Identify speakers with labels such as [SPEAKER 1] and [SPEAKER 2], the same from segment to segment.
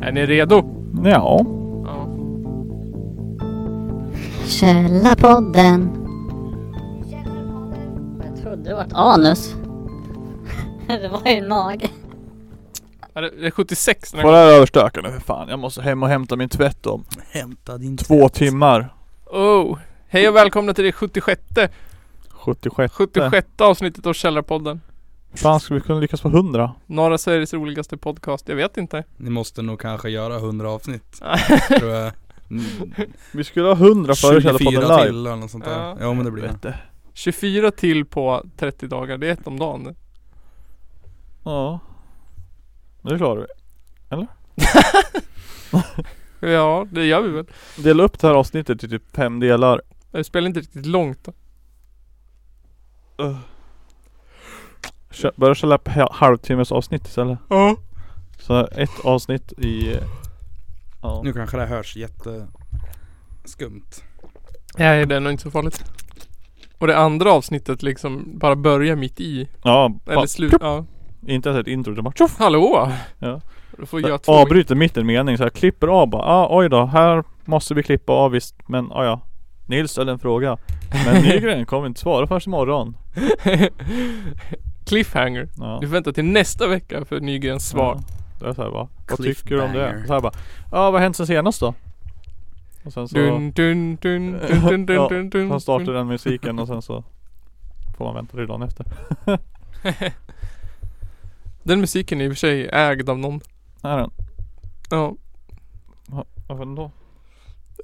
[SPEAKER 1] Är ni redo?
[SPEAKER 2] Ja.
[SPEAKER 1] Ja.
[SPEAKER 3] Källarpodden. Jag trodde det var ett anus. Det var ju en mage.
[SPEAKER 1] Är det- det är 76 när
[SPEAKER 2] Får det här överstöka nu för fan. Jag måste hem och hämta min tvätt om
[SPEAKER 4] Hämta din
[SPEAKER 2] två timmar.
[SPEAKER 1] Oh! Hej och välkomna till det 76
[SPEAKER 2] 76.
[SPEAKER 1] 76 avsnittet av Källarpodden.
[SPEAKER 2] Fan skulle vi kunna lyckas på 100?
[SPEAKER 1] Norra Sveriges roligaste podcast. Jag vet inte.
[SPEAKER 4] Ni måste nog kanske göra 100 avsnitt tror jag Mm,
[SPEAKER 2] Vi skulle ha 100 före Källarpodden live.
[SPEAKER 4] till eller något sånt där
[SPEAKER 1] Ja.
[SPEAKER 4] Ja, men det blir det
[SPEAKER 2] Vet du.
[SPEAKER 1] 24 till på 30 dagar. Det är ett om dagen nu.
[SPEAKER 2] Ja. Nu klarar vi.
[SPEAKER 1] Ja, det gör vi väl.
[SPEAKER 2] Dela upp det här avsnittet i typ fem delar.
[SPEAKER 1] Det spelar inte riktigt långt då.
[SPEAKER 2] Kö- Börja köra på hal- halvtimmes avsnitt istället.
[SPEAKER 1] Ja.
[SPEAKER 2] Så ett avsnitt i... Ja.
[SPEAKER 4] Nu kanske det här hörs jätteskumt
[SPEAKER 1] Nej, det är nog inte så farligt. Och det andra avsnittet liksom bara börjar mitt i.
[SPEAKER 2] Ja.
[SPEAKER 1] Eller
[SPEAKER 2] Ba,
[SPEAKER 1] slut. Ja.
[SPEAKER 2] inte ens ett intro utan bara tjoff.
[SPEAKER 1] Hallå!
[SPEAKER 2] Ja.
[SPEAKER 1] Du får göra två.
[SPEAKER 2] Avbryter mitt i en mening så här. Klipper av bara. Ah, oj då. Här måste vi klippa av visst. Men ah, ja. Nils ställde en fråga. Men Nygren kommer inte svara förrän imorgon.
[SPEAKER 1] Cliffhanger.
[SPEAKER 2] Ja.
[SPEAKER 1] Du får vänta till nästa vecka för Nygrens svar.
[SPEAKER 2] Ja. Det är såhär va. Vad tycker du om det?
[SPEAKER 4] Cliffbanger.
[SPEAKER 2] Så här bara. Ja ah, vad har hänt sen senast då? Och sen så.
[SPEAKER 1] Dun, dun, dun, dun, dun, dun,
[SPEAKER 2] Ja,
[SPEAKER 1] dun, dun,
[SPEAKER 2] Han startar den musiken och sen så får man vänta till dagen efter.
[SPEAKER 1] Den musiken är i och för sig ägd av någon.
[SPEAKER 2] Är den?
[SPEAKER 1] Ja,
[SPEAKER 2] Varför då?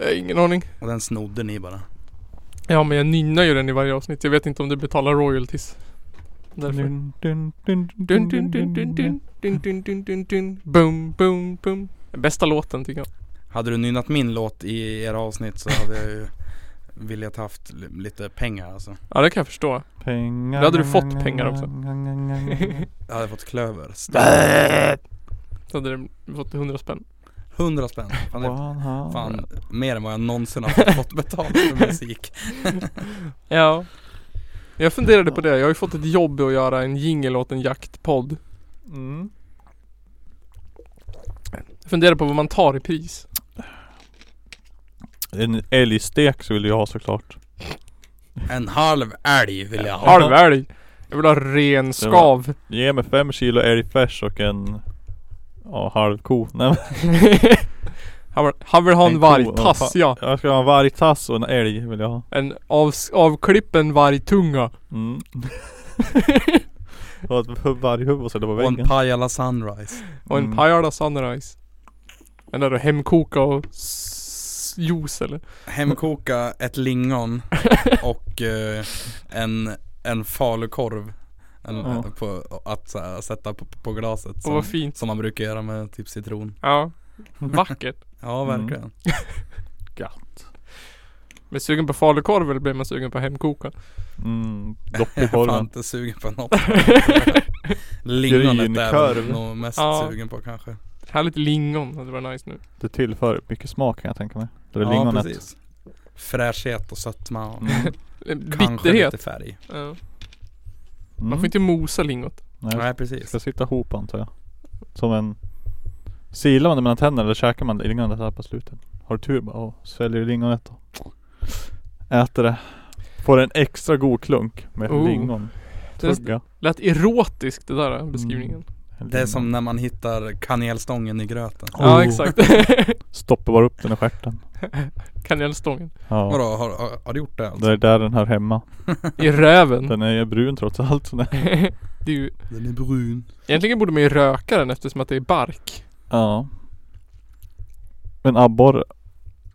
[SPEAKER 1] jag har ingen aning.
[SPEAKER 4] Och den snodde ni bara
[SPEAKER 1] Ja, men jag nynnar ju den i varje avsnitt. Jag vet inte om det betalar royalties. Därför.
[SPEAKER 2] Dun, dun, dun,
[SPEAKER 1] Dun, dun, dun, dun, dun, dun, dun, dun, dun, dun. Boom, boom, boom. Den Bästa låten tycker jag.
[SPEAKER 4] Hade du nynnat min låt i era avsnitt så hade jag ju velat haft li- lite pengar alltså
[SPEAKER 1] Ja, det kan jag förstå.
[SPEAKER 2] Pengar.
[SPEAKER 1] Då hade du fått pengar också.
[SPEAKER 4] Jag hade fått klöver
[SPEAKER 1] Då hade du fått 100 spänn.
[SPEAKER 4] 100 spänn Fan, det är
[SPEAKER 2] One hour.
[SPEAKER 4] fan mer än vad jag någonsin har fått betalt för musik
[SPEAKER 1] Ja. Jag funderade på det. Jag har ju fått ett jobb att göra en jingel åt en jaktpodd.
[SPEAKER 2] Mm.
[SPEAKER 1] Jag funderar på vad man tar i pris.
[SPEAKER 2] En älgstek så vill jag ha såklart.
[SPEAKER 4] En halv älg vill jag ha
[SPEAKER 1] Halv älg. Jag vill ha ren skav.
[SPEAKER 2] Ge mig fem kilo älgfärs och en Ja, halv ko. Nej, men
[SPEAKER 1] Han vill- Han vill ha en
[SPEAKER 2] En ko, vad
[SPEAKER 1] vargtass
[SPEAKER 2] fan.
[SPEAKER 1] ja.
[SPEAKER 2] jag ska ha en vargtass och en älg vill jag ha.
[SPEAKER 1] En avs- avklippen vargtunga.
[SPEAKER 2] Mm. och ett varghuvud och sätta på
[SPEAKER 4] Och en
[SPEAKER 2] väggen.
[SPEAKER 4] Pajala Sunrise
[SPEAKER 1] Och en
[SPEAKER 2] Mm.
[SPEAKER 1] Pajala Sunrise. Den där du hemkoka och s- juice eller?
[SPEAKER 4] Hemkoka ett lingon och eh, en, en falukorv en,
[SPEAKER 2] Ja.
[SPEAKER 4] på, att så här, sätta på, på glaset
[SPEAKER 1] Och
[SPEAKER 4] som,
[SPEAKER 1] vad fint.
[SPEAKER 4] som man brukar göra med typ citron
[SPEAKER 1] Ja. Vackert.
[SPEAKER 4] Ja
[SPEAKER 2] Mm.
[SPEAKER 4] verkligen
[SPEAKER 1] Blir sugen på falukorv eller blir man sugen på hemkoka?
[SPEAKER 2] Mm. Dopp
[SPEAKER 4] Jag
[SPEAKER 2] i
[SPEAKER 4] är fan
[SPEAKER 2] korven.
[SPEAKER 4] inte sugen på något Lingonet är
[SPEAKER 2] Grynkorv.
[SPEAKER 4] jag nog mest
[SPEAKER 1] Ja.
[SPEAKER 4] sugen på kanske
[SPEAKER 1] Härligt lingon hade varit nice nu.
[SPEAKER 2] Det tillför mycket smak kan jag tänka mig. Det är lingonet.
[SPEAKER 4] Fräschhet och sötma och
[SPEAKER 2] Mm.
[SPEAKER 1] Eh,
[SPEAKER 4] kanske
[SPEAKER 1] Bitterhet.
[SPEAKER 4] lite färg
[SPEAKER 1] Ja. Man
[SPEAKER 2] Mm.
[SPEAKER 1] får inte mosa lingot.
[SPEAKER 2] Nej,
[SPEAKER 4] Nej
[SPEAKER 2] det
[SPEAKER 4] precis
[SPEAKER 2] ska sitta ihop antar jag. Som en.. Silar man det mellan tänderna eller käkar man lingonet här på slutet? Har du tur bara, åh, sväljer du lingonet då. Äter det. Får en extra god klunk med
[SPEAKER 1] Oh.
[SPEAKER 2] lingon.
[SPEAKER 1] Det
[SPEAKER 2] Tugga.
[SPEAKER 1] lät erotiskt det där
[SPEAKER 2] Mm.
[SPEAKER 1] beskrivningen.
[SPEAKER 4] Det är som när man hittar kanelstången i gröten
[SPEAKER 1] Ja
[SPEAKER 2] Oh.
[SPEAKER 1] exakt.
[SPEAKER 2] Stoppar bara upp den i stjärten.
[SPEAKER 1] Kanelstången.
[SPEAKER 2] Ja.
[SPEAKER 4] Vadå, har, har, har du gjort det alltså?
[SPEAKER 2] Det är där den hör hemma.
[SPEAKER 1] I röven.
[SPEAKER 2] Den är ju brun trots allt. så den-
[SPEAKER 1] Det är ju,
[SPEAKER 4] Den är brun
[SPEAKER 1] egentligen borde man ju röka den eftersom att det är bark.
[SPEAKER 2] Ja. Men abborre.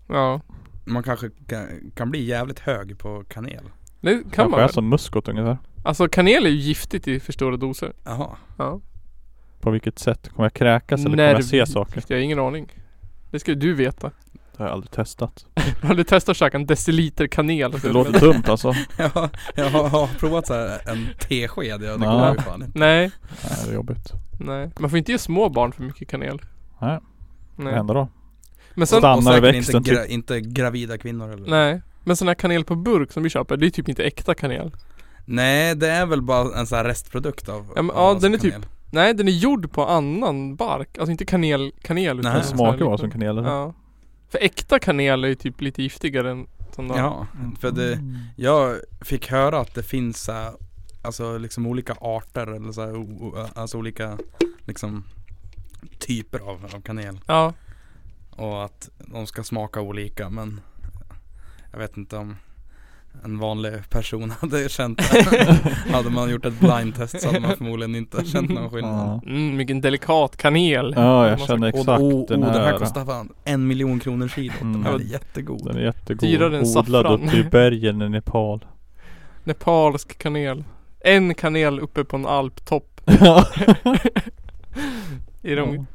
[SPEAKER 1] Ja.
[SPEAKER 4] Man kanske kan, kan bli jävligt hög på kanel
[SPEAKER 1] Det kan man
[SPEAKER 2] Kanske är
[SPEAKER 1] väl?
[SPEAKER 2] som muskot ungefär.
[SPEAKER 1] Alltså kanel är ju giftigt i för stora doser.
[SPEAKER 4] Jaha
[SPEAKER 1] Ja.
[SPEAKER 2] På vilket sätt? Kommer jag kräkas eller kommer
[SPEAKER 1] Nerv-
[SPEAKER 2] jag se saker?
[SPEAKER 1] Jag har ingen aning. Det ska ju du veta.
[SPEAKER 2] Det har jag aldrig testat.
[SPEAKER 1] Har du testat att käka en deciliter kanel?
[SPEAKER 2] Det låter dumt alltså.
[SPEAKER 4] Jag har, jag har, har provat så här en tesked, ja, det
[SPEAKER 2] Ja.
[SPEAKER 4] går ju fan inte
[SPEAKER 1] Nej.
[SPEAKER 2] Nej, det är jobbigt.
[SPEAKER 1] Nej. Man får inte ge små barn för mycket kanel.
[SPEAKER 2] Nej. Vad
[SPEAKER 1] Nej.
[SPEAKER 2] händer då?
[SPEAKER 1] Men sen,
[SPEAKER 2] Stann- Stannar typ.
[SPEAKER 4] säkert
[SPEAKER 2] växten
[SPEAKER 4] inte, gra, inte gravida kvinnor eller?
[SPEAKER 1] nej. Men sån här kanel på burk som vi köper, det är typ inte äkta kanel.
[SPEAKER 4] Nej, det är väl bara en sån här restprodukt av
[SPEAKER 1] Ja, men,
[SPEAKER 4] av
[SPEAKER 1] ja,
[SPEAKER 4] alltså
[SPEAKER 1] den är typ-
[SPEAKER 4] kanel.
[SPEAKER 1] Nej den är gjord på annan bark, alltså inte kanel, kanel utan
[SPEAKER 4] Nej.
[SPEAKER 2] Den
[SPEAKER 1] sån här
[SPEAKER 2] smakar bara
[SPEAKER 1] liten-
[SPEAKER 2] som kanel eller?
[SPEAKER 1] Ja För äkta kanel är ju typ lite giftigare än sån där
[SPEAKER 4] Ja, för det, jag fick höra att det finns så här, alltså liksom olika arter eller så här, o- o- alltså olika liksom typer av, av kanel.
[SPEAKER 1] Ja,
[SPEAKER 4] Och att de ska smaka olika men jag vet inte om en vanlig person hade känt det. hade man gjort ett blindtest så hade man förmodligen inte känt någon skillnad.
[SPEAKER 2] Ja.
[SPEAKER 1] mm, vilken delikat kanel
[SPEAKER 2] ja, jag
[SPEAKER 1] Man
[SPEAKER 2] känner
[SPEAKER 1] ska-
[SPEAKER 4] Och,
[SPEAKER 2] exakt
[SPEAKER 4] och,
[SPEAKER 2] den
[SPEAKER 4] och den här
[SPEAKER 2] här.
[SPEAKER 4] kostar fan en miljon kronor kilot. Den här
[SPEAKER 2] Mm.
[SPEAKER 4] är jättegod.
[SPEAKER 2] Den är jättegod.
[SPEAKER 1] Dyrare än
[SPEAKER 2] Odlad
[SPEAKER 1] saffran.
[SPEAKER 2] uppe i bergen i Nepal.
[SPEAKER 1] Nepalsk kanel En kanel uppe på en alptopp
[SPEAKER 2] Ja.
[SPEAKER 1] I de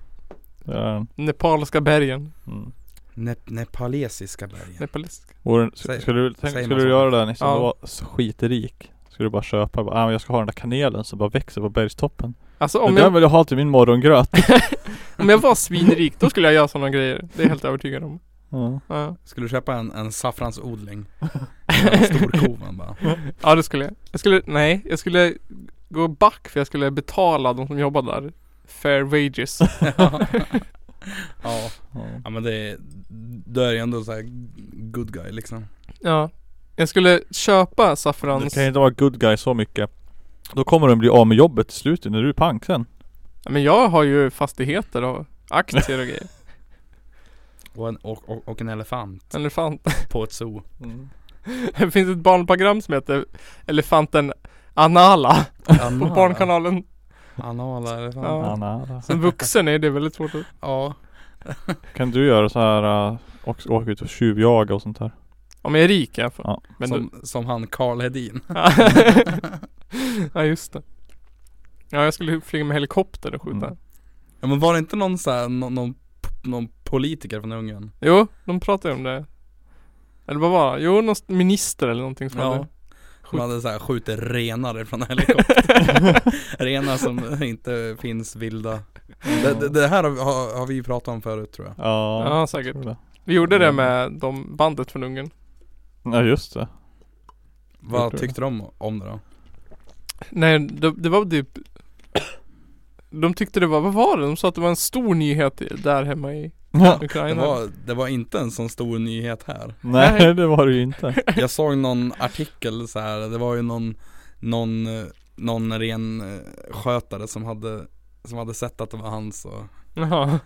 [SPEAKER 2] Det är den.
[SPEAKER 1] nepalska bergen
[SPEAKER 2] Mm.
[SPEAKER 4] Ne- nepalesiska bergen.
[SPEAKER 1] Nepaliska
[SPEAKER 2] Vore-
[SPEAKER 4] Säg-
[SPEAKER 2] Skulle du, tänk,
[SPEAKER 4] säg
[SPEAKER 2] skulle
[SPEAKER 4] något
[SPEAKER 2] du göra det här Nisse, om
[SPEAKER 1] Ja.
[SPEAKER 2] du var så skitrik? Skulle du bara köpa, bara, ah, men jag ska ha den där kanelen som bara växer på bergstoppen.
[SPEAKER 1] Alltså
[SPEAKER 2] Den
[SPEAKER 1] om
[SPEAKER 2] där
[SPEAKER 1] jag,
[SPEAKER 2] vill jag ha till min morgongröt.
[SPEAKER 1] om jag var svinrik då skulle jag göra sådana grejer Det är jag helt övertygad om
[SPEAKER 2] Ja.
[SPEAKER 1] Ja,
[SPEAKER 4] Skulle du köpa en, en saffransodling? En stor ko man bara.
[SPEAKER 1] ja det skulle jag Jag skulle, nej jag skulle gå back för jag skulle betala de som jobbar där Fair wages
[SPEAKER 4] ja.
[SPEAKER 2] Ja.
[SPEAKER 4] ja men det är, då är det ändå så här good guy liksom.
[SPEAKER 1] Ja Jag skulle köpa
[SPEAKER 2] Du
[SPEAKER 1] saffrans
[SPEAKER 2] kan ju inte vara good guy så mycket. Då kommer de bli av med jobbet till slut när du är pank sen.
[SPEAKER 1] Ja, Men jag har ju fastigheter och aktier och grejer
[SPEAKER 4] Och en, och, och, och en elefant
[SPEAKER 1] Elefant
[SPEAKER 4] på ett zoo.
[SPEAKER 1] Mm. Det finns ett barnprogram som heter Elefanten Anala på Barnkanalen
[SPEAKER 4] Anala elefant.
[SPEAKER 1] Ja.
[SPEAKER 4] Ja.
[SPEAKER 2] Anna.
[SPEAKER 1] Som vuxen är det väldigt svårt att
[SPEAKER 2] Kan du göra så här, äh, också åka ut och tjuvjaga och sånt där?
[SPEAKER 1] Om jag är rik i alla fall
[SPEAKER 2] Ja.
[SPEAKER 1] Men
[SPEAKER 4] som, som han Carl Hedin.
[SPEAKER 1] du... ja just det Ja jag skulle flyga med helikopter och skjuta
[SPEAKER 2] Mm.
[SPEAKER 4] Ja men var det inte någon så här, någon, någon, någon politiker från Ungern?
[SPEAKER 1] Jo, de pratar ju om det Eller vad var det? Jo, någon minister eller någonting som hade
[SPEAKER 4] Ja. Som hade så här, skjuter renar från en helikopter. renar som inte finns vilda. Det, det, det här har, har, har vi pratat om förut tror jag.
[SPEAKER 2] Ja.
[SPEAKER 1] Ja, säkert.
[SPEAKER 2] tror det.
[SPEAKER 1] Vi gjorde det med de bandet från Ungern
[SPEAKER 2] Ja just det. Jag
[SPEAKER 4] Vad
[SPEAKER 2] tror
[SPEAKER 4] tyckte de om det då?
[SPEAKER 1] Nej, det, det var typ De tyckte det var, vad var det? De sa att det var en stor nyhet i- där hemma i
[SPEAKER 2] Ja.
[SPEAKER 4] Det
[SPEAKER 1] Ukraina
[SPEAKER 4] var, det var inte en sån stor nyhet här.
[SPEAKER 2] Nej det var det ju inte.
[SPEAKER 4] Jag såg någon artikel så här. det var ju någon, någon, eh, någon renskötare som hade, som hade sett att det var hans och
[SPEAKER 1] Jaha,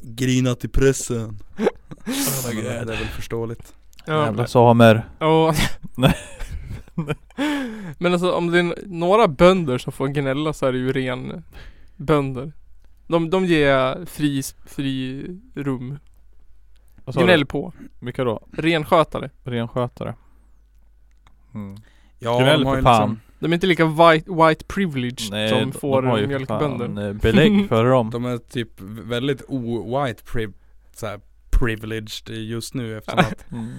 [SPEAKER 4] grinat i pressen. Men det är väl förståeligt.
[SPEAKER 1] ja.
[SPEAKER 2] Jävla samer.
[SPEAKER 1] Och,
[SPEAKER 2] Nej.
[SPEAKER 1] Men alltså om det är n- några bönder som får gnälla så är det ju ren bönder De, de ger fri, fri rum
[SPEAKER 2] Vad sa du?
[SPEAKER 1] Gnäll på
[SPEAKER 2] Vilka då?
[SPEAKER 1] Renskötare
[SPEAKER 2] Renskötare. Mm.
[SPEAKER 4] Ja,
[SPEAKER 2] Gnäll
[SPEAKER 4] de har
[SPEAKER 2] för
[SPEAKER 4] ju
[SPEAKER 2] fan.
[SPEAKER 4] liksom,
[SPEAKER 1] De är inte lika white, white privileged som
[SPEAKER 2] de-
[SPEAKER 1] får
[SPEAKER 2] de har ju
[SPEAKER 1] mjölkbönder
[SPEAKER 2] fan, eh, belägg för dem.
[SPEAKER 4] de är typ väldigt o-white priv, så här, privileged just nu eftersom att
[SPEAKER 2] Mm.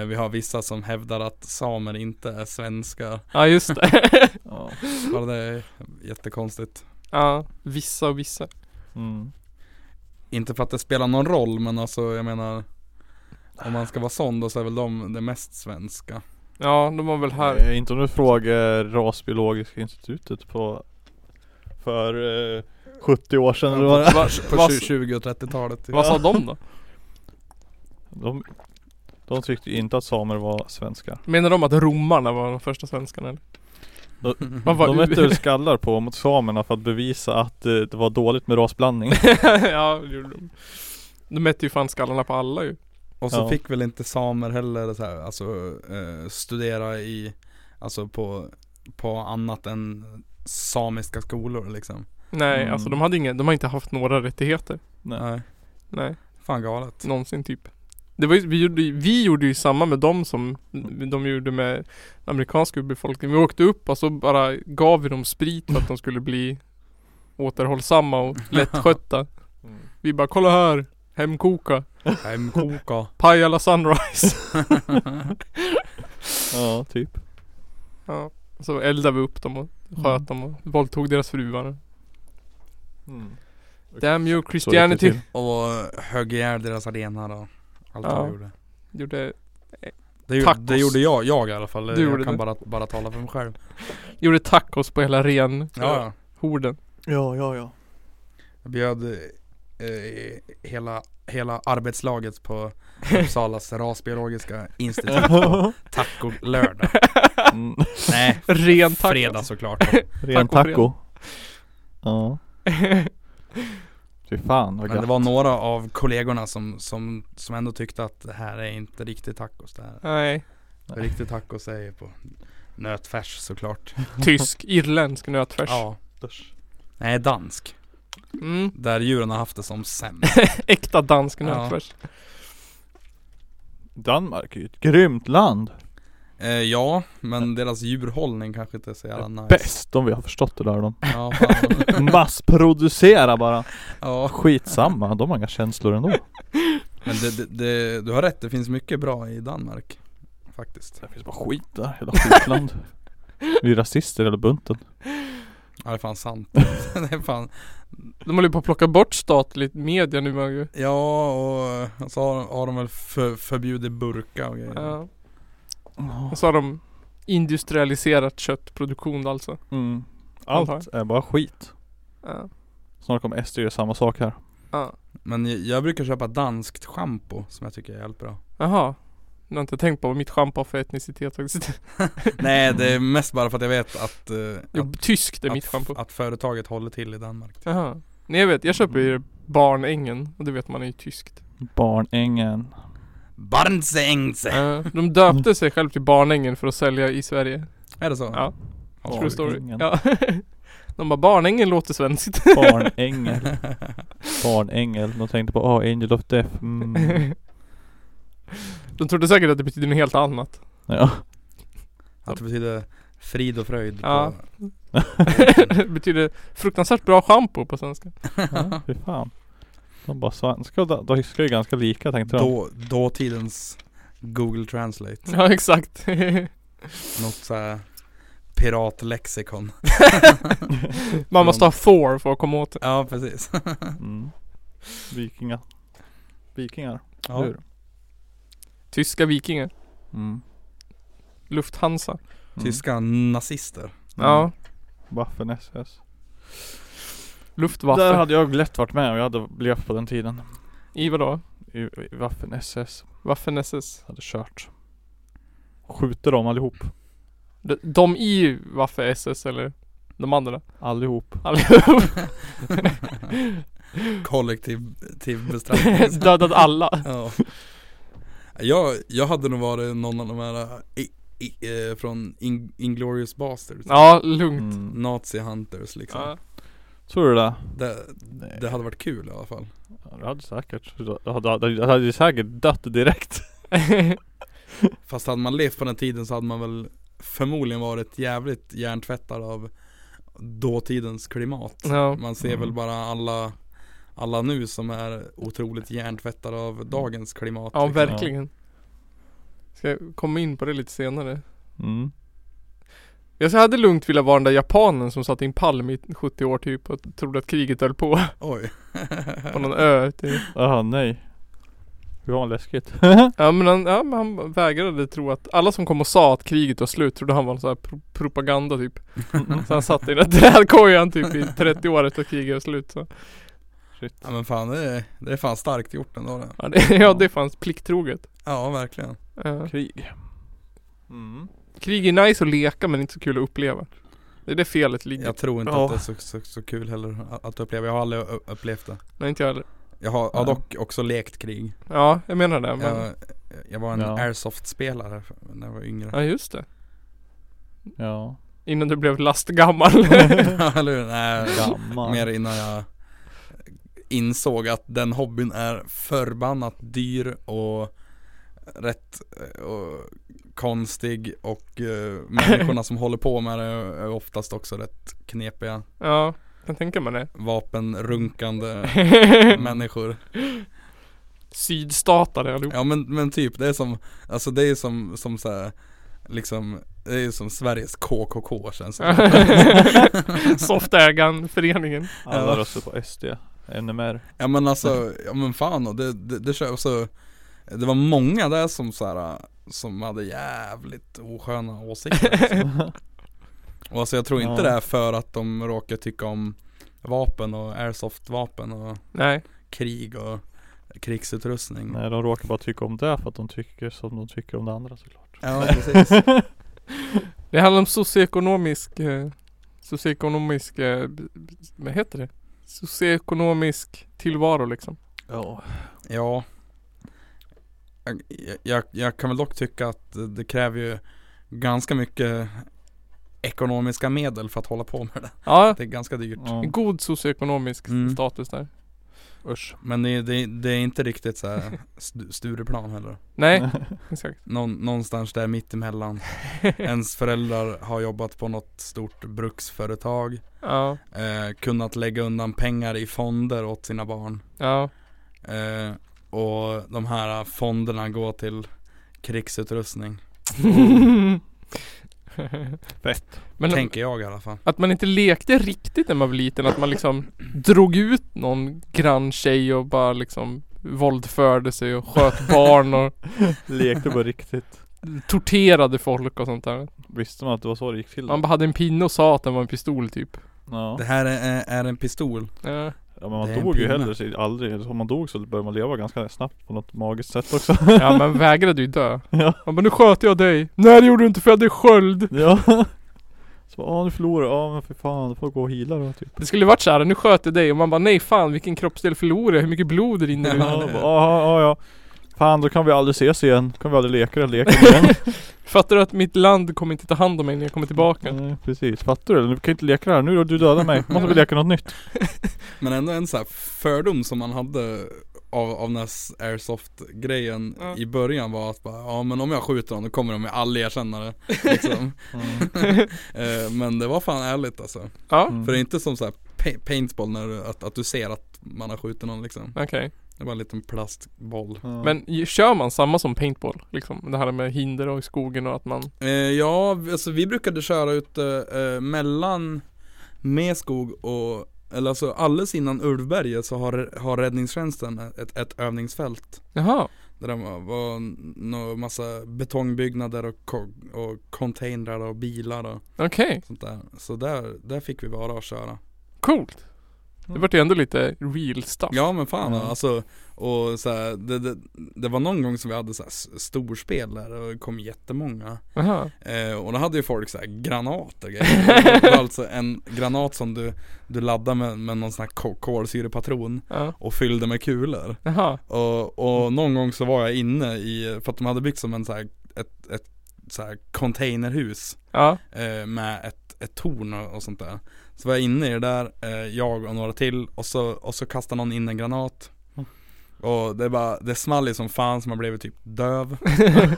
[SPEAKER 4] eh, vi har vissa som hävdar att samer inte är svenskar.
[SPEAKER 1] Ja just det
[SPEAKER 2] Ja.
[SPEAKER 4] Ja, det är jättekonstigt.
[SPEAKER 1] Ja, vissa och vissa
[SPEAKER 2] Mm.
[SPEAKER 4] Inte för att det spelar någon roll men alltså jag menar Om man ska vara sån då så är väl de det mest svenska
[SPEAKER 1] Ja, de var väl här
[SPEAKER 2] Eh, inte om du frågar Rasbiologiska institutet på för eh, 70 år sedan eller vad det är.
[SPEAKER 1] Va-
[SPEAKER 4] På
[SPEAKER 1] vad-
[SPEAKER 4] 20 och 30-talet typ.
[SPEAKER 1] Vad sa de då?
[SPEAKER 2] De, de tyckte ju inte att samer var svenskar.
[SPEAKER 1] Menar de att romarna var de första svenskarna eller? Man var
[SPEAKER 2] De
[SPEAKER 1] ur-
[SPEAKER 2] hette väl skallar på mot samerna för att bevisa att eh, det var dåligt med rasblandning.
[SPEAKER 1] Ja, det gjorde de De mätte ju fan skallarna på alla ju
[SPEAKER 4] Och så
[SPEAKER 2] Ja.
[SPEAKER 4] fick väl inte samer heller så här, alltså eh, studera i Alltså på, på annat än samiska skolor liksom
[SPEAKER 1] Nej,
[SPEAKER 2] Mm.
[SPEAKER 1] alltså de hade inga, de har inte haft några rättigheter
[SPEAKER 2] Nej.
[SPEAKER 1] Nej,
[SPEAKER 4] Fan galet
[SPEAKER 1] någonsin typ det var ju, vi, gjorde, ju- vi gjorde ju samma med dem som de gjorde med den amerikanska urbefolkningen. Vi åkte upp och så bara gav vi dem sprit för att de skulle bli återhållsamma och lättskötta.
[SPEAKER 2] Mm.
[SPEAKER 1] Vi bara kolla här, hemkoka,
[SPEAKER 4] Hemkoka
[SPEAKER 1] Pajala Sunrise.
[SPEAKER 2] Ja, typ.
[SPEAKER 1] Ja, så eldade vi upp dem och sköt dem och våldtog deras fruar.
[SPEAKER 2] Mm.
[SPEAKER 1] Damn you
[SPEAKER 2] Så gick det
[SPEAKER 1] Christianity.
[SPEAKER 2] till.
[SPEAKER 4] Och högg ihjäl deras arenar och allt
[SPEAKER 1] Ja.
[SPEAKER 4] de gjorde
[SPEAKER 1] Gjorde,
[SPEAKER 4] det, gjorde-
[SPEAKER 1] Tacos.
[SPEAKER 4] det gjorde jag, jag i alla fall
[SPEAKER 1] Du
[SPEAKER 4] Jag
[SPEAKER 1] gjorde
[SPEAKER 4] kan
[SPEAKER 1] det.
[SPEAKER 4] bara, bara tala för mig själv
[SPEAKER 1] gjorde tacos på hela ren
[SPEAKER 4] Ja, ja.
[SPEAKER 1] horden.
[SPEAKER 2] Ja, ja, ja.
[SPEAKER 4] Jag bjöd eh, hela, hela arbetslaget på Uppsalas rasbiologiska institut på tacolördag.
[SPEAKER 2] Mm.
[SPEAKER 4] Nej,
[SPEAKER 1] Ren taco.
[SPEAKER 4] fredag såklart.
[SPEAKER 2] Ren
[SPEAKER 1] Taco,
[SPEAKER 2] taco. Ja. Fy fan vad
[SPEAKER 4] Men det
[SPEAKER 2] gött.
[SPEAKER 4] var några av kollegorna som, som, som ändå tyckte att det här är inte riktigt tacos. Det här
[SPEAKER 1] Nej.
[SPEAKER 4] är riktigt tacos är ju på nötfärs såklart.
[SPEAKER 1] Tysk, irländsk nötfärs.
[SPEAKER 4] Ja. Nej, dansk.
[SPEAKER 1] Mm.
[SPEAKER 4] Där djuren har haft det som sämst.
[SPEAKER 1] Äkta dansk
[SPEAKER 4] Ja.
[SPEAKER 1] nötfärs.
[SPEAKER 2] Danmark är ju ett grymt land.
[SPEAKER 4] eh, ja, men deras djurhållning kanske inte är så jävla nice.
[SPEAKER 2] Bäst om vi har förstått det där de.
[SPEAKER 4] Ja, fan.
[SPEAKER 2] Massproducera bara.
[SPEAKER 4] ja.
[SPEAKER 2] Skitsamma, de har inga känslor ändå.
[SPEAKER 4] Men det, det, det, du har rätt, det finns mycket bra i Danmark. Faktiskt.
[SPEAKER 2] Det finns bara skit där, hela skitland. Vi är rasister hela bunten.
[SPEAKER 4] Ja det är fan sant. det är fan.
[SPEAKER 1] De håller ju på att plocka bort statligt media nu man ju.
[SPEAKER 4] Ja och så har, har de väl för, förbjudit burka och grejer.
[SPEAKER 1] Ja. Och så har de industrialiserat köttproduktion alltså.
[SPEAKER 2] Mm. Allt är bara skit.
[SPEAKER 1] Ja.
[SPEAKER 2] Snart kommer SD göra samma sak här.
[SPEAKER 1] Ja.
[SPEAKER 4] Men jag, jag brukar köpa danskt schampo som jag tycker är jävligt bra.
[SPEAKER 1] Jaha. Nu har jag inte tänkt på vad mitt schampo har för etnicitet faktiskt.
[SPEAKER 4] Nej det är mest bara för att jag vet att, eh,
[SPEAKER 1] Jo,
[SPEAKER 4] att,
[SPEAKER 1] tyskt är mitt
[SPEAKER 4] att,
[SPEAKER 1] schampo.
[SPEAKER 4] att företaget håller till i Danmark.
[SPEAKER 1] Jaha. Nej jag vet, jag köper
[SPEAKER 4] Mm.
[SPEAKER 1] ju Barnängen och det vet man är ju tyskt.
[SPEAKER 2] Barnängen.
[SPEAKER 4] Barnsängse!
[SPEAKER 1] Ja. De döpte sig själv till Barnängen för att sälja i Sverige.
[SPEAKER 4] Är det så?
[SPEAKER 1] Ja.
[SPEAKER 4] Ja,
[SPEAKER 1] True
[SPEAKER 4] det-
[SPEAKER 1] story.
[SPEAKER 2] Barnängen.
[SPEAKER 1] Ja. De bara Barnängen låter svenskt.
[SPEAKER 2] Barnängel. Barnängel. De tänkte på oh, Angel of Death. Mm.
[SPEAKER 1] De trodde säkert att det betyder något helt annat.
[SPEAKER 2] Ja.
[SPEAKER 4] Att det betyder frid och fröjd
[SPEAKER 1] Ja.
[SPEAKER 4] på
[SPEAKER 1] Det betyder fruktansvärt bra schampo på svenska.
[SPEAKER 2] ja, fy fan. De bara svenska och da- danska är ju ganska lika tänkte de.
[SPEAKER 4] då, dåtidens Google Translate.
[SPEAKER 2] Mm.
[SPEAKER 1] Ja exakt.
[SPEAKER 4] Något såhär piratlexikon.
[SPEAKER 1] Man måste ha four för att komma åt det.
[SPEAKER 4] Ja precis.
[SPEAKER 2] Mm. Vikingar. Vikingar.
[SPEAKER 4] Ja.
[SPEAKER 1] Mm.
[SPEAKER 2] Hur?
[SPEAKER 1] Tyska vikingar.
[SPEAKER 2] Mm.
[SPEAKER 1] Lufthansa.
[SPEAKER 2] Mm.
[SPEAKER 4] Tyska nazister.
[SPEAKER 1] Ja.
[SPEAKER 2] Waffen SS.
[SPEAKER 1] Luftwaffe.
[SPEAKER 2] Där hade jag lätt varit med om jag hade levt på den tiden.
[SPEAKER 1] I vadå?
[SPEAKER 2] I, i Waffen SS.
[SPEAKER 1] Waffen SS.
[SPEAKER 2] Hade kört. Skjuter dem allihop.
[SPEAKER 1] De, de i Waffe SS eller? De andra?
[SPEAKER 2] Allihop.
[SPEAKER 1] Allihop.
[SPEAKER 4] Kollektiv till bestraffning.
[SPEAKER 1] Dödat alla.
[SPEAKER 4] ja. jag, jag hade nog varit någon av de här i, i, eh, från In, Inglorious Basterds.
[SPEAKER 1] Ja, lugnt.
[SPEAKER 2] Mm.
[SPEAKER 4] Nazi hunters liksom.
[SPEAKER 1] Ja.
[SPEAKER 2] Tror du det?
[SPEAKER 4] Det, det hade varit kul i alla fall.
[SPEAKER 2] Ja, det hade säkert. Det hade, det hade ju säkert dött direkt.
[SPEAKER 4] Fast hade man levt på den tiden så hade man väl förmodligen varit jävligt hjärntvättad av dåtidens klimat.
[SPEAKER 1] ja.
[SPEAKER 4] Man ser väl bara alla, alla nu som är otroligt hjärntvättade av dagens klimat.
[SPEAKER 1] ja,
[SPEAKER 4] liksom.
[SPEAKER 1] verkligen. Ska jag komma in på det lite senare.
[SPEAKER 2] Mm.
[SPEAKER 1] Jag hade lugnt vilja vara den där japanen som satt i en palm i 70 år typ och trodde att kriget höll på
[SPEAKER 4] Oj.
[SPEAKER 1] på någon ö typ. ute i-
[SPEAKER 2] Jaha, nej. Hur var läskigt?
[SPEAKER 1] Ja men han, ja, men han vägrade tro att, alla som kom och sa att kriget var slut trodde han var en sån här pro- propaganda typ Så han satt i den där trädkojan typ i 30 år efter att kriget var slut så.
[SPEAKER 2] Shit.
[SPEAKER 4] Ja men fan det är, det är fan starkt gjort ändå det.
[SPEAKER 1] Ja det, ja, det fanns plikttroget
[SPEAKER 4] Ja verkligen.
[SPEAKER 1] Ja.
[SPEAKER 2] Krig. Mm.
[SPEAKER 1] Krig är nice att leka men inte så kul att uppleva Det är det felet ligger
[SPEAKER 4] Jag tror inte
[SPEAKER 2] Ja.
[SPEAKER 4] att det är så, så, så kul heller att uppleva. Jag har aldrig u- upplevt det.
[SPEAKER 1] Nej inte jag heller
[SPEAKER 4] Jag har, har
[SPEAKER 2] Nej.
[SPEAKER 4] dock också lekt krig.
[SPEAKER 1] Ja jag menar det men Ja,
[SPEAKER 4] Jag, jag var en
[SPEAKER 2] Ja.
[SPEAKER 4] airsoft-spelare för- när jag var yngre.
[SPEAKER 1] just det
[SPEAKER 2] Ja.
[SPEAKER 1] Innan du blev lastgammal
[SPEAKER 4] Ja, Eller hur? Nej,
[SPEAKER 2] Gammal.
[SPEAKER 4] mer innan jag insåg att den hobbyn är förbannat dyr och rätt eh, och konstig och eh, människorna som håller på med det är oftast också rätt knepiga
[SPEAKER 1] Ja jag tänker man det
[SPEAKER 4] vapenrunkande människor.
[SPEAKER 1] Sydstatare allihop
[SPEAKER 4] Ja men, men typ, det är som, alltså det är som, som så här, liksom, det är ju som Sveriges KKK känns det
[SPEAKER 1] Softägan-föreningen
[SPEAKER 2] Alla
[SPEAKER 4] Ja.
[SPEAKER 2] röstar på SD. NMR.
[SPEAKER 4] Ja men alltså, ja men fan och det, det, det kör så Det var många där som så här, som hade jävligt osköna åsikter Och alltså jag tror
[SPEAKER 2] Ja.
[SPEAKER 4] inte det är för att de råkar tycka om vapen och airsoft-vapen och
[SPEAKER 1] Nej.
[SPEAKER 4] krig och krigsutrustning.
[SPEAKER 2] Nej de råkar bara tycka om det för att de tycker som de tycker om det andra såklart.
[SPEAKER 4] Ja precis.
[SPEAKER 1] Det handlar om socioekonomisk... Eh, socioekonomisk... Eh, b- b- vad heter det? Socioekonomisk tillvaro liksom.
[SPEAKER 2] Ja.
[SPEAKER 4] Ja. Jag- Jag, jag kan väl dock tycka att det kräver ju ganska mycket ekonomiska medel för att hålla på med det.
[SPEAKER 1] Ja,
[SPEAKER 4] Det är ganska dyrt.
[SPEAKER 2] ja.
[SPEAKER 1] en god socioekonomisk
[SPEAKER 4] Mm.
[SPEAKER 1] status där.
[SPEAKER 2] Usch.
[SPEAKER 4] Men det, är- det, är- det är inte riktigt så här stu- Stureplan heller.
[SPEAKER 1] Nej, exakt.
[SPEAKER 4] Någon, någonstans där mittemellan. Ens föräldrar har jobbat på något stort bruksföretag.
[SPEAKER 1] Ja,
[SPEAKER 4] Eh, kunnat lägga undan pengar i fonder åt sina barn.
[SPEAKER 1] ja,
[SPEAKER 4] Eh, och de här fonderna går till krigsutrustning.
[SPEAKER 2] Fett.
[SPEAKER 1] Men
[SPEAKER 4] tänker jag i alla fall.
[SPEAKER 1] att man inte lekte riktigt när man var liten. Att man liksom drog ut någon grann tjej och bara liksom våldförde sig och sköt barn och
[SPEAKER 2] Lekte på riktigt.
[SPEAKER 1] torterade folk och sånt där.
[SPEAKER 2] Visste man att det var så det gick till?
[SPEAKER 1] Man bara hade en pinne och sa att den var en pistol typ.
[SPEAKER 2] Ja.
[SPEAKER 4] Det här är, är en pistol.
[SPEAKER 1] Ja.
[SPEAKER 2] Ja men man
[SPEAKER 4] Det är en
[SPEAKER 2] dog ju
[SPEAKER 4] pinne.
[SPEAKER 2] heller sig aldrig, Eller om man dog så började man leva ganska snabbt på något magiskt sätt också
[SPEAKER 1] Ja man vägrade ju dö.
[SPEAKER 2] Ja.
[SPEAKER 1] Man bara nu sköt jag dig. Nej det gjorde du inte för jag hade sköld.
[SPEAKER 2] Ja Så bara, ah, nu förlorar jag, ah, men för fan du får gå och heala då typ
[SPEAKER 1] Det skulle varit såhär, nu sköt jag dig och man bara nej fan vilken kroppsdel förlorade jag? Hur mycket blod rinner
[SPEAKER 4] Ja,
[SPEAKER 1] ut?
[SPEAKER 2] Ja,
[SPEAKER 4] det-
[SPEAKER 2] bara, ah, ah, ja Fan då kan vi aldrig ses igen, kan vi aldrig leka den leken igen
[SPEAKER 1] Fattar du att mitt land kommer inte ta hand om mig när jag kommer tillbaka?
[SPEAKER 2] Nej, Precis, fattar du? Du kan inte leka det här nu då, du dödar mig, måste vi leka något nytt
[SPEAKER 4] Men ändå en så här fördom som man hade av, av den här s- airsoft-grejen
[SPEAKER 1] Ja.
[SPEAKER 4] i början var att bara, ja men om jag skjuter dem då kommer de ju aldrig erkänna det. Liksom. Eh, men det var fan ärligt alltså.
[SPEAKER 1] Ja,
[SPEAKER 2] Mm.
[SPEAKER 4] För det är inte som så här pa- paintball när du, att, att du ser att man har skjutit någon liksom.
[SPEAKER 1] okej.
[SPEAKER 4] Det var en liten plastboll.
[SPEAKER 2] Ja.
[SPEAKER 1] Men i- kör man samma som paintball? Liksom det här med hinder och i skogen och att man
[SPEAKER 4] Eh, ja, vi- alltså vi brukade köra ute eh, mellan Meskog och eller alltså alldeles innan Ulvberget så har, har räddningstjänsten ett, ett övningsfält
[SPEAKER 1] Jaha
[SPEAKER 4] Där det var- var n- nå- massa betongbyggnader och, ko- och containrar och bilar och
[SPEAKER 1] Okej,
[SPEAKER 4] sånt där Så där, där fick vi vara och köra
[SPEAKER 1] coolt Det vart ju ändå lite real stuff
[SPEAKER 4] Ja men fan
[SPEAKER 2] Ja.
[SPEAKER 4] alltså Och så här, det, det, det var någon gång som vi hade så här s- storspel där och det kom jättemånga
[SPEAKER 1] Jaha
[SPEAKER 4] Eh, och då hade ju folk så här granater och grejer. Det var alltså en granat som du, du laddade med, med någon sån här ko- kolsyrepatron
[SPEAKER 1] ja.
[SPEAKER 4] och fyllde med kulor.
[SPEAKER 1] Jaha,
[SPEAKER 4] Och, och någon gång så var jag inne i, för att de hade byggt som en så här, ett, ett så här containerhus
[SPEAKER 1] ja,
[SPEAKER 4] eh, med ett, ett torn och, och sånt där. Så var jag inne i det där, eh, jag och några till och så, och så kastade någon in en granat. Och det, är bara, det small ju som fan som man blev typ döv.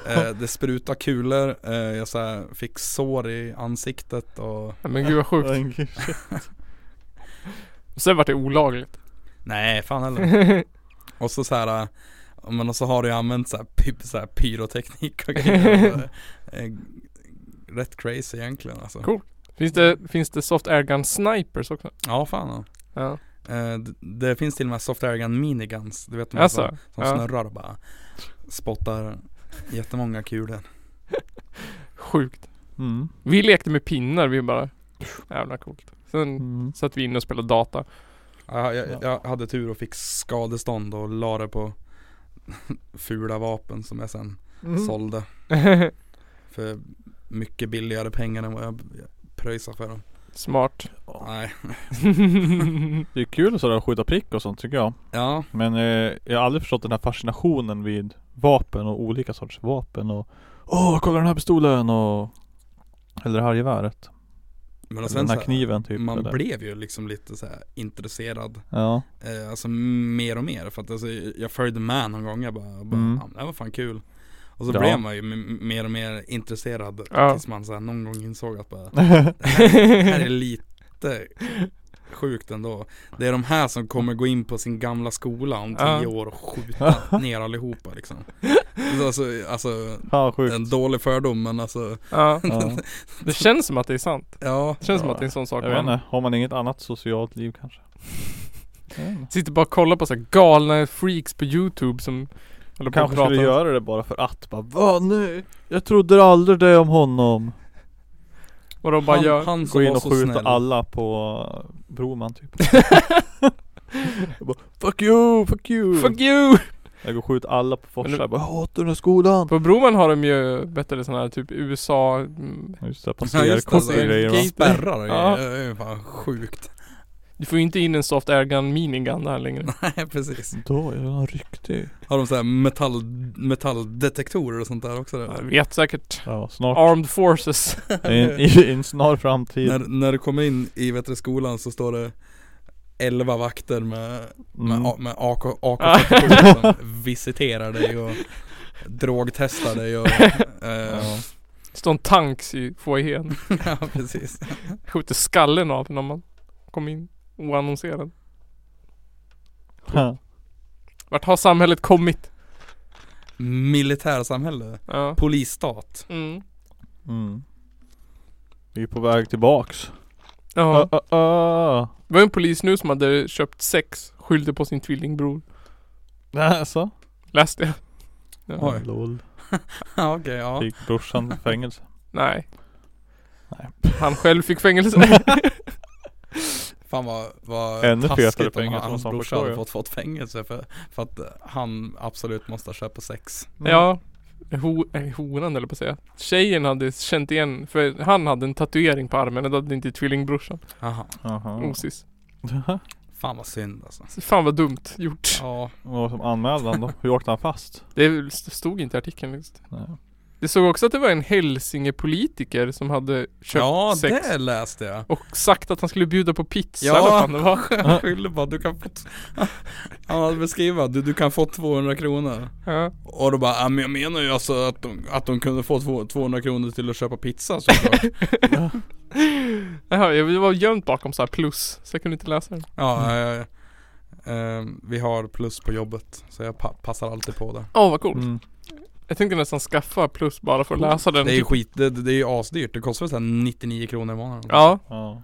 [SPEAKER 4] eh, det sprutade kulor, eh, jag så här, fick sår i ansiktet och
[SPEAKER 1] Ja, men gud vad sjukt
[SPEAKER 2] Men gud.
[SPEAKER 1] Och sen vart det olagligt
[SPEAKER 4] nej fan heller. Och så så här, eh, men och så har du ju använt så här, py, så här pyroteknik och grejer. Eh, Rätt crazy egentligen alltså.
[SPEAKER 1] Cool. Finns det, finns det soft airgun snipers också?
[SPEAKER 4] Ja fan ja.
[SPEAKER 1] Ja,
[SPEAKER 4] Eh, d- Det finns till och med soft airgun miniguns, du vet de här som-
[SPEAKER 1] alltså,
[SPEAKER 4] som
[SPEAKER 1] ja.
[SPEAKER 4] snurrar och bara spottar jättemånga kulor.
[SPEAKER 1] sjukt
[SPEAKER 2] mm.
[SPEAKER 1] Vi lekte med pinnar, vi bara Jävla coolt Sen
[SPEAKER 2] Mm.
[SPEAKER 1] satt vi inne och spelade data
[SPEAKER 4] Jag, jag, jag hade tur och fick skadestånd och la det på fula vapen som jag sen
[SPEAKER 2] Mm.
[SPEAKER 4] sålde för mycket billigare pengar än vad jag pröjsade för dem.
[SPEAKER 1] Smart
[SPEAKER 4] Nej.
[SPEAKER 2] Det är kul sådär att skjuta prick och sånt tycker jag
[SPEAKER 4] Ja,
[SPEAKER 2] Men eh, jag har aldrig förstått den här fascinationen vid vapen och olika sorts vapen och Åh, kolla den här pistolen och Eller det här geväret
[SPEAKER 4] men och
[SPEAKER 2] Eller
[SPEAKER 4] sen
[SPEAKER 2] den
[SPEAKER 4] så
[SPEAKER 2] här
[SPEAKER 4] här,
[SPEAKER 2] kniven typ
[SPEAKER 4] man
[SPEAKER 2] eller.
[SPEAKER 4] blev ju liksom lite så här intresserad,
[SPEAKER 2] Ja,
[SPEAKER 4] eh, alltså mer och mer. För att alltså, jag följde med någon gång, jag bara, bara
[SPEAKER 2] Mm.
[SPEAKER 4] ja, men det här var fan kul. Och så
[SPEAKER 2] Ja.
[SPEAKER 4] blev man ju m- mer och mer intresserad
[SPEAKER 1] Ja.
[SPEAKER 4] tills man så här, någon gång insåg att bara Det här är lite sjukt ändå. Det är de här som kommer gå in på sin gamla skola om tio
[SPEAKER 1] Ja.
[SPEAKER 4] år och skjuta ner allihopa liksom. Alltså, alltså
[SPEAKER 2] fan vad sjukt
[SPEAKER 4] en dålig fördom men alltså,
[SPEAKER 1] Ja,
[SPEAKER 2] ja.
[SPEAKER 1] det känns som att det är sant
[SPEAKER 4] ja.
[SPEAKER 1] Det känns som
[SPEAKER 2] Ja,
[SPEAKER 1] att det är en sån sak
[SPEAKER 2] Jag vet
[SPEAKER 1] man
[SPEAKER 2] inte, har man inget annat socialt liv kanske? Jag vet inte.
[SPEAKER 1] Sitter bara och kollar på så här galna freaks på youtube som håller på
[SPEAKER 2] Kanske
[SPEAKER 1] och
[SPEAKER 2] skulle
[SPEAKER 1] pratar
[SPEAKER 2] göra det bara för att bara Va nu? Jag trodde aldrig det om honom
[SPEAKER 1] Och de bara
[SPEAKER 4] han,
[SPEAKER 1] gör
[SPEAKER 4] han som
[SPEAKER 2] Gå in
[SPEAKER 4] var
[SPEAKER 2] och
[SPEAKER 4] så
[SPEAKER 2] skjuta
[SPEAKER 4] snäll.
[SPEAKER 2] alla på Broman typ jag bara, Fuck you, fuck you!
[SPEAKER 1] Fuck you!
[SPEAKER 2] Jag går och skjuter alla på Forsa,
[SPEAKER 1] Men-
[SPEAKER 2] jag bara Jag hatar den här skolan!
[SPEAKER 1] På Broman har de ju bättre sådana här typ USA mm,
[SPEAKER 2] Ja, Just det,
[SPEAKER 4] Ja just det,
[SPEAKER 2] passerkort
[SPEAKER 4] alltså,
[SPEAKER 2] och grejer va?
[SPEAKER 4] spärrar och
[SPEAKER 1] Ja.
[SPEAKER 4] grejer. Det är ju fan sjukt.
[SPEAKER 1] Du får ju inte in en soft airgun minigun där längre
[SPEAKER 4] Nej precis.
[SPEAKER 2] Då är den riktig
[SPEAKER 4] Har de såhär metall, metalldetektorer och sånt där också?
[SPEAKER 1] Jag
[SPEAKER 4] Där?
[SPEAKER 1] vet säkert
[SPEAKER 2] Ja, snart
[SPEAKER 1] Armed forces
[SPEAKER 2] I en, i, i en snar framtid
[SPEAKER 4] När, när du kommer in i vet du, skolan så står det 11 vakter med, med,
[SPEAKER 2] Mm.
[SPEAKER 4] A- med AK, AK47 som visiterar dig och drogtestar dig och... Eh,
[SPEAKER 1] Står en tanks i foajén
[SPEAKER 4] ja precis.
[SPEAKER 1] Skjuter skallen av när man kom in oannonserad
[SPEAKER 2] Ja.
[SPEAKER 1] Vart har samhället kommit?
[SPEAKER 4] Militärsamhälle.
[SPEAKER 1] Ja
[SPEAKER 4] Polisstat.
[SPEAKER 1] mm.
[SPEAKER 2] Mm. Vi är på väg tillbaks
[SPEAKER 1] Ja
[SPEAKER 2] Ö, ö, ö.
[SPEAKER 1] Det var en polis nu som hade köpt sex Skyllde på sin tvillingbror
[SPEAKER 2] Nähä,
[SPEAKER 1] Läste jag?
[SPEAKER 4] Oj.
[SPEAKER 2] Lol.
[SPEAKER 4] Ja okej, ja.
[SPEAKER 2] Fick brorsan i fängelse.
[SPEAKER 1] Nej
[SPEAKER 2] Nej.
[SPEAKER 1] Han själv fick fängelse
[SPEAKER 4] Fan vad, vad
[SPEAKER 2] Ännu fetare
[SPEAKER 4] taskigt om
[SPEAKER 2] fängelse
[SPEAKER 4] hans
[SPEAKER 2] måste han
[SPEAKER 4] brorsa
[SPEAKER 2] förstå
[SPEAKER 4] hade
[SPEAKER 2] ju.
[SPEAKER 4] fått, fått fängelse för, för att han absolut måste ha köpt på sex.
[SPEAKER 2] Mm.
[SPEAKER 1] Ja Ho, eh, honan eller på att säga Tjejen hade känt igen För han hade en tatuering på armen och Det hade inte tvillingbrorsan
[SPEAKER 4] Jaha.
[SPEAKER 2] Jaha.
[SPEAKER 1] Osis
[SPEAKER 4] Fan vad synd alltså.
[SPEAKER 1] Så Fan vad dumt gjort
[SPEAKER 4] Ja,
[SPEAKER 2] Vad var det som anmälde han då? Hur åkte han fast?
[SPEAKER 1] Det st- stod inte i artikeln just.
[SPEAKER 2] Nej.
[SPEAKER 1] Det såg också att det var en hälsingepolitiker som hade köpt
[SPEAKER 4] ja
[SPEAKER 1] sex
[SPEAKER 4] det läste jag.
[SPEAKER 1] Och sagt att han skulle bjuda på pizza
[SPEAKER 4] Ja.
[SPEAKER 1] eller vad fan det var
[SPEAKER 4] Jag skyller bara, du kan få... t- Han hade beskrivit, att du, du kan få 200 kronor.
[SPEAKER 1] ja.
[SPEAKER 4] Och då bara, ja, men jag menar ju alltså att de, att de kunde få två- 200 kronor till att köpa pizza såklart.
[SPEAKER 1] Jaha, jag var gömt bakom så här plus Så jag kunde inte läsa den
[SPEAKER 4] Ja, eh, eh, vi har plus på jobbet. Så jag pa- passar alltid på det.
[SPEAKER 1] Åh vad coolt
[SPEAKER 2] Mm.
[SPEAKER 1] Jag tänkte nästan skaffa plus bara för att läsa den
[SPEAKER 4] Det är ju
[SPEAKER 1] typ.
[SPEAKER 4] skit, det, det är ju asdyrt. Det kostar väl såhär 99 kronor i månaden.
[SPEAKER 1] Ja,
[SPEAKER 2] Ja.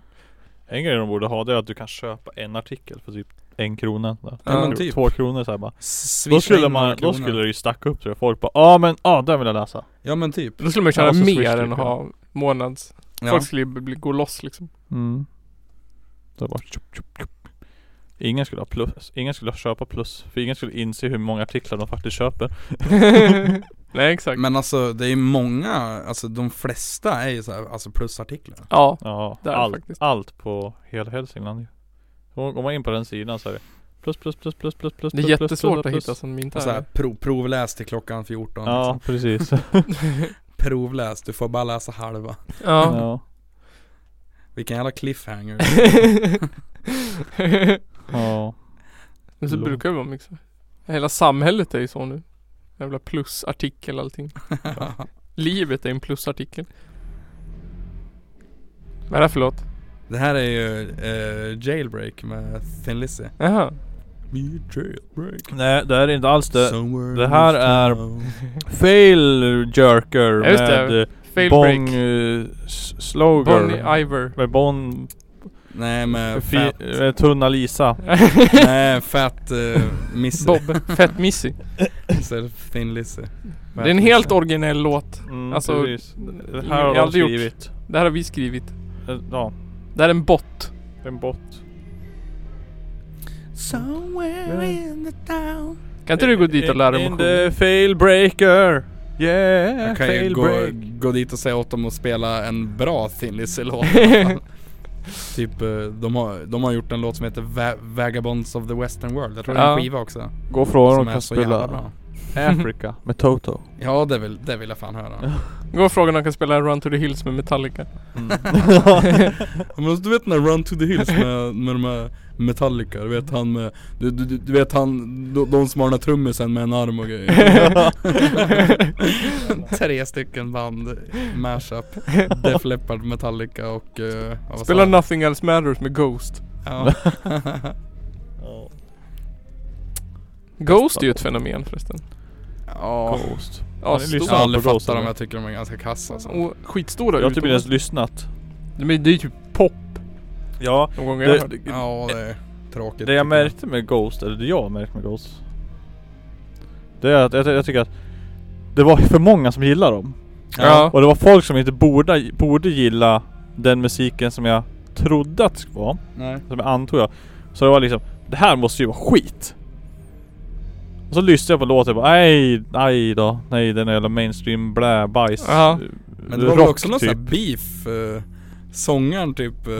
[SPEAKER 2] En grej de borde ha det är att du kan köpa en artikel för typ en krona. Där.
[SPEAKER 4] Ja, men
[SPEAKER 2] Typ
[SPEAKER 4] typ.
[SPEAKER 2] Två kronor såhär bara.
[SPEAKER 4] Swisha
[SPEAKER 2] Då
[SPEAKER 4] in
[SPEAKER 2] skulle,
[SPEAKER 4] några
[SPEAKER 2] man, då
[SPEAKER 4] kronor.
[SPEAKER 2] skulle det ju stacka upp tror jag. Folk bara ah men ah den vill jag läsa.
[SPEAKER 4] Ja men typ.
[SPEAKER 1] då skulle man ju tjäna
[SPEAKER 2] Ja, så swish
[SPEAKER 1] mer
[SPEAKER 2] typ,
[SPEAKER 1] än att
[SPEAKER 2] ja.
[SPEAKER 1] ha månads
[SPEAKER 4] Ja.
[SPEAKER 1] Folk skulle ju bli, gå loss liksom
[SPEAKER 2] Mm. Det var tjup, tjup, tjup. Ingen skulle ha plus, ingen skulle köpa plus. För ingen skulle inse hur många artiklar de faktiskt köper.
[SPEAKER 1] Nej exakt
[SPEAKER 4] Men alltså det är många, alltså de flesta är ju såhär, alltså plusartiklar.
[SPEAKER 1] Ja,
[SPEAKER 2] Ja,
[SPEAKER 1] Där
[SPEAKER 2] allt,
[SPEAKER 1] faktiskt.
[SPEAKER 2] allt på hela Hälsingland ju. Så går man in på den sidan så är det plus plus plus plus plus plus.
[SPEAKER 1] det är
[SPEAKER 2] plus, plus,
[SPEAKER 1] jättesvårt
[SPEAKER 2] plus,
[SPEAKER 1] att
[SPEAKER 2] plus.
[SPEAKER 1] hitta som inte
[SPEAKER 4] Och så här,
[SPEAKER 1] är
[SPEAKER 4] pro, provläs till klockan 14
[SPEAKER 2] Ja
[SPEAKER 4] liksom.
[SPEAKER 2] precis.
[SPEAKER 4] Provläs, du får bara läsa halva.
[SPEAKER 1] Ja
[SPEAKER 2] ja.
[SPEAKER 4] Vilken jävla cliffhanger.
[SPEAKER 2] ja.
[SPEAKER 1] Men så
[SPEAKER 2] Lång.
[SPEAKER 1] brukar det vara mycket så. Hela samhället är ju så nu. Jävla plusartikel allting. Livet är en plusartikel. Vad är det för låt?
[SPEAKER 4] det här är ju eh, Jailbreak med Thin Lizzy.
[SPEAKER 1] Jaha.
[SPEAKER 4] Me jailbreak.
[SPEAKER 2] Nej det här är inte alls Mm. det.
[SPEAKER 4] Somewhere
[SPEAKER 2] det här
[SPEAKER 4] in
[SPEAKER 2] är-
[SPEAKER 4] town.
[SPEAKER 2] Fail Jerker
[SPEAKER 1] Ja, just det.
[SPEAKER 2] med eh,
[SPEAKER 1] Fail
[SPEAKER 2] Bong
[SPEAKER 1] break.
[SPEAKER 2] eh, S- Sloger.
[SPEAKER 1] Bonnie Iver.
[SPEAKER 2] med Bon...
[SPEAKER 4] Nej men
[SPEAKER 2] Fi,
[SPEAKER 4] fat,
[SPEAKER 2] eh, tunna Lisa.
[SPEAKER 4] nej fat uh, Missy.
[SPEAKER 1] Bob. Fett Missy.
[SPEAKER 4] Så Thin Lizzy.
[SPEAKER 1] Det är en helt originell låt.
[SPEAKER 2] Mm,
[SPEAKER 1] Alltså,
[SPEAKER 2] precis. Det
[SPEAKER 1] ingen-
[SPEAKER 2] här har
[SPEAKER 1] jag har
[SPEAKER 2] de
[SPEAKER 1] aldrig gjort.
[SPEAKER 2] skrivit.
[SPEAKER 1] Det här har vi skrivit.
[SPEAKER 2] Eh, Ja,
[SPEAKER 1] Det här är en bot.
[SPEAKER 2] en bot.
[SPEAKER 4] Somewhere in the town.
[SPEAKER 1] Kan inte du gå dit och lära dig
[SPEAKER 2] In
[SPEAKER 1] om
[SPEAKER 2] the fail breaker. Yeah,
[SPEAKER 4] Jag kan ju
[SPEAKER 2] fail
[SPEAKER 4] gå,
[SPEAKER 2] break.
[SPEAKER 4] gå dit och säga åt dem att spela en bra Thin Lizzy-låt. typ, eh, de har, de har gjort en låt som heter Va- Vagabonds of the Western World. Jag tror det är en
[SPEAKER 1] Ja.
[SPEAKER 4] skiva också.
[SPEAKER 2] Gå och fråga om
[SPEAKER 4] som
[SPEAKER 2] de
[SPEAKER 4] är
[SPEAKER 2] kan
[SPEAKER 4] så jävla
[SPEAKER 2] spela
[SPEAKER 4] bra.
[SPEAKER 2] Africa med Toto.
[SPEAKER 4] Ja, det vill, det vill jag fan höra.
[SPEAKER 1] Gå och fråga om de kan spela Run to the Hills med Metallica.
[SPEAKER 2] Mm.
[SPEAKER 4] Ja, Men du vet den där Run to the Hills med, med de här Metallica, du vet han med, du, du, du- du vet han, de, de som har den här trummisen med en arm och grejer Tre stycken band, mashup, Def Leppard, Metallica och... eh, vad sa
[SPEAKER 1] Spela
[SPEAKER 4] jag?
[SPEAKER 1] Nothing Else Matters med Ghost.
[SPEAKER 4] Ja.
[SPEAKER 1] Ghost är ju ett fenomen förresten.
[SPEAKER 4] ja.
[SPEAKER 2] Ghost.
[SPEAKER 1] Ja,
[SPEAKER 2] det är
[SPEAKER 1] stor.
[SPEAKER 4] Jag har aldrig
[SPEAKER 2] på Ghost,
[SPEAKER 4] fattat dem,
[SPEAKER 2] eller?
[SPEAKER 4] jag tycker de är ganska kassa alltså.
[SPEAKER 1] Och skitstora
[SPEAKER 2] Jag har typ inte
[SPEAKER 1] utomlands.
[SPEAKER 2] ens lyssnat.
[SPEAKER 1] Men det är ju typ pop
[SPEAKER 2] Ja,
[SPEAKER 1] någon gång jag har
[SPEAKER 2] det,
[SPEAKER 1] hört.
[SPEAKER 4] Ja, det är tråkigt.
[SPEAKER 2] Det jag
[SPEAKER 4] tycker
[SPEAKER 2] märkte med Ghost, eller det jag har märkt med Ghost Det är att jag, jag tycker att Det var för många som gillar dem
[SPEAKER 1] Ja.
[SPEAKER 2] Och det var folk som inte borde, borde gilla den musiken som jag trodde att det skulle vara.
[SPEAKER 4] Nej.
[SPEAKER 2] Som jag antog jag. Så det var liksom, det här måste ju vara skit. Och så lyssnade jag på låten och bara nej, nej då. Nej den är jävla mainstream blä, bajs.
[SPEAKER 1] Ja.
[SPEAKER 4] Men det var väl
[SPEAKER 2] rock
[SPEAKER 4] också någon
[SPEAKER 2] typ.
[SPEAKER 4] sån här beef. eh, Sångaren typ, eh,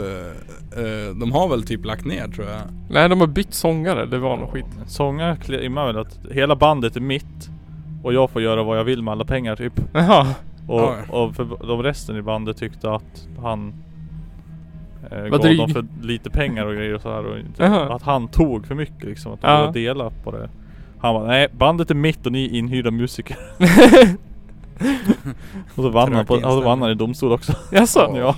[SPEAKER 4] eh, de har väl typ lagt ner tror jag.
[SPEAKER 1] Nej de har bytt sångare, det var nog skit.
[SPEAKER 2] Sångaren klimmar väl att hela bandet är mitt. Och jag får göra vad jag vill med alla pengar typ.
[SPEAKER 1] Jaha.
[SPEAKER 2] Och,
[SPEAKER 4] Ja,
[SPEAKER 2] och för de resten i bandet tyckte att han eh,
[SPEAKER 1] Var
[SPEAKER 2] gav
[SPEAKER 1] dryg.
[SPEAKER 2] dem för lite pengar och grejer och så här och inte,
[SPEAKER 1] Jaha.
[SPEAKER 2] Att han tog för mycket liksom, att de
[SPEAKER 1] Ja.
[SPEAKER 2] ville dela på det Han bara, nej bandet är mitt och ni är inhyrda musiker Och så vann, han, på, och
[SPEAKER 4] Tråkig
[SPEAKER 2] så vann
[SPEAKER 4] inställning.
[SPEAKER 2] han i domstol också
[SPEAKER 1] Jaså?
[SPEAKER 2] Ja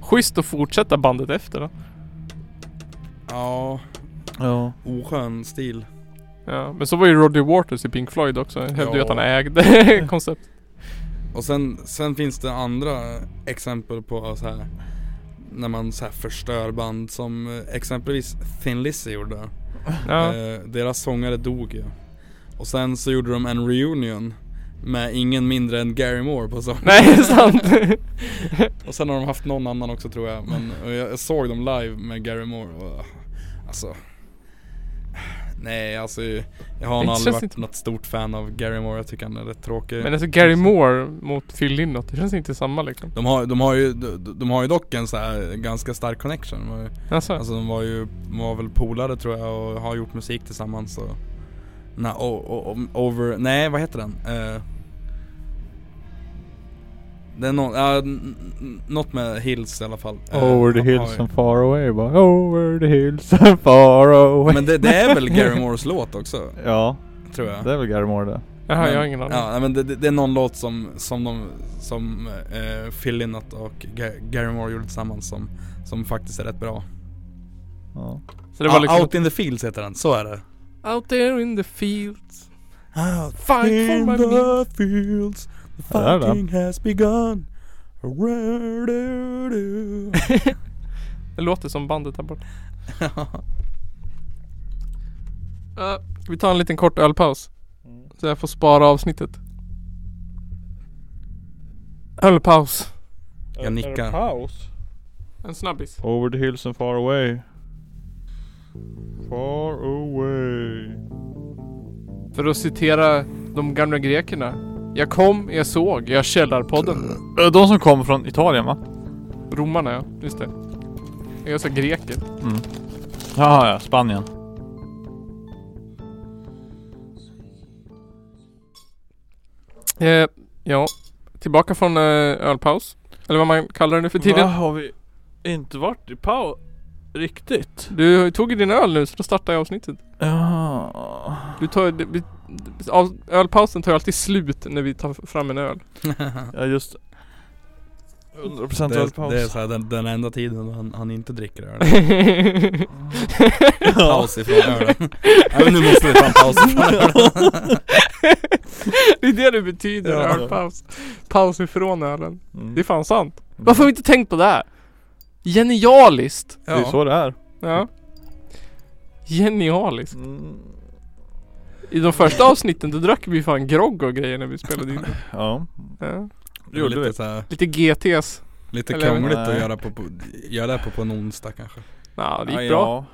[SPEAKER 1] Schysst att fortsätta bandet efter då.
[SPEAKER 4] Ja,
[SPEAKER 2] Ja
[SPEAKER 4] oskön stil.
[SPEAKER 1] Ja, men så var ju Roddy Waters i Pink Floyd också. Jag hävdade ju
[SPEAKER 4] Ja.
[SPEAKER 1] att han ägde koncept.
[SPEAKER 4] Och sen, sen finns det andra exempel på så här när man så här förstör band som eh, exempelvis Thin Lizzy gjorde.
[SPEAKER 1] Ja.
[SPEAKER 4] Eh, deras sångare dog ju. Och sen så gjorde de en reunion med ingen mindre än Gary Moore på sång.
[SPEAKER 1] Nej, det är sant.
[SPEAKER 4] Och sen har de haft någon annan också tror jag. Men och jag jag såg dem live med Gary Moore och alltså Nej alltså jag har
[SPEAKER 1] Det
[SPEAKER 4] nog aldrig
[SPEAKER 1] känns
[SPEAKER 4] varit
[SPEAKER 1] inte-
[SPEAKER 4] något stort fan av Gary Moore. Jag tycker han är rätt tråkig.
[SPEAKER 1] Men alltså Gary Moore mot Phil Lynott, det känns inte samma liksom.
[SPEAKER 4] De har, de, har ju, de, de har ju dock en så här ganska stark connection. De var ju-
[SPEAKER 1] Jaså?
[SPEAKER 4] Alltså de var ju, de var väl polare tror jag och har gjort musik tillsammans och... Nej, o, o, om- over, nej vad heter den? Eh, det är någon, ja, n- n- något med Hills i alla fall. Eh,
[SPEAKER 2] Over the
[SPEAKER 4] har- har
[SPEAKER 2] hills
[SPEAKER 4] ju-
[SPEAKER 2] and far away bara Over the hills and far away
[SPEAKER 4] Men det, det är väl Gary Moores låt också,
[SPEAKER 2] Ja,
[SPEAKER 4] tror jag.
[SPEAKER 2] det är väl Gary Moore det
[SPEAKER 1] Jaha,
[SPEAKER 4] Men-
[SPEAKER 1] jag har ingen aning.
[SPEAKER 4] Ja, nej, men det, det, det är någon låt som, som de, som eh, Phil Lynott och Ga- Gary Moore gjorde tillsammans som, som faktiskt är rätt bra.
[SPEAKER 2] ja.
[SPEAKER 1] Så det var liksom...
[SPEAKER 4] Out in the fields heter den, så är det.
[SPEAKER 1] Out there in the fields.
[SPEAKER 4] Out
[SPEAKER 1] Fight for my meat.
[SPEAKER 4] Ah, fields, the
[SPEAKER 2] Ja, det är det.
[SPEAKER 4] has begun. Ra-du-du.
[SPEAKER 1] Det låter som bandet här borta. Eh, Ska vi ta en liten kort ölpaus?
[SPEAKER 2] Mm.
[SPEAKER 1] Så jag får spara avsnittet. Ölpaus.
[SPEAKER 4] Jag nickar.
[SPEAKER 2] Paus
[SPEAKER 1] En snabbis.
[SPEAKER 2] Over the hills and far away. Far away.
[SPEAKER 1] För att citera de gamla grekerna. Jag kom, jag såg, jag källarpodden.
[SPEAKER 2] De som kom från Italien va?
[SPEAKER 1] Romarna ja, just det. Jag sa greker.
[SPEAKER 2] Mm. Jaha ja, Spanien.
[SPEAKER 1] Eh, ja, tillbaka från eh, ölpaus. Eller vad man kallar det nu för tiden.
[SPEAKER 2] har vi inte varit i paus? Riktigt?
[SPEAKER 1] Du tog ju din öl nu så då startar jag avsnittet.
[SPEAKER 2] Ja.
[SPEAKER 1] Du tar, det- vi- av- ölpausen tar ju alltid slut när vi tar fram en öl.
[SPEAKER 2] Ja just 100%
[SPEAKER 4] det, är,
[SPEAKER 2] ölpaus.
[SPEAKER 4] det är så här, den, den enda tiden han, han inte dricker öl. Paus ifrån ölen. Nej men nu måste vi ta en paus ifrån ölen.
[SPEAKER 1] det är det det betyder,
[SPEAKER 2] Ja.
[SPEAKER 1] ölpaus. Paus ifrån ölen. Det är fan sant.
[SPEAKER 2] Mm.
[SPEAKER 1] Varför har vi inte tänkt på det? här? Genialiskt!
[SPEAKER 2] Det är
[SPEAKER 4] Ja.
[SPEAKER 2] så det är.
[SPEAKER 4] Mm.
[SPEAKER 1] Ja. Genialiskt.
[SPEAKER 2] Mm.
[SPEAKER 1] I de första avsnitten då drack vi fan grogg och grejer när vi spelade in.
[SPEAKER 2] Ja.
[SPEAKER 1] Ja.
[SPEAKER 4] Det är
[SPEAKER 2] Gjorde vi.
[SPEAKER 4] lite, så här,
[SPEAKER 1] Lite GTs.
[SPEAKER 4] lite
[SPEAKER 1] Eller-
[SPEAKER 4] krångligt att
[SPEAKER 2] Nej.
[SPEAKER 4] göra, på, på, göra det på, på en onsdag kanske.
[SPEAKER 1] Nja, det gick
[SPEAKER 2] Ja,
[SPEAKER 1] bra.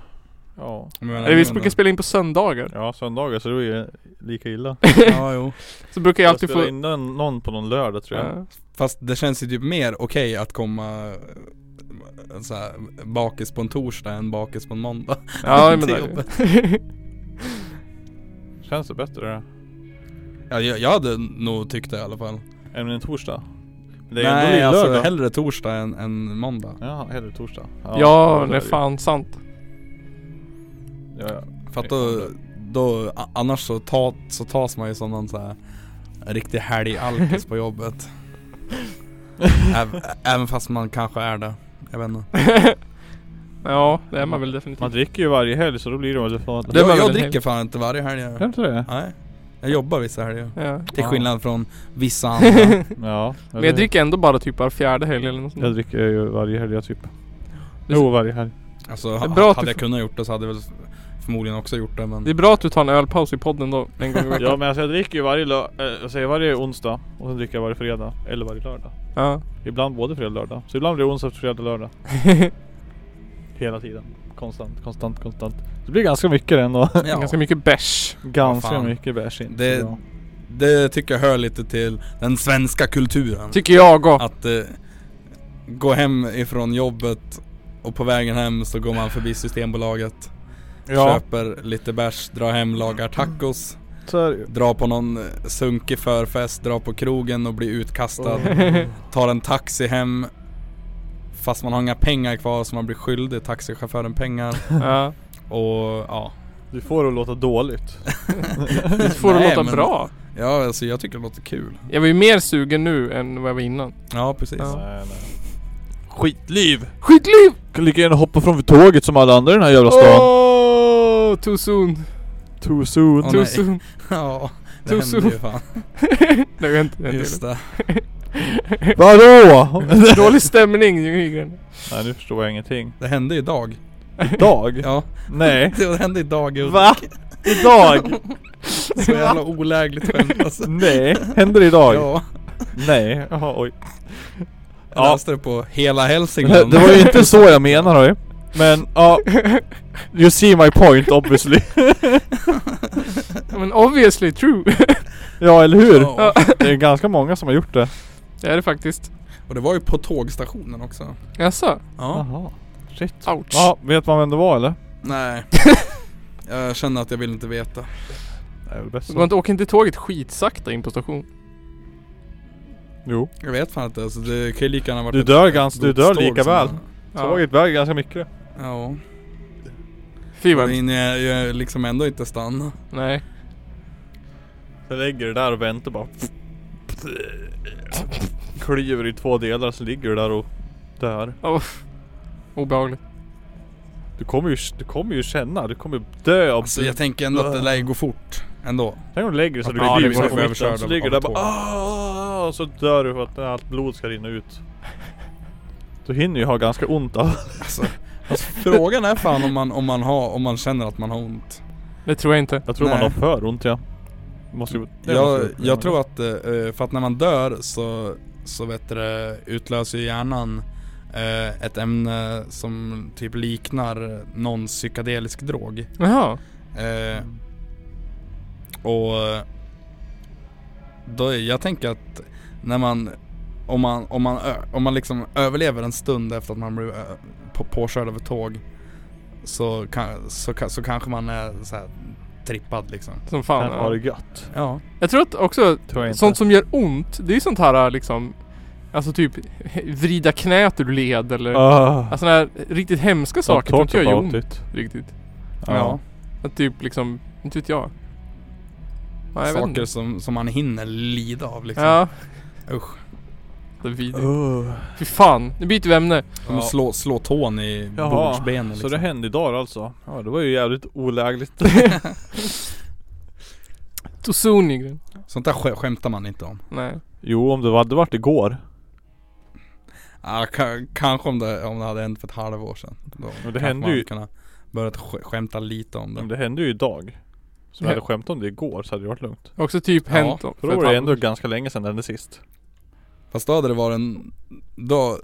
[SPEAKER 2] Ja.
[SPEAKER 4] Men jag menar,
[SPEAKER 1] Eller vi
[SPEAKER 4] men-
[SPEAKER 1] brukar spela in på söndagar.
[SPEAKER 2] Ja, söndagar så det är lika illa.
[SPEAKER 4] Ja jo.
[SPEAKER 1] Så brukar jag
[SPEAKER 2] Jag
[SPEAKER 1] alltid
[SPEAKER 2] spelade
[SPEAKER 1] få...
[SPEAKER 2] in någon någon på någon lördag tror jag.
[SPEAKER 1] Ja.
[SPEAKER 4] Fast det känns ju typ mer okej att komma eh, så här, bakis på en torsdag än bakis på en måndag.
[SPEAKER 1] Ja, men
[SPEAKER 4] Till
[SPEAKER 1] det är
[SPEAKER 4] jobbet.
[SPEAKER 1] det.
[SPEAKER 2] Känns det bättre det?
[SPEAKER 4] Ja, jag, jag hade nog tyckt det i alla fall.
[SPEAKER 2] Än en torsdag? Men det är ändå
[SPEAKER 4] Nej
[SPEAKER 2] lill-
[SPEAKER 4] alltså
[SPEAKER 2] lördag.
[SPEAKER 4] hellre torsdag än, än måndag.
[SPEAKER 2] Jaha, hellre torsdag.
[SPEAKER 1] Ja, det är
[SPEAKER 2] ju.
[SPEAKER 1] fan sant.
[SPEAKER 2] Ja, ja.
[SPEAKER 4] För att då, då a- annars så, ta, så tas man ju som någon så här riktig helgalkis på jobbet. Även, även fast man kanske är det. Jag vet inte.
[SPEAKER 1] Ja, det är man väl
[SPEAKER 2] Man
[SPEAKER 1] definitivt.
[SPEAKER 2] dricker ju varje helg så då blir det väl fan...
[SPEAKER 1] Det-
[SPEAKER 2] Det...
[SPEAKER 1] var
[SPEAKER 4] Jag,
[SPEAKER 1] väl
[SPEAKER 4] jag
[SPEAKER 1] en
[SPEAKER 4] dricker fan inte varje helg. jag.
[SPEAKER 2] Kanske det?
[SPEAKER 4] Nej. Jag jobbar vissa helger.
[SPEAKER 1] Ja.
[SPEAKER 4] Till
[SPEAKER 2] Ja.
[SPEAKER 4] skillnad från vissa andra.
[SPEAKER 2] Ja.
[SPEAKER 1] Men jag dricker ändå bara typ var fjärde helg eller något sånt.
[SPEAKER 2] Jag dricker ju varje helg jag typ.
[SPEAKER 1] Jo,
[SPEAKER 2] Jo, varje helg.
[SPEAKER 4] Alltså
[SPEAKER 1] är
[SPEAKER 4] ha-
[SPEAKER 1] bra att
[SPEAKER 4] hade
[SPEAKER 1] du
[SPEAKER 4] jag
[SPEAKER 1] får-
[SPEAKER 4] kunnat gjort det så hade jag väl förmodligen också gjort det men
[SPEAKER 1] Det är bra att du tar en ölpaus i podden då en gång i
[SPEAKER 2] Ja
[SPEAKER 1] veckan.
[SPEAKER 2] men alltså jag dricker ju varje, lö- eh, jag säger varje onsdag och sen dricker jag varje fredag eller varje lördag.
[SPEAKER 1] ja.
[SPEAKER 2] Ibland både fredag och lördag. Så ibland blir det onsdag, fredag, lördag. Hela tiden. Konstant, konstant, konstant. Det blir ganska mycket ändå.
[SPEAKER 4] ja.
[SPEAKER 1] Ganska mycket bärs.
[SPEAKER 2] ganska
[SPEAKER 4] Fan.
[SPEAKER 2] mycket bärs in.
[SPEAKER 4] Det-
[SPEAKER 2] Ja.
[SPEAKER 4] Det tycker jag hör lite till den svenska kulturen.
[SPEAKER 1] Tycker jag också.
[SPEAKER 4] att eh, gå hem ifrån jobbet och på vägen hem så går man förbi Systembolaget,
[SPEAKER 2] ja.
[SPEAKER 4] köper lite bärs, drar hem, lagar tacos,
[SPEAKER 2] Så är det ju.
[SPEAKER 4] drar på någon eh, sunkig förfest, drar på krogen och blir utkastad,
[SPEAKER 2] Mm.
[SPEAKER 4] tar en taxi hem fast man har inga pengar kvar så man blir skyldig taxichauffören pengar
[SPEAKER 1] Ja.
[SPEAKER 4] och ja.
[SPEAKER 2] Du får det att låta dåligt.
[SPEAKER 1] Det får det
[SPEAKER 4] Nej,
[SPEAKER 1] låta
[SPEAKER 4] men-
[SPEAKER 1] bra.
[SPEAKER 4] Ja alltså jag tycker det låter kul.
[SPEAKER 1] Jag var ju mer sugen nu än vad jag var innan.
[SPEAKER 4] Ja precis.
[SPEAKER 1] Ja.
[SPEAKER 2] Nej, nej. Skitliv!
[SPEAKER 1] Skitliv!
[SPEAKER 2] Kan lika gärna hoppa från tåget som alla andra i den här jävla stan.
[SPEAKER 1] Oh, too soon.
[SPEAKER 2] Too soon.
[SPEAKER 4] Åh,
[SPEAKER 1] Too
[SPEAKER 4] nej.
[SPEAKER 1] soon.
[SPEAKER 4] Ja, det
[SPEAKER 1] Too
[SPEAKER 4] hände ju fan.
[SPEAKER 1] Nej jag inte. jag
[SPEAKER 4] Just det.
[SPEAKER 1] inte.
[SPEAKER 2] Vadå?
[SPEAKER 1] Dålig stämning Nygren.
[SPEAKER 2] nej nu förstår jag ingenting.
[SPEAKER 4] Det hände idag.
[SPEAKER 2] Idag?
[SPEAKER 4] Ja,
[SPEAKER 2] Nej.
[SPEAKER 4] det hände idag. i
[SPEAKER 2] Va? Idag?
[SPEAKER 4] Så jävla olägligt skämt alltså.
[SPEAKER 2] nej. Händer det idag?
[SPEAKER 4] Ja,
[SPEAKER 2] Nej. Jaha oj.
[SPEAKER 4] jag
[SPEAKER 2] Ja.
[SPEAKER 4] läste det på Hela
[SPEAKER 2] Det
[SPEAKER 4] Hälsingland.
[SPEAKER 2] det var ju inte så jag menar hörru. Men ja, you see my point obviously.
[SPEAKER 1] Men obviously true.
[SPEAKER 2] Ja eller hur?
[SPEAKER 4] Ja,
[SPEAKER 2] Det är ganska många som har gjort det.
[SPEAKER 1] Det är det faktiskt.
[SPEAKER 4] och det var ju på tågstationen också.
[SPEAKER 1] Jaså?
[SPEAKER 4] Ja.
[SPEAKER 2] Jaha. Shit.
[SPEAKER 1] Ouch.
[SPEAKER 2] Ja, vet man vem det var eller?
[SPEAKER 4] Nej. Jag känner att jag vill inte veta.
[SPEAKER 2] Det är väl bäst
[SPEAKER 1] Gå
[SPEAKER 2] så.
[SPEAKER 1] inte, åk inte tåget skitsakta in på station.
[SPEAKER 2] Jo.
[SPEAKER 4] Jag vet fan inte alltså, det kan ju lika gärna varit
[SPEAKER 2] Du
[SPEAKER 4] ett-
[SPEAKER 2] dör
[SPEAKER 4] ett
[SPEAKER 2] ganska- du dör
[SPEAKER 4] godståg
[SPEAKER 2] lika
[SPEAKER 4] som-
[SPEAKER 2] väl.
[SPEAKER 1] Ja.
[SPEAKER 2] Tåget väger ganska mycket.
[SPEAKER 4] Ja.
[SPEAKER 1] Fy vad...
[SPEAKER 4] Men jag, jag liksom ändå inte stanna.
[SPEAKER 1] Nej.
[SPEAKER 2] Så lägger du där och väntar bara. Klyver i två delar så ligger du där och dör.
[SPEAKER 1] Obehagligt.
[SPEAKER 2] Du kommer ju, du kommer ju känna, du kommer dö av...
[SPEAKER 4] Alltså jag tänker ändå att det lär ju gå fort. Ändå.
[SPEAKER 2] Tänk om du lägger dig så
[SPEAKER 4] Att
[SPEAKER 2] du
[SPEAKER 4] det
[SPEAKER 1] blir
[SPEAKER 2] blir buren
[SPEAKER 1] så
[SPEAKER 2] på
[SPEAKER 4] vi
[SPEAKER 2] mitten,
[SPEAKER 4] överkörd
[SPEAKER 2] så
[SPEAKER 4] av-
[SPEAKER 2] ligger du
[SPEAKER 4] av
[SPEAKER 2] där bara
[SPEAKER 4] tåg.
[SPEAKER 2] "Ah", och så dör du för att allt blod ska rinna ut. Du hinner ju ha ganska ont av...
[SPEAKER 4] Alltså, alltså frågan är fan om man, om man har, om man känner att man har ont.
[SPEAKER 1] Det tror jag inte.
[SPEAKER 2] Jag tror man
[SPEAKER 4] Nej.
[SPEAKER 2] har för ont ja. Måste ju... det
[SPEAKER 4] Jag,
[SPEAKER 2] måste ju-
[SPEAKER 4] jag tror att, eh, för att när man dör så, så vet du, det, utlöser ju hjärnan eh, ett ämne som typ liknar någon psykedelisk drog.
[SPEAKER 1] Jaha.
[SPEAKER 4] Eh, och eh, då, jag tänker att när man, om man, om man, ö- om man liksom överlever en stund efter att man blir ö, på, påkörd av ett tåg så, kan, så, kan- så kanske man är så här trippad liksom.
[SPEAKER 1] Som
[SPEAKER 2] Kan
[SPEAKER 1] fan.
[SPEAKER 2] vara
[SPEAKER 1] Ja.
[SPEAKER 2] gött.
[SPEAKER 4] Ja.
[SPEAKER 1] Jag tror att också
[SPEAKER 2] Tror jag inte.
[SPEAKER 1] sånt som gör ont. Det är ju sånt här liksom. Alltså typ vrida knät ur led eller.
[SPEAKER 2] Ah.
[SPEAKER 1] Alltså när riktigt hemska
[SPEAKER 2] Don't
[SPEAKER 1] saker. Tror inte jag gör
[SPEAKER 2] about
[SPEAKER 1] ont.
[SPEAKER 2] it.
[SPEAKER 1] Riktigt.
[SPEAKER 2] Ja.
[SPEAKER 4] ja.
[SPEAKER 1] Att typ liksom, inte vet jag. Nej, jag vet
[SPEAKER 4] saker
[SPEAKER 1] inte.
[SPEAKER 4] som, som man hinner lida av liksom.
[SPEAKER 1] Ja.
[SPEAKER 4] Usch.
[SPEAKER 1] Det är vidrigt.
[SPEAKER 4] Oh.
[SPEAKER 2] Uh.
[SPEAKER 1] Fy fan, nu byter vi ämne.
[SPEAKER 4] Som att
[SPEAKER 2] Ja.
[SPEAKER 4] slå, slå tån i
[SPEAKER 2] Jaha,
[SPEAKER 4] bordsbenen
[SPEAKER 2] Så
[SPEAKER 4] liksom.
[SPEAKER 2] det hände idag alltså? Ja det var ju jävligt olägligt.
[SPEAKER 1] Too soon Nygren.
[SPEAKER 4] Sånt där sk- skämtar man inte om.
[SPEAKER 1] Nej.
[SPEAKER 2] jo om det hade varit igår.
[SPEAKER 4] Ja, ka- kanske om det, om det hade hänt för ett halvår sedan. Då kanske
[SPEAKER 2] hände
[SPEAKER 4] man
[SPEAKER 2] ju-
[SPEAKER 4] hade kunnat börjat sk- skämta lite om
[SPEAKER 2] Men
[SPEAKER 4] det.
[SPEAKER 2] det hände ju idag. Så om jag
[SPEAKER 1] Ja.
[SPEAKER 2] hade skämt om det igår så hade det varit lugnt.
[SPEAKER 1] Också typ
[SPEAKER 4] Ja,
[SPEAKER 1] hänt om-
[SPEAKER 2] För
[SPEAKER 1] ett
[SPEAKER 2] då var det
[SPEAKER 1] halvår.
[SPEAKER 2] ändå ganska länge sedan det hände sist.
[SPEAKER 4] Fast då hade det varit en... Då,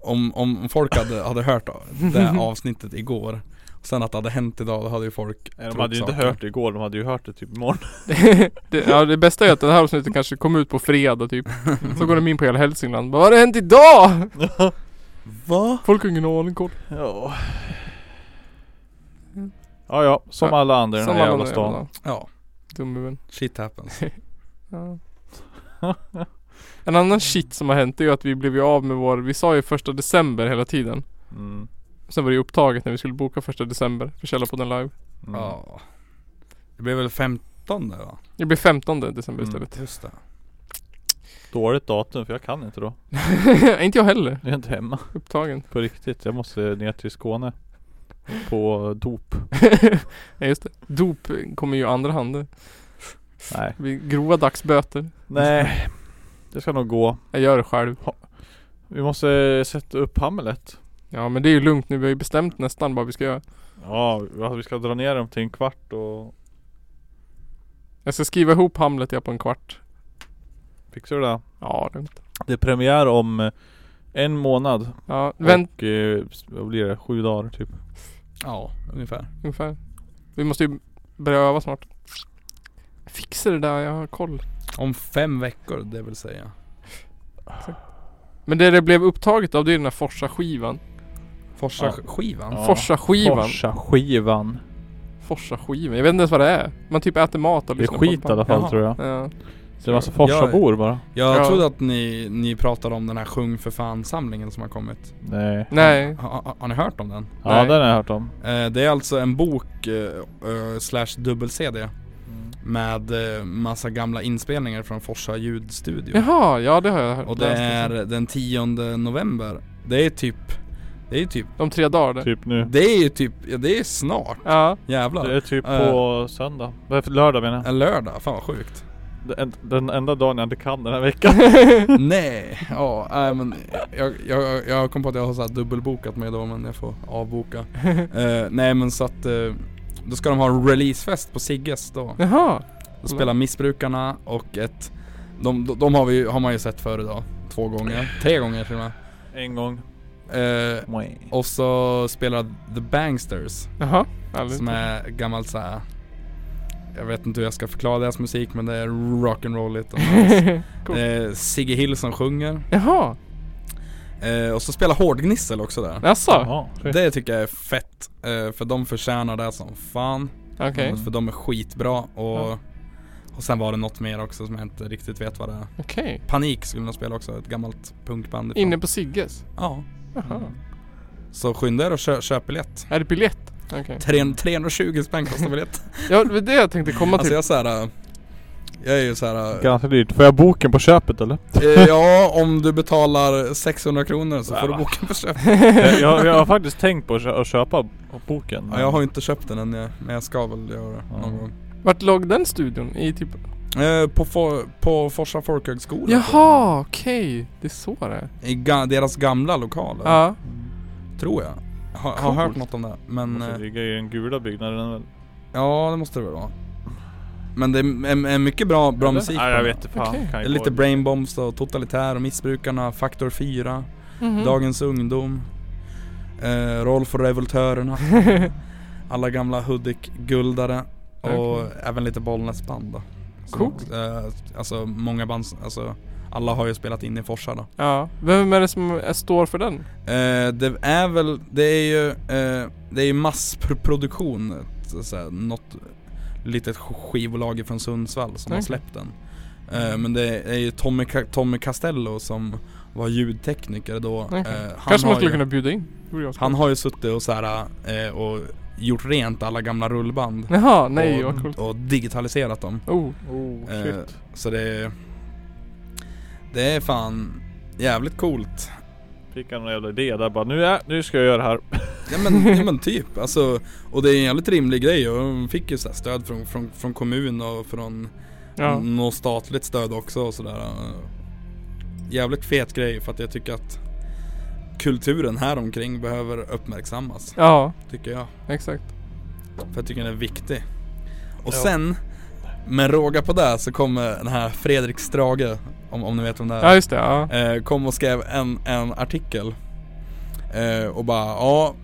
[SPEAKER 4] om, om folk hade, hade hört det avsnittet igår och sen att det hade hänt idag, då hade ju folk
[SPEAKER 2] Nej, de
[SPEAKER 4] trott
[SPEAKER 2] hade ju inte
[SPEAKER 4] saker.
[SPEAKER 2] hört det igår, de hade ju hört det typ imorgon.
[SPEAKER 1] det, ja, det bästa är att det här avsnittet kanske kommer ut på fredag typ. Så går de in på hela Hälsingland. Bara, Vad har hänt idag?
[SPEAKER 4] Va?
[SPEAKER 1] Folk har ingen aning koll.
[SPEAKER 2] ja. Mm. Ja ja, som
[SPEAKER 1] Ja,
[SPEAKER 2] alla andra i den
[SPEAKER 1] Som
[SPEAKER 2] här
[SPEAKER 1] alla
[SPEAKER 2] jävla
[SPEAKER 1] andra
[SPEAKER 2] stan.
[SPEAKER 1] jävla
[SPEAKER 4] Ja,
[SPEAKER 1] Dumhuvuden.
[SPEAKER 4] shit happens.
[SPEAKER 1] Ja. En annan shit som har hänt är ju att vi blev ju av med vår, vi sa ju första december hela tiden.
[SPEAKER 2] Mm.
[SPEAKER 1] Sen var det ju upptaget när vi skulle boka första december för Källarpodden live.
[SPEAKER 2] Mm.
[SPEAKER 4] Ja. Det blev väl 15 där va?
[SPEAKER 1] Det blir 15 december
[SPEAKER 2] Mm.
[SPEAKER 1] istället.
[SPEAKER 4] Just det.
[SPEAKER 2] Dåligt datum för jag kan inte då.
[SPEAKER 1] inte jag heller.
[SPEAKER 2] Jag är inte hemma
[SPEAKER 1] Upptagen.
[SPEAKER 2] på riktigt. Jag måste ner till Skåne. På dop.
[SPEAKER 1] ja just det. Dop kommer ju i andra hand.
[SPEAKER 2] Nej.
[SPEAKER 1] Det blir grova dagsböter.
[SPEAKER 2] Nej. Det ska nog gå.
[SPEAKER 1] Jag gör det själv.
[SPEAKER 2] Vi måste sätta upp Hamlet.
[SPEAKER 1] Ja men det är ju lugnt nu, vi har ju bestämt nästan vad vi ska göra
[SPEAKER 2] Ja, vi ska dra ner dem till en kvart och
[SPEAKER 1] Jag ska skriva ihop Hamlet jag på en kvart
[SPEAKER 2] fixar du det?
[SPEAKER 1] Ja, lugnt
[SPEAKER 2] Det är premiär om eh, en månad
[SPEAKER 1] Ja, vänt
[SPEAKER 2] och eh, vad blir det? Sju dagar typ.
[SPEAKER 4] Ja, ungefär.
[SPEAKER 1] ungefär Vi måste ju börja öva snart Fixa det där, jag har koll
[SPEAKER 4] Om fem veckor, det vill säga.
[SPEAKER 1] Men det det blev upptaget av det är den här Forsa-skivan
[SPEAKER 4] Forsa-skivan?
[SPEAKER 2] Ja.
[SPEAKER 1] Forsa-skivan
[SPEAKER 2] skivan.
[SPEAKER 1] Forsa-skivan, jag vet inte ens vad det är Man typ äter mat och
[SPEAKER 2] Det är
[SPEAKER 1] lyssnar på
[SPEAKER 2] skit i alla fall
[SPEAKER 4] Jaha.
[SPEAKER 2] tror jag.
[SPEAKER 1] Ja,
[SPEAKER 2] Det är en massa Forsabor bara.
[SPEAKER 4] Jag
[SPEAKER 1] Ja.
[SPEAKER 4] trodde att ni, ni pratade om den här Sjung för fan-samlingen som har kommit.
[SPEAKER 2] Nej.
[SPEAKER 1] nej
[SPEAKER 4] Ha, ha, har ni hört om den?
[SPEAKER 2] Ja
[SPEAKER 1] Nej.
[SPEAKER 2] den har jag hört om.
[SPEAKER 4] Eh, det är alltså en bok eh, eh, slash dubbel-CD
[SPEAKER 1] Mm.
[SPEAKER 4] med eh, massa gamla inspelningar från Forsa ljudstudio.
[SPEAKER 1] Jaha, ja det har jag hört
[SPEAKER 4] Och det är den 10 november. Det är typ, det är typ,
[SPEAKER 1] De tre dagar där.
[SPEAKER 2] Typ nu.
[SPEAKER 4] det är ju typ, ja, det är snart.
[SPEAKER 1] Ja,
[SPEAKER 4] Jävlar.
[SPEAKER 2] Det är typ
[SPEAKER 4] Eh,
[SPEAKER 2] på söndag. Vad är det för Lördag menar jag.
[SPEAKER 4] En lördag, fan vad sjukt.
[SPEAKER 2] Den, den enda dagen jag inte kan den här veckan.
[SPEAKER 4] Nej, ja, nej men jag, jag, jag kom på att jag har så här dubbelbokat mig då men jag får avboka. Eh, nej men så att, eh, då ska de ha en releasefest på Sigges då.
[SPEAKER 1] jaha
[SPEAKER 4] Då spelar Missbrukarna och ett, de, de, de har, vi, ju- har man ju sett förr idag. Två gånger, tre gånger till och med.
[SPEAKER 2] En gång.
[SPEAKER 4] Eh, och så spelar The Bangsters
[SPEAKER 1] Jaha, Aldrig.
[SPEAKER 4] som är gammalt så här. Jag vet inte hur jag ska förklara deras musik men det är rock'n'rolligt. och nice.
[SPEAKER 1] Coolt.
[SPEAKER 4] Det är Sigge Hill som sjunger.
[SPEAKER 1] Jaha,
[SPEAKER 4] Eh, och så spelar Hårdgnissel också där.
[SPEAKER 1] jaså?
[SPEAKER 2] Jaha, shit.
[SPEAKER 4] Det tycker jag är fett, eh, för de förtjänar det som fan.
[SPEAKER 1] Okej,
[SPEAKER 4] För de är skitbra och,
[SPEAKER 1] Ja.
[SPEAKER 4] och sen var det något mer också som jag inte riktigt vet vad det är.
[SPEAKER 1] okej
[SPEAKER 4] Panik skulle de spela också, ett gammalt punkband. ifrån-
[SPEAKER 1] Inne på Sigges?
[SPEAKER 4] Ja. Mm.
[SPEAKER 1] Jaha
[SPEAKER 4] Så skynda er och kö- köp biljett.
[SPEAKER 1] Är det biljett? Okej
[SPEAKER 4] 300 320 spänn kostar biljett.
[SPEAKER 1] Ja, det var det jag tänkte komma
[SPEAKER 4] alltså
[SPEAKER 2] typ-
[SPEAKER 1] till
[SPEAKER 4] jag är såhär, eh, jag är ju såhär, eh,
[SPEAKER 2] Ganska dyrt. Får jag boken på köpet eller?
[SPEAKER 4] eh, ja om du betalar 600 kronor så får du
[SPEAKER 2] Va?
[SPEAKER 4] boka på köp.
[SPEAKER 2] jag, jag, jag har faktiskt tänkt på att kö- att köpa boken.
[SPEAKER 4] Ja, jag har ju inte köpt den än, jag- men jag ska väl göra det någon
[SPEAKER 2] Ja.
[SPEAKER 4] gång.
[SPEAKER 1] Vart låg den studion? I typ
[SPEAKER 4] Eh, på, for, på Forsa folkhögskola.
[SPEAKER 1] Jaha, okej Det är så det är
[SPEAKER 4] I ga, deras gamla lokaler,
[SPEAKER 1] Ja,
[SPEAKER 4] tror jag. Har har
[SPEAKER 1] Coolt.
[SPEAKER 4] hört något om det, men...
[SPEAKER 2] Måste
[SPEAKER 4] eh,
[SPEAKER 2] ligga i den gula byggnaden eller?
[SPEAKER 4] Ja, det måste det väl vara. Men det är, är, är mycket bra, bra
[SPEAKER 2] Eller?
[SPEAKER 4] musik
[SPEAKER 2] Nej
[SPEAKER 4] på
[SPEAKER 2] jag
[SPEAKER 4] den.
[SPEAKER 2] vet inte fan.
[SPEAKER 1] Okej.
[SPEAKER 2] Kan
[SPEAKER 4] Det
[SPEAKER 2] ju
[SPEAKER 4] är
[SPEAKER 2] gå.
[SPEAKER 4] lite Brainbombs och Totalitär och Missbrukarna, Faktor 4,
[SPEAKER 1] Mhm.
[SPEAKER 4] Dagens Ungdom, eh, Rolf och Revoltörerna, alla gamla Hudik-guldare och
[SPEAKER 1] Okej.
[SPEAKER 4] även lite Bollnäsband då. Som
[SPEAKER 1] Coolt.
[SPEAKER 4] också- Eh, alltså många band, som- alltså alla har ju spelat in i Forsa då.
[SPEAKER 1] Ja, vem är det som är- står för den?
[SPEAKER 4] Eh, det är väl, det är ju, eh, det är ju massproduktion, så att säga, något litet skivbolag från Sundsvall som har
[SPEAKER 1] Okej.
[SPEAKER 4] släppt den. Eh, men det är ju Tommy, Ca- Tommy Castello som var ljudtekniker då.
[SPEAKER 1] Okej.
[SPEAKER 4] Eh, han,
[SPEAKER 1] Kanske man
[SPEAKER 4] har
[SPEAKER 1] skulle
[SPEAKER 4] ju,
[SPEAKER 1] kunna bjuda in? Det vore jag
[SPEAKER 4] han
[SPEAKER 1] skoj.
[SPEAKER 4] har ju suttit och så här, eh, och gjort rent alla gamla rullband
[SPEAKER 1] Jaha, nej
[SPEAKER 4] och,
[SPEAKER 1] vad coolt
[SPEAKER 4] och digitaliserat dem.
[SPEAKER 1] Oh,
[SPEAKER 2] Oh
[SPEAKER 4] Eh,
[SPEAKER 2] shit.
[SPEAKER 4] Så det är, det är fan jävligt coolt.
[SPEAKER 2] Fick han någon jävla idé där bara nu, är, nu ska jag göra det här.
[SPEAKER 4] Ja men, ja, men typ, alltså, och det är en jävligt rimlig grej och de fick ju så här stöd från, från, från kommun och från
[SPEAKER 1] ja
[SPEAKER 4] något statligt stöd också och sådär. Jävligt fet grej för att jag tycker att kulturen här omkring behöver uppmärksammas,
[SPEAKER 1] Ja,
[SPEAKER 4] tycker jag.
[SPEAKER 1] exakt
[SPEAKER 4] För jag tycker den är viktig. Och
[SPEAKER 2] Ja.
[SPEAKER 4] sen, med råga på det så kommer den här Fredrik Strage, om, om ni vet vem det är.
[SPEAKER 1] Ja just det, ja
[SPEAKER 4] Eh, kom och skrev en, en artikel. Eh, och bara, ja,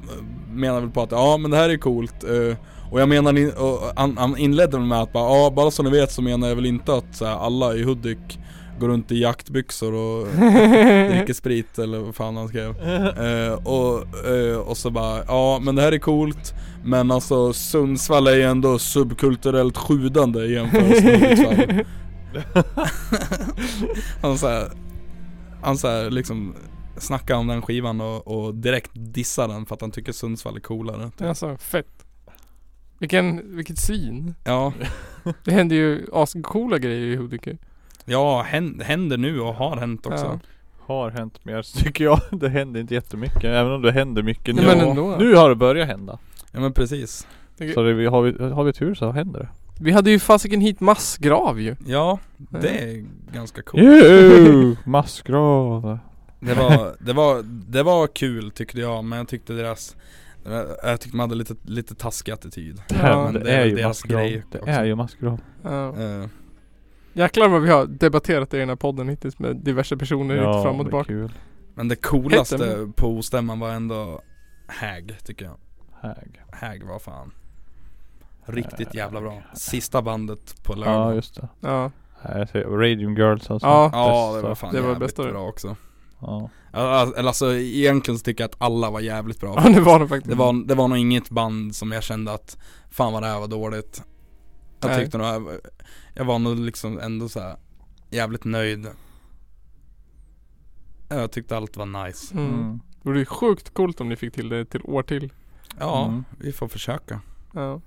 [SPEAKER 4] menar väl på att, ja men det här är coolt. Eh, och jag menar, ni- och han, han inledde väl med att bara, ja bara så ni vet så menar jag väl inte att så här, alla i Hudik går runt i jaktbyxor och dricker sprit eller vad fan han skrev. Eh, och, eh, och så bara, ja men det här är coolt. Men alltså Sundsvall är ju ändå subkulturellt sjudande i jämförelse med Hudiksvall. Han såhär, han såhär liksom snackar om den skivan och, och direkt dissar den för att han tycker Sundsvall är coolare.
[SPEAKER 1] Alltså, fett Vilken, vilket svin
[SPEAKER 4] Ja,
[SPEAKER 1] Det händer ju ascoola grejer i Hudiksvall
[SPEAKER 4] ja hän- händer nu och har hänt också.
[SPEAKER 2] Har hänt mer så tycker jag. Det händer inte jättemycket. Även om det händer mycket nu.
[SPEAKER 1] Nej, men ändå.
[SPEAKER 2] Nu har det börjat hända.
[SPEAKER 4] Ja, men precis.
[SPEAKER 2] Så det, vi- har, vi, har vi tur så händer det.
[SPEAKER 1] Vi hade ju fasiken hit massgrav ju
[SPEAKER 4] Ja, det är ganska coolt.
[SPEAKER 2] Juhu! Massgrav.
[SPEAKER 4] Det var, det var, det var kul tyckte jag, men jag tyckte deras jag tyckte man hade lite, lite taskig attityd.
[SPEAKER 1] Ja,
[SPEAKER 2] det,
[SPEAKER 4] men
[SPEAKER 2] är
[SPEAKER 4] väl
[SPEAKER 2] ju massgrav. Det
[SPEAKER 4] också.
[SPEAKER 2] är ju massgrav.
[SPEAKER 1] Ja.
[SPEAKER 4] Eh,
[SPEAKER 1] Jäklar vad vi har debatterat i den här podden hittills med diverse personer lite fram och
[SPEAKER 2] men
[SPEAKER 1] tillbaka.
[SPEAKER 2] kul.
[SPEAKER 4] Men det coolaste
[SPEAKER 1] Hette-
[SPEAKER 4] på ostämman var ändå Hag tycker jag.
[SPEAKER 2] Häg.
[SPEAKER 4] Hag var fan Riktigt
[SPEAKER 2] Hag.
[SPEAKER 4] jävla bra. Sista bandet på lördag.
[SPEAKER 2] Ja just det.
[SPEAKER 1] Ja.
[SPEAKER 2] Nej, jag ser Radium Girls alltså.
[SPEAKER 1] Ja.
[SPEAKER 4] Ja det
[SPEAKER 2] Bästa.
[SPEAKER 4] var fan
[SPEAKER 1] Det var
[SPEAKER 4] jävligt
[SPEAKER 1] bästa det.
[SPEAKER 4] bra också.
[SPEAKER 2] Ja.
[SPEAKER 4] Eller eller alltså egentligen så tycker jag att alla var jävligt bra.
[SPEAKER 1] Ja det var det faktiskt.
[SPEAKER 4] Det var, det var nog inget band som jag kände att fan vad det här var dåligt. Jag
[SPEAKER 1] Nej.
[SPEAKER 4] tyckte nog, jag- jag var nog liksom ändå så här jävligt nöjd. Jag tyckte allt var nice.
[SPEAKER 1] Mm.
[SPEAKER 2] Mm.
[SPEAKER 1] Det vore ju sjukt coolt om ni fick till det till år till.
[SPEAKER 4] Ja,
[SPEAKER 2] Mm.
[SPEAKER 4] vi får försöka.
[SPEAKER 1] Ja.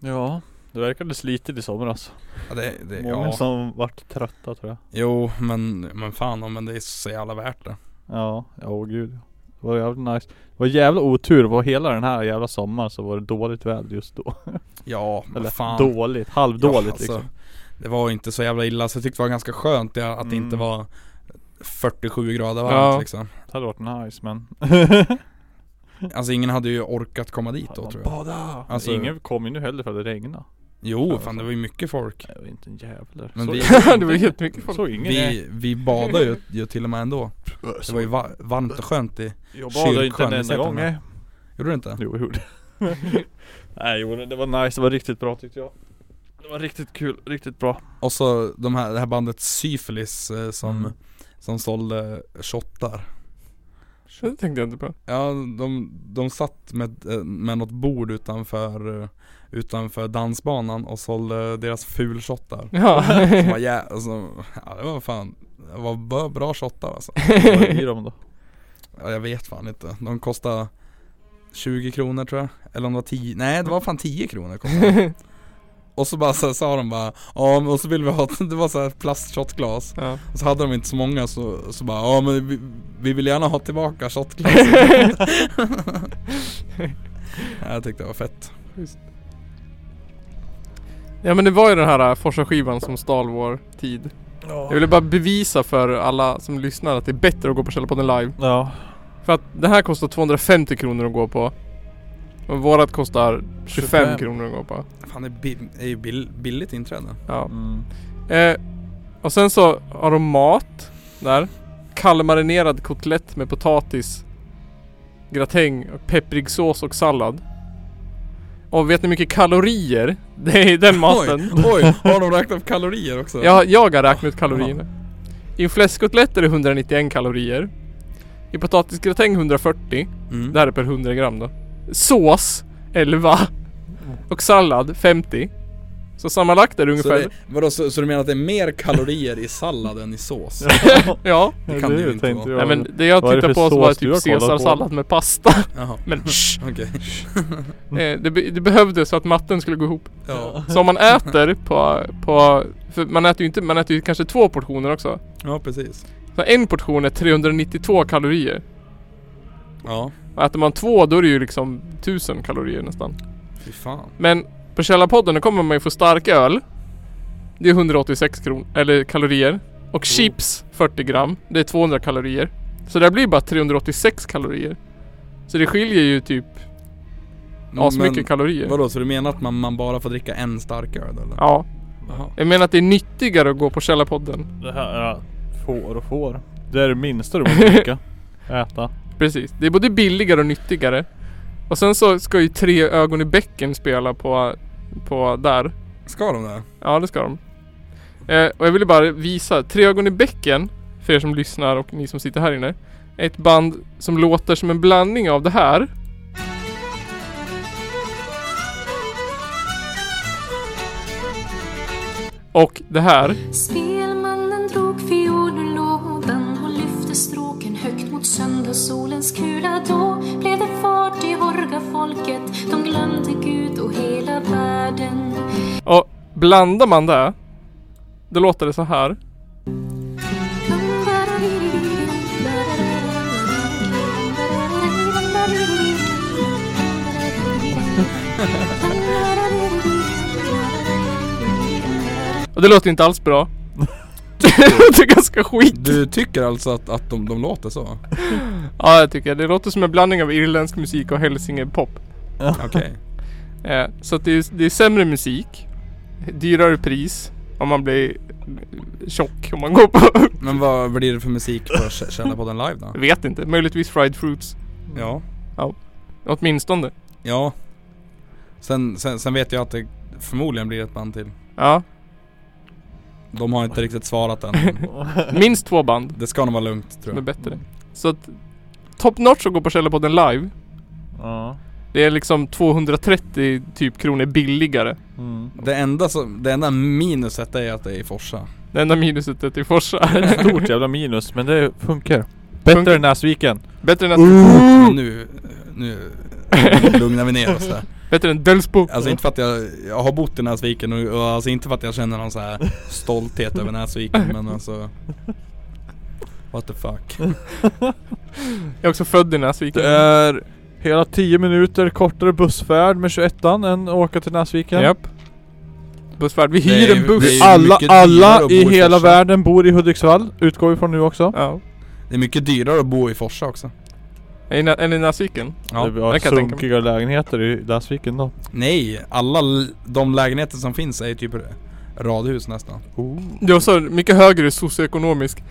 [SPEAKER 2] Ja. Det verkade slitigt i somras.
[SPEAKER 4] Ja, det, det,
[SPEAKER 2] Många
[SPEAKER 4] ja.
[SPEAKER 2] som vart trötta tror jag.
[SPEAKER 4] Jo men, men fan men det är så jävla värt det.
[SPEAKER 2] Ja, ja åh gud ja. Det var jävligt nice. Det var jävla otur, var hela den här jävla sommaren så var det dåligt väder just då.
[SPEAKER 4] Ja, men
[SPEAKER 2] Eller
[SPEAKER 4] fan.
[SPEAKER 2] dåligt, halvdåligt
[SPEAKER 4] Ja, alltså,
[SPEAKER 2] liksom.
[SPEAKER 4] Det var ju inte så jävla illa så jag tyckte det var ganska skönt det, att det
[SPEAKER 2] Mm.
[SPEAKER 4] inte var 47 grader varmt
[SPEAKER 1] Ja.
[SPEAKER 4] liksom.
[SPEAKER 2] Det hade varit nice men...
[SPEAKER 4] Alltså ingen hade ju orkat komma dit då
[SPEAKER 2] Man
[SPEAKER 4] tror jag.
[SPEAKER 2] Bada!
[SPEAKER 4] Alltså-
[SPEAKER 2] ingen kom ju nu heller för att det regnade.
[SPEAKER 4] Jo,
[SPEAKER 2] Alltså.
[SPEAKER 4] fan det var ju mycket folk.
[SPEAKER 2] Nej, det var inte en jävlar.
[SPEAKER 4] Men
[SPEAKER 2] Såg-
[SPEAKER 4] vi-
[SPEAKER 1] det var jättemycket folk.
[SPEAKER 2] Såg ingen det.
[SPEAKER 4] Vi, vi badade ju, ju till och med ändå. Det var ju va- varmt och skönt i...
[SPEAKER 2] Jag badade inte
[SPEAKER 4] kyrksjön
[SPEAKER 2] en
[SPEAKER 4] i
[SPEAKER 2] enda
[SPEAKER 4] Säterna.
[SPEAKER 2] gång nej.
[SPEAKER 4] Gjorde du inte?
[SPEAKER 2] Jo, jag gjorde Nej, jo, det var nice. Det var riktigt bra tyckte jag. Det var riktigt kul, riktigt bra.
[SPEAKER 4] Och så de här, det här bandet Syfilis eh, som,
[SPEAKER 2] Mm.
[SPEAKER 4] som sålde shottar.
[SPEAKER 1] Det tänkte jag inte på.
[SPEAKER 4] Ja, de, de satt med, eh, med något bord utanför, eh, utanför dansbanan och sålde deras fulshottar.
[SPEAKER 1] Ja.
[SPEAKER 4] Som var jä- alltså, ja, det var fan, det var bra, bra shottar alltså.
[SPEAKER 2] Vad var det i dem då?
[SPEAKER 4] Ja, jag vet fan inte. De kostade 20 kronor tror jag. Eller om det var 10, nej det var fan 10 kronor kostade de. Och så bara så här, sa de bara, ja men och så vill vi ha, det var så här plastshotglas.
[SPEAKER 1] ja.
[SPEAKER 4] Och så hade de inte så många så, så bara, ja men vi, vi vill gärna ha tillbaka shotglas. ja, jag tyckte det var fett.
[SPEAKER 1] ja men det var ju den här äh, Forsa-skivan som stal vår tid. Jag ville bara bevisa för alla som lyssnar att det är bättre att gå på Källarpodden live.
[SPEAKER 2] Ja.
[SPEAKER 1] För att det här kostar 250 kronor att gå på. Och vårat kostar 25,
[SPEAKER 2] 25.
[SPEAKER 1] kronor att gå på.
[SPEAKER 4] Fan det är, bi- är ju bill, billigt inträde.
[SPEAKER 1] Ja.
[SPEAKER 2] Mm.
[SPEAKER 1] Eh, och sen så har de mat där. Kallmarinerad kotlett med potatis, gratäng, och pepprig sås och sallad. Och vet ni hur mycket kalorier det är i den maten?
[SPEAKER 4] Oj, oj, har de räknat kalorier också?
[SPEAKER 1] Jag, jag har räknat ut kalorierna. I en fläskkotlett är det 191 kalorier. I potatisgratäng 140.
[SPEAKER 4] Mm.
[SPEAKER 1] Det här är per 100 gram då. Sås 11. Och sallad 50. Så sammanlagt är det
[SPEAKER 4] Så,
[SPEAKER 1] ungefär...
[SPEAKER 4] det, vadå, så, så du menar att det är mer kalorier i sallad än i sås?
[SPEAKER 1] Ja.
[SPEAKER 4] Det kan det ju inte
[SPEAKER 2] tänkte
[SPEAKER 4] vara.
[SPEAKER 1] Nej
[SPEAKER 2] jag.
[SPEAKER 1] men det jag
[SPEAKER 2] Vad är det
[SPEAKER 1] tittar
[SPEAKER 2] för
[SPEAKER 1] på så var
[SPEAKER 2] sås du
[SPEAKER 1] typ
[SPEAKER 2] har kollat på?
[SPEAKER 1] caesarsallad med pasta.
[SPEAKER 4] Jaha,
[SPEAKER 1] Men shh,
[SPEAKER 4] okej.
[SPEAKER 2] Mm.
[SPEAKER 1] eh, det, be- det behövdes för att matten skulle gå ihop.
[SPEAKER 4] Ja.
[SPEAKER 1] Så om man äter på, på för man äter ju inte, man äter ju kanske två portioner också.
[SPEAKER 4] ja, precis.
[SPEAKER 1] Så en portion är 392 kalorier.
[SPEAKER 4] Ja,
[SPEAKER 1] Och äter man två då är det ju liksom 1000 kalorier nästan.
[SPEAKER 4] fy fan.
[SPEAKER 1] Men på Källarpodden då kommer man ju få stark öl. Det är 186 kronor, eller kalorier.
[SPEAKER 2] Mm.
[SPEAKER 1] Och chips 40 gram. Det är 200 kalorier. Så det här blir bara 386 kalorier. Så det skiljer ju typ asmycket
[SPEAKER 4] Mm, Men-
[SPEAKER 1] kalorier.
[SPEAKER 4] Vadå, så du menar att man, man bara får dricka en starköl eller?
[SPEAKER 1] Ja.
[SPEAKER 4] Jaha.
[SPEAKER 1] Jag menar att det är nyttigare att gå på Källarpodden.
[SPEAKER 2] Det här är får och får. Det är det minsta du måste dricka. Äta.
[SPEAKER 1] Precis. Det är både billigare och nyttigare. Och sen så ska ju Tre ögon i bäcken spela på, på där.
[SPEAKER 4] Ska de det?
[SPEAKER 1] Ja, det ska de. Eh, och jag ville bara visa. Tre ögon i bäcken, för er som lyssnar och ni som sitter här inne. Är ett band som låter som en blandning av det här. Och det här.
[SPEAKER 5] Spelmannen drog fiol ur lådan och lyfte stråken högt mot söndagssolens kula. Då blev det fart i folket. De glömde Gud och hela världen.
[SPEAKER 1] Och blandar man det. Då låter det så här. Och det låter inte alls bra. det är ganska skit.
[SPEAKER 4] Du tycker alltså att, att de, de låter så?
[SPEAKER 1] Ja, jag tycker det. Det låter som en blandning av irländsk musik och hälsingepop.
[SPEAKER 4] Okej.
[SPEAKER 1] Eh, så att det, är, det är sämre musik, dyrare pris om man blir tjock om man går på...
[SPEAKER 4] Men vad blir det för musik på K- Källarpodden live då?
[SPEAKER 1] Jag vet inte, möjligtvis Fried Fruits.
[SPEAKER 4] Ja.
[SPEAKER 1] Åtminstone.
[SPEAKER 4] Ja. Sen, sen, sen vet jag att det förmodligen blir ett band till.
[SPEAKER 1] Ja,
[SPEAKER 4] De har inte riktigt svarat än. men
[SPEAKER 1] minst två band
[SPEAKER 4] Det ska nog vara lugnt tror
[SPEAKER 1] som är
[SPEAKER 4] jag.
[SPEAKER 1] bättre. Så att Top Notch att gå på Källarpodden live,
[SPEAKER 2] Ja.
[SPEAKER 1] det är liksom 230 typ kronor billigare.
[SPEAKER 2] Mm.
[SPEAKER 4] Det enda, som, det enda minuset är att det är i Forsa.
[SPEAKER 1] Det enda minuset är till Forsa.
[SPEAKER 2] Stort jävla minus, men det funkar. Bättre
[SPEAKER 1] Funkar.
[SPEAKER 2] än Näsviken.
[SPEAKER 1] bättre, än,
[SPEAKER 2] Mm.
[SPEAKER 4] Men nu, nu lugnar vi ner oss där.
[SPEAKER 1] bättre än Delsbo.
[SPEAKER 4] Alltså inte för att jag, jag har bott i Näsviken och, och alltså inte för att jag känner någon så här stolthet över Näsviken men alltså What the fuck
[SPEAKER 1] Jag är också född i Näsviken.
[SPEAKER 2] Det är hela 10 minuter kortare bussfärd med 21an än att åka till Näsviken.
[SPEAKER 1] Japp. Bussfärd. Vi
[SPEAKER 4] Det är
[SPEAKER 1] hyr
[SPEAKER 4] ju-
[SPEAKER 1] en buss.
[SPEAKER 4] det är ju
[SPEAKER 2] Alla,
[SPEAKER 4] mycket dyrare
[SPEAKER 2] alla
[SPEAKER 4] att bo
[SPEAKER 2] i
[SPEAKER 4] i
[SPEAKER 2] hela
[SPEAKER 4] Forsa.
[SPEAKER 2] världen bor i Hudiksvall, utgår vi från nu också.
[SPEAKER 1] Ja.
[SPEAKER 4] Det är mycket dyrare att bo i Forsa också
[SPEAKER 1] Är ni- Är ni i Näsviken?
[SPEAKER 4] Ja.
[SPEAKER 2] vi har
[SPEAKER 1] det kan jag tänka
[SPEAKER 2] sunkiga lägenheter i Näsviken då.
[SPEAKER 4] Nej, alla l- de lägenheter som finns är ju typ radhus nästan
[SPEAKER 1] Det var så mycket högre socioekonomisk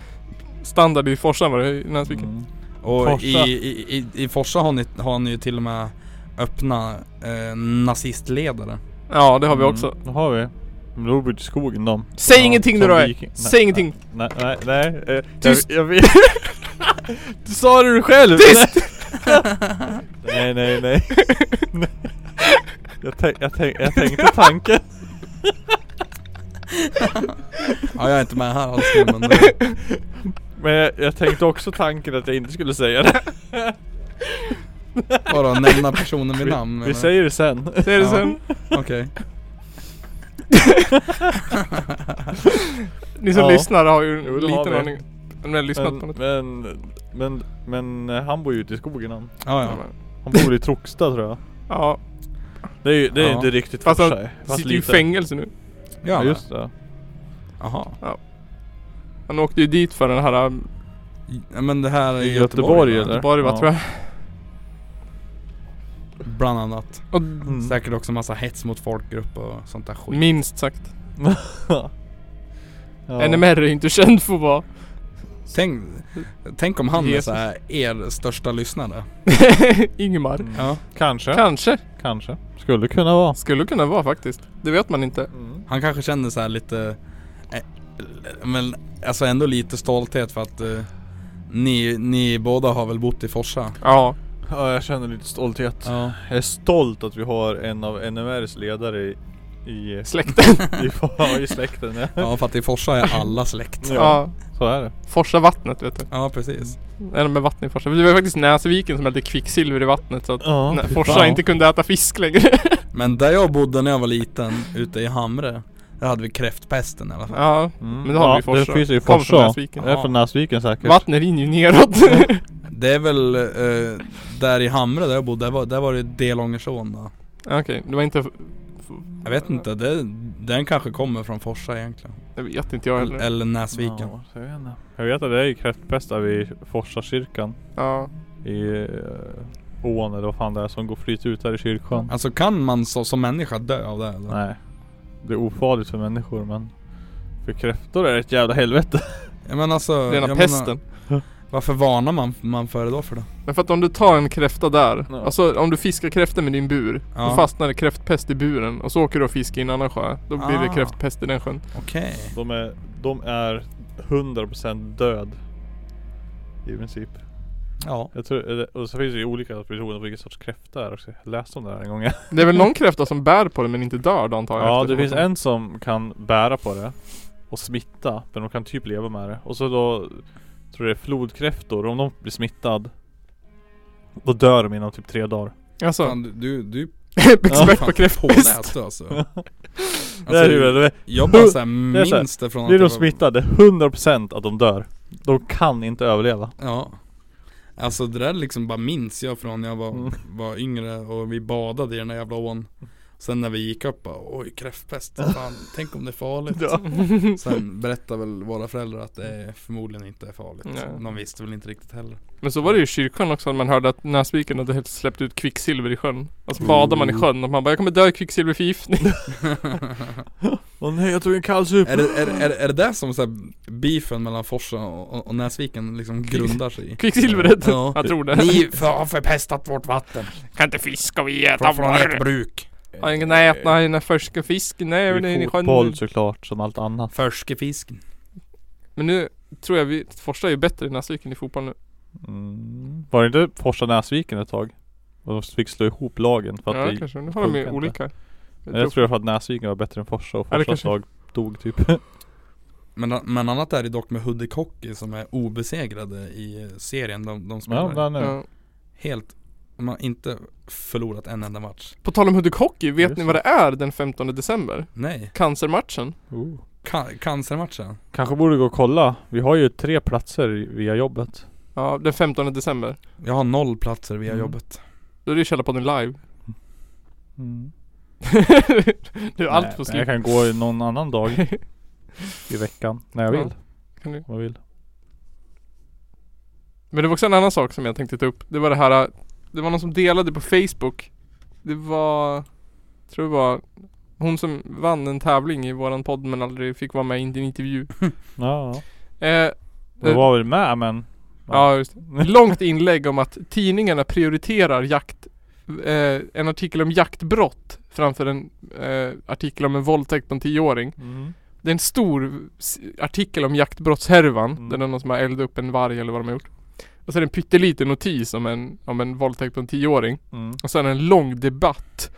[SPEAKER 1] standard i Forsa än vad det är i Näsviken.
[SPEAKER 2] Mm.
[SPEAKER 4] Och
[SPEAKER 2] Forsa.
[SPEAKER 4] i, i, i, i Forsa har ni, har ni ju till och med öppna eh, nazistledare
[SPEAKER 1] Ja, det har vi också.
[SPEAKER 2] Mm, det har vi. Men då bor vi i skogen de.
[SPEAKER 1] Säg
[SPEAKER 2] Ja,
[SPEAKER 1] ingenting nu
[SPEAKER 2] som
[SPEAKER 1] då!
[SPEAKER 2] viking- Nej,
[SPEAKER 1] Säg ingenting!
[SPEAKER 2] Nej, nej, nej. eh,
[SPEAKER 1] Tyst.
[SPEAKER 2] Jag, jag vet. du sa det du själv!
[SPEAKER 1] Tyst!
[SPEAKER 2] Nej, nej, nej. Nej. jag, tänk, jag, tänk, jag tänkte tanken.
[SPEAKER 4] Ja jag är inte med här alls nu, men
[SPEAKER 2] Men jag, jag tänkte också tanken att jag inte skulle säga det.
[SPEAKER 4] bara nämna personen vid namn
[SPEAKER 2] Vi
[SPEAKER 4] eller?
[SPEAKER 2] säger det sen.
[SPEAKER 1] Säg det
[SPEAKER 4] Ja.
[SPEAKER 1] sen.
[SPEAKER 4] Okej
[SPEAKER 1] Ni som
[SPEAKER 2] Ja.
[SPEAKER 1] lyssnar har ju en
[SPEAKER 2] Jo, det har
[SPEAKER 1] liten
[SPEAKER 2] vi.
[SPEAKER 1] aning. Men har lyssnat på
[SPEAKER 2] Men,
[SPEAKER 1] något.
[SPEAKER 2] men, men, men eh, han bor ju ute i skogen han.
[SPEAKER 4] ja, ja.
[SPEAKER 2] Han bor i Troxta tror jag.
[SPEAKER 1] Ja,
[SPEAKER 2] Det är ju det är
[SPEAKER 4] Ja.
[SPEAKER 2] inte riktigt
[SPEAKER 1] Fast han
[SPEAKER 2] Forsa, fast
[SPEAKER 1] sitter ju i
[SPEAKER 2] lite.
[SPEAKER 1] fängelse nu.
[SPEAKER 2] Ja
[SPEAKER 4] Ja,
[SPEAKER 2] just det.
[SPEAKER 4] Jaha.
[SPEAKER 1] Han åkte ju dit för den här... um,
[SPEAKER 4] Ja, men det här är
[SPEAKER 2] I
[SPEAKER 4] i
[SPEAKER 2] Göteborg,
[SPEAKER 4] Göteborg, va?
[SPEAKER 2] eller?
[SPEAKER 1] Bara vad
[SPEAKER 2] Ja.
[SPEAKER 1] tror jag.
[SPEAKER 4] Bland annat.
[SPEAKER 1] Och
[SPEAKER 2] Mm.
[SPEAKER 4] Säkert också massa hets mot folkgrupp och sånt där skit.
[SPEAKER 1] minst sagt.
[SPEAKER 2] Ja.
[SPEAKER 1] NMR är ju inte känd för att vara...
[SPEAKER 4] Tänk, tänk om han
[SPEAKER 1] Jesus.
[SPEAKER 4] är så här er största lyssnare.
[SPEAKER 1] Ingmar.
[SPEAKER 2] Mm.
[SPEAKER 4] Ja.
[SPEAKER 2] Kanske,
[SPEAKER 1] Kanske.
[SPEAKER 2] kanske. Skulle kunna vara.
[SPEAKER 1] Skulle kunna vara faktiskt. Det vet man inte.
[SPEAKER 4] Han kanske känner så här lite, eh, men alltså ändå lite stolthet för att eh, ni, ni båda har väl bott i Forsa?
[SPEAKER 1] Ja.
[SPEAKER 2] Ja, jag känner lite stolthet.
[SPEAKER 4] Ja.
[SPEAKER 2] Jag är stolt att vi har en av NMRs ledare i, i,
[SPEAKER 1] Släkten.
[SPEAKER 2] i, ja, i släkten. Ja.
[SPEAKER 4] Ja för att i Forsa är alla släkt.
[SPEAKER 2] Ja.
[SPEAKER 1] ja.
[SPEAKER 2] Så är det.
[SPEAKER 1] Forsa vattnet vet du.
[SPEAKER 4] Ja precis.
[SPEAKER 1] Eller med vatten i Forsa. För Det var faktiskt Näsviken som hade kvicksilver i vattnet så att
[SPEAKER 2] Ja,
[SPEAKER 1] nä,
[SPEAKER 2] fy
[SPEAKER 1] Forsa
[SPEAKER 2] fan.
[SPEAKER 1] inte kunde äta fisk längre.
[SPEAKER 4] Men där jag bodde när jag var liten, ute i Hamre, där hade vi kräftpesten i alla fall.
[SPEAKER 1] ja.
[SPEAKER 2] Mm.
[SPEAKER 1] Men det har vi i Forsa.
[SPEAKER 2] Det finns ju i
[SPEAKER 1] Kommer från
[SPEAKER 2] Forsa.
[SPEAKER 1] Näsviken.
[SPEAKER 2] Det är från Näsviken säkert.
[SPEAKER 1] Vattnet rinner ju neråt.
[SPEAKER 4] Det är väl eh, där i Hamre där jag bodde, där var, där var det Delångersån då.
[SPEAKER 1] Okej, det var inte... f- f-
[SPEAKER 4] Jag vet inte, det, den kanske kommer från Forsa egentligen.
[SPEAKER 1] Det vet inte jag
[SPEAKER 4] Eller,
[SPEAKER 1] heller.
[SPEAKER 4] Näsviken.
[SPEAKER 2] Ja, så är det. jag vet att det är ju kräftpest där vid Forsakyrkan.
[SPEAKER 1] Ja.
[SPEAKER 2] I eh, ån eller vad fan det är som går flyt ut där i kyrkan.
[SPEAKER 4] Alltså kan man så, som människa dö av det eller?
[SPEAKER 2] Nej. Det är ofarligt för människor men för kräftor är det ett jävla helvete.
[SPEAKER 4] Jag menar alltså,
[SPEAKER 1] Rena
[SPEAKER 4] jag
[SPEAKER 1] pesten.
[SPEAKER 4] Menar, varför varnar man, man för det då för det?
[SPEAKER 1] Men för att om du tar en kräfta där,
[SPEAKER 2] Ja.
[SPEAKER 1] alltså om du fiskar kräftor med din bur,
[SPEAKER 4] Ja.
[SPEAKER 1] då fastnar det kräftpest i buren och så åker du och fiskar i en annan sjö. Då blir det
[SPEAKER 4] Ah.
[SPEAKER 1] kräftpest i den sjön.
[SPEAKER 4] Okej.
[SPEAKER 2] De är, de är 100% död. I princip.
[SPEAKER 4] Ja.
[SPEAKER 2] Jag tror, eller- och så finns det ju olika versioner på vilken sorts kräfta det är också. Jag läste om det här en gång. Ja,
[SPEAKER 1] Det är väl någon kräfta som bär på det men inte dör då antar jag?
[SPEAKER 2] det
[SPEAKER 1] efteråt.
[SPEAKER 2] finns en som kan bära på det. Och smitta. Men de kan typ leva med det. Och så då tror jag det är flodkräftor. Om de blir smittad. Då dör de inom typ tre dagar.
[SPEAKER 1] Alltså,
[SPEAKER 4] Fan, du, du, du
[SPEAKER 1] expert
[SPEAKER 4] fan
[SPEAKER 1] på kräftpest.
[SPEAKER 4] påläst du alltså.
[SPEAKER 2] det är ju,
[SPEAKER 4] jag-
[SPEAKER 2] det,
[SPEAKER 4] Jag bara såhär
[SPEAKER 2] Det är så här,
[SPEAKER 4] minns det från
[SPEAKER 2] blir de
[SPEAKER 4] jag var-
[SPEAKER 2] smittade 100% att de dör. De kan inte överleva.
[SPEAKER 4] Ja Alltså det där liksom bara minns jag från när jag var,
[SPEAKER 2] Mm.
[SPEAKER 4] var yngre och vi badade i den där jävla ån Sen när vi gick upp bara, oj kräftpest, fan, tänk om det är farligt.
[SPEAKER 2] Ja.
[SPEAKER 4] Sen berättade väl våra föräldrar att det är förmodligen inte är farligt.
[SPEAKER 1] Nej.
[SPEAKER 4] De visste väl inte riktigt heller.
[SPEAKER 1] Men så var det ju i kyrkan också att man hörde att Näsviken hade helt släppt ut kvicksilver i sjön. Alltså badar man i sjön och man bara 'Jag kommer dö i kvicksilverförgiftning'
[SPEAKER 2] Åh nej, jag tog en kallsup!
[SPEAKER 4] är, det, är, är, är det där som så här, beefen mellan Forsa och, och- och Näsviken liksom grundar sig i?
[SPEAKER 1] Kvicksilveret?
[SPEAKER 4] Ja.
[SPEAKER 1] Jag tror det.
[SPEAKER 4] Ni för- har förpestat vårt vatten
[SPEAKER 1] kan inte fiska och vi
[SPEAKER 4] från, från ert bruk.
[SPEAKER 1] Har ingen nät, nej, nej, färska fisk, nej,
[SPEAKER 2] Det
[SPEAKER 1] nej,
[SPEAKER 2] är
[SPEAKER 1] i sjön.
[SPEAKER 2] fotboll såklart, som allt annat.
[SPEAKER 4] Förskefisken.
[SPEAKER 1] Men nu tror jag vi, Forsa är ju bättre i Näsviken i fotboll nu.
[SPEAKER 2] Mm. Var det inte Forsa-Näsviken ett tag? Och de fick slå ihop lagen för
[SPEAKER 1] Ja
[SPEAKER 2] att det,
[SPEAKER 1] kanske, nu har de ju
[SPEAKER 2] funkar
[SPEAKER 1] olika.
[SPEAKER 2] Men Jag tror för att Näsviken var bättre än Forsa och
[SPEAKER 1] Ja, det
[SPEAKER 2] Forsas
[SPEAKER 1] kanske-
[SPEAKER 2] lag dog typ.
[SPEAKER 4] Men, men annat är det dock med Hudik Hockey som är obesegrade i serien de, de spelar.
[SPEAKER 2] ja, men, ja.
[SPEAKER 1] Ja.
[SPEAKER 4] Helt, de har inte förlorat en enda match.
[SPEAKER 1] På tal om Hudik Hockey, vet
[SPEAKER 2] Just
[SPEAKER 1] ni vad det är den 15 december?
[SPEAKER 4] Nej,
[SPEAKER 1] Cancermatchen.
[SPEAKER 2] Oh.
[SPEAKER 4] Ka- cancermatchen.
[SPEAKER 2] Kanske borde gå och kolla. Vi har ju tre platser i- via jobbet.
[SPEAKER 1] Ja, den 15 december.
[SPEAKER 4] Jag har noll platser via
[SPEAKER 2] Mm.
[SPEAKER 4] jobbet.
[SPEAKER 1] Då är det ju Källarpodden live.
[SPEAKER 2] Mm.
[SPEAKER 1] du är allt på
[SPEAKER 2] Jag
[SPEAKER 1] skip.
[SPEAKER 2] kan gå någon annan dag i veckan. När jag
[SPEAKER 1] Ja.
[SPEAKER 2] vill.
[SPEAKER 1] Kan du-
[SPEAKER 2] Om jag vill.
[SPEAKER 1] Men det var också en annan sak som jag tänkte ta upp. Det var det här, det var någon som delade på Facebook. Det var, tror det var hon som vann en tävling i våran podd men aldrig fick vara med i en intervju.
[SPEAKER 2] Ja, ja.
[SPEAKER 1] Eh,
[SPEAKER 2] Jag var väl med men...
[SPEAKER 1] Ja, just det. Långt inlägg om att tidningarna prioriterar jakt, eh, en artikel om jaktbrott framför en eh, artikel om en våldtäkt på en tioåring.
[SPEAKER 2] Mm.
[SPEAKER 1] Det är en stor s- artikel om jaktbrottshärvan,
[SPEAKER 2] Mm.
[SPEAKER 1] där det är någon som har eldat upp en varg eller vad de har gjort. Och sen en pytteliten notis om en, om en våldtäkt på en tioåring.
[SPEAKER 2] Mm.
[SPEAKER 1] Och sen en lång debatt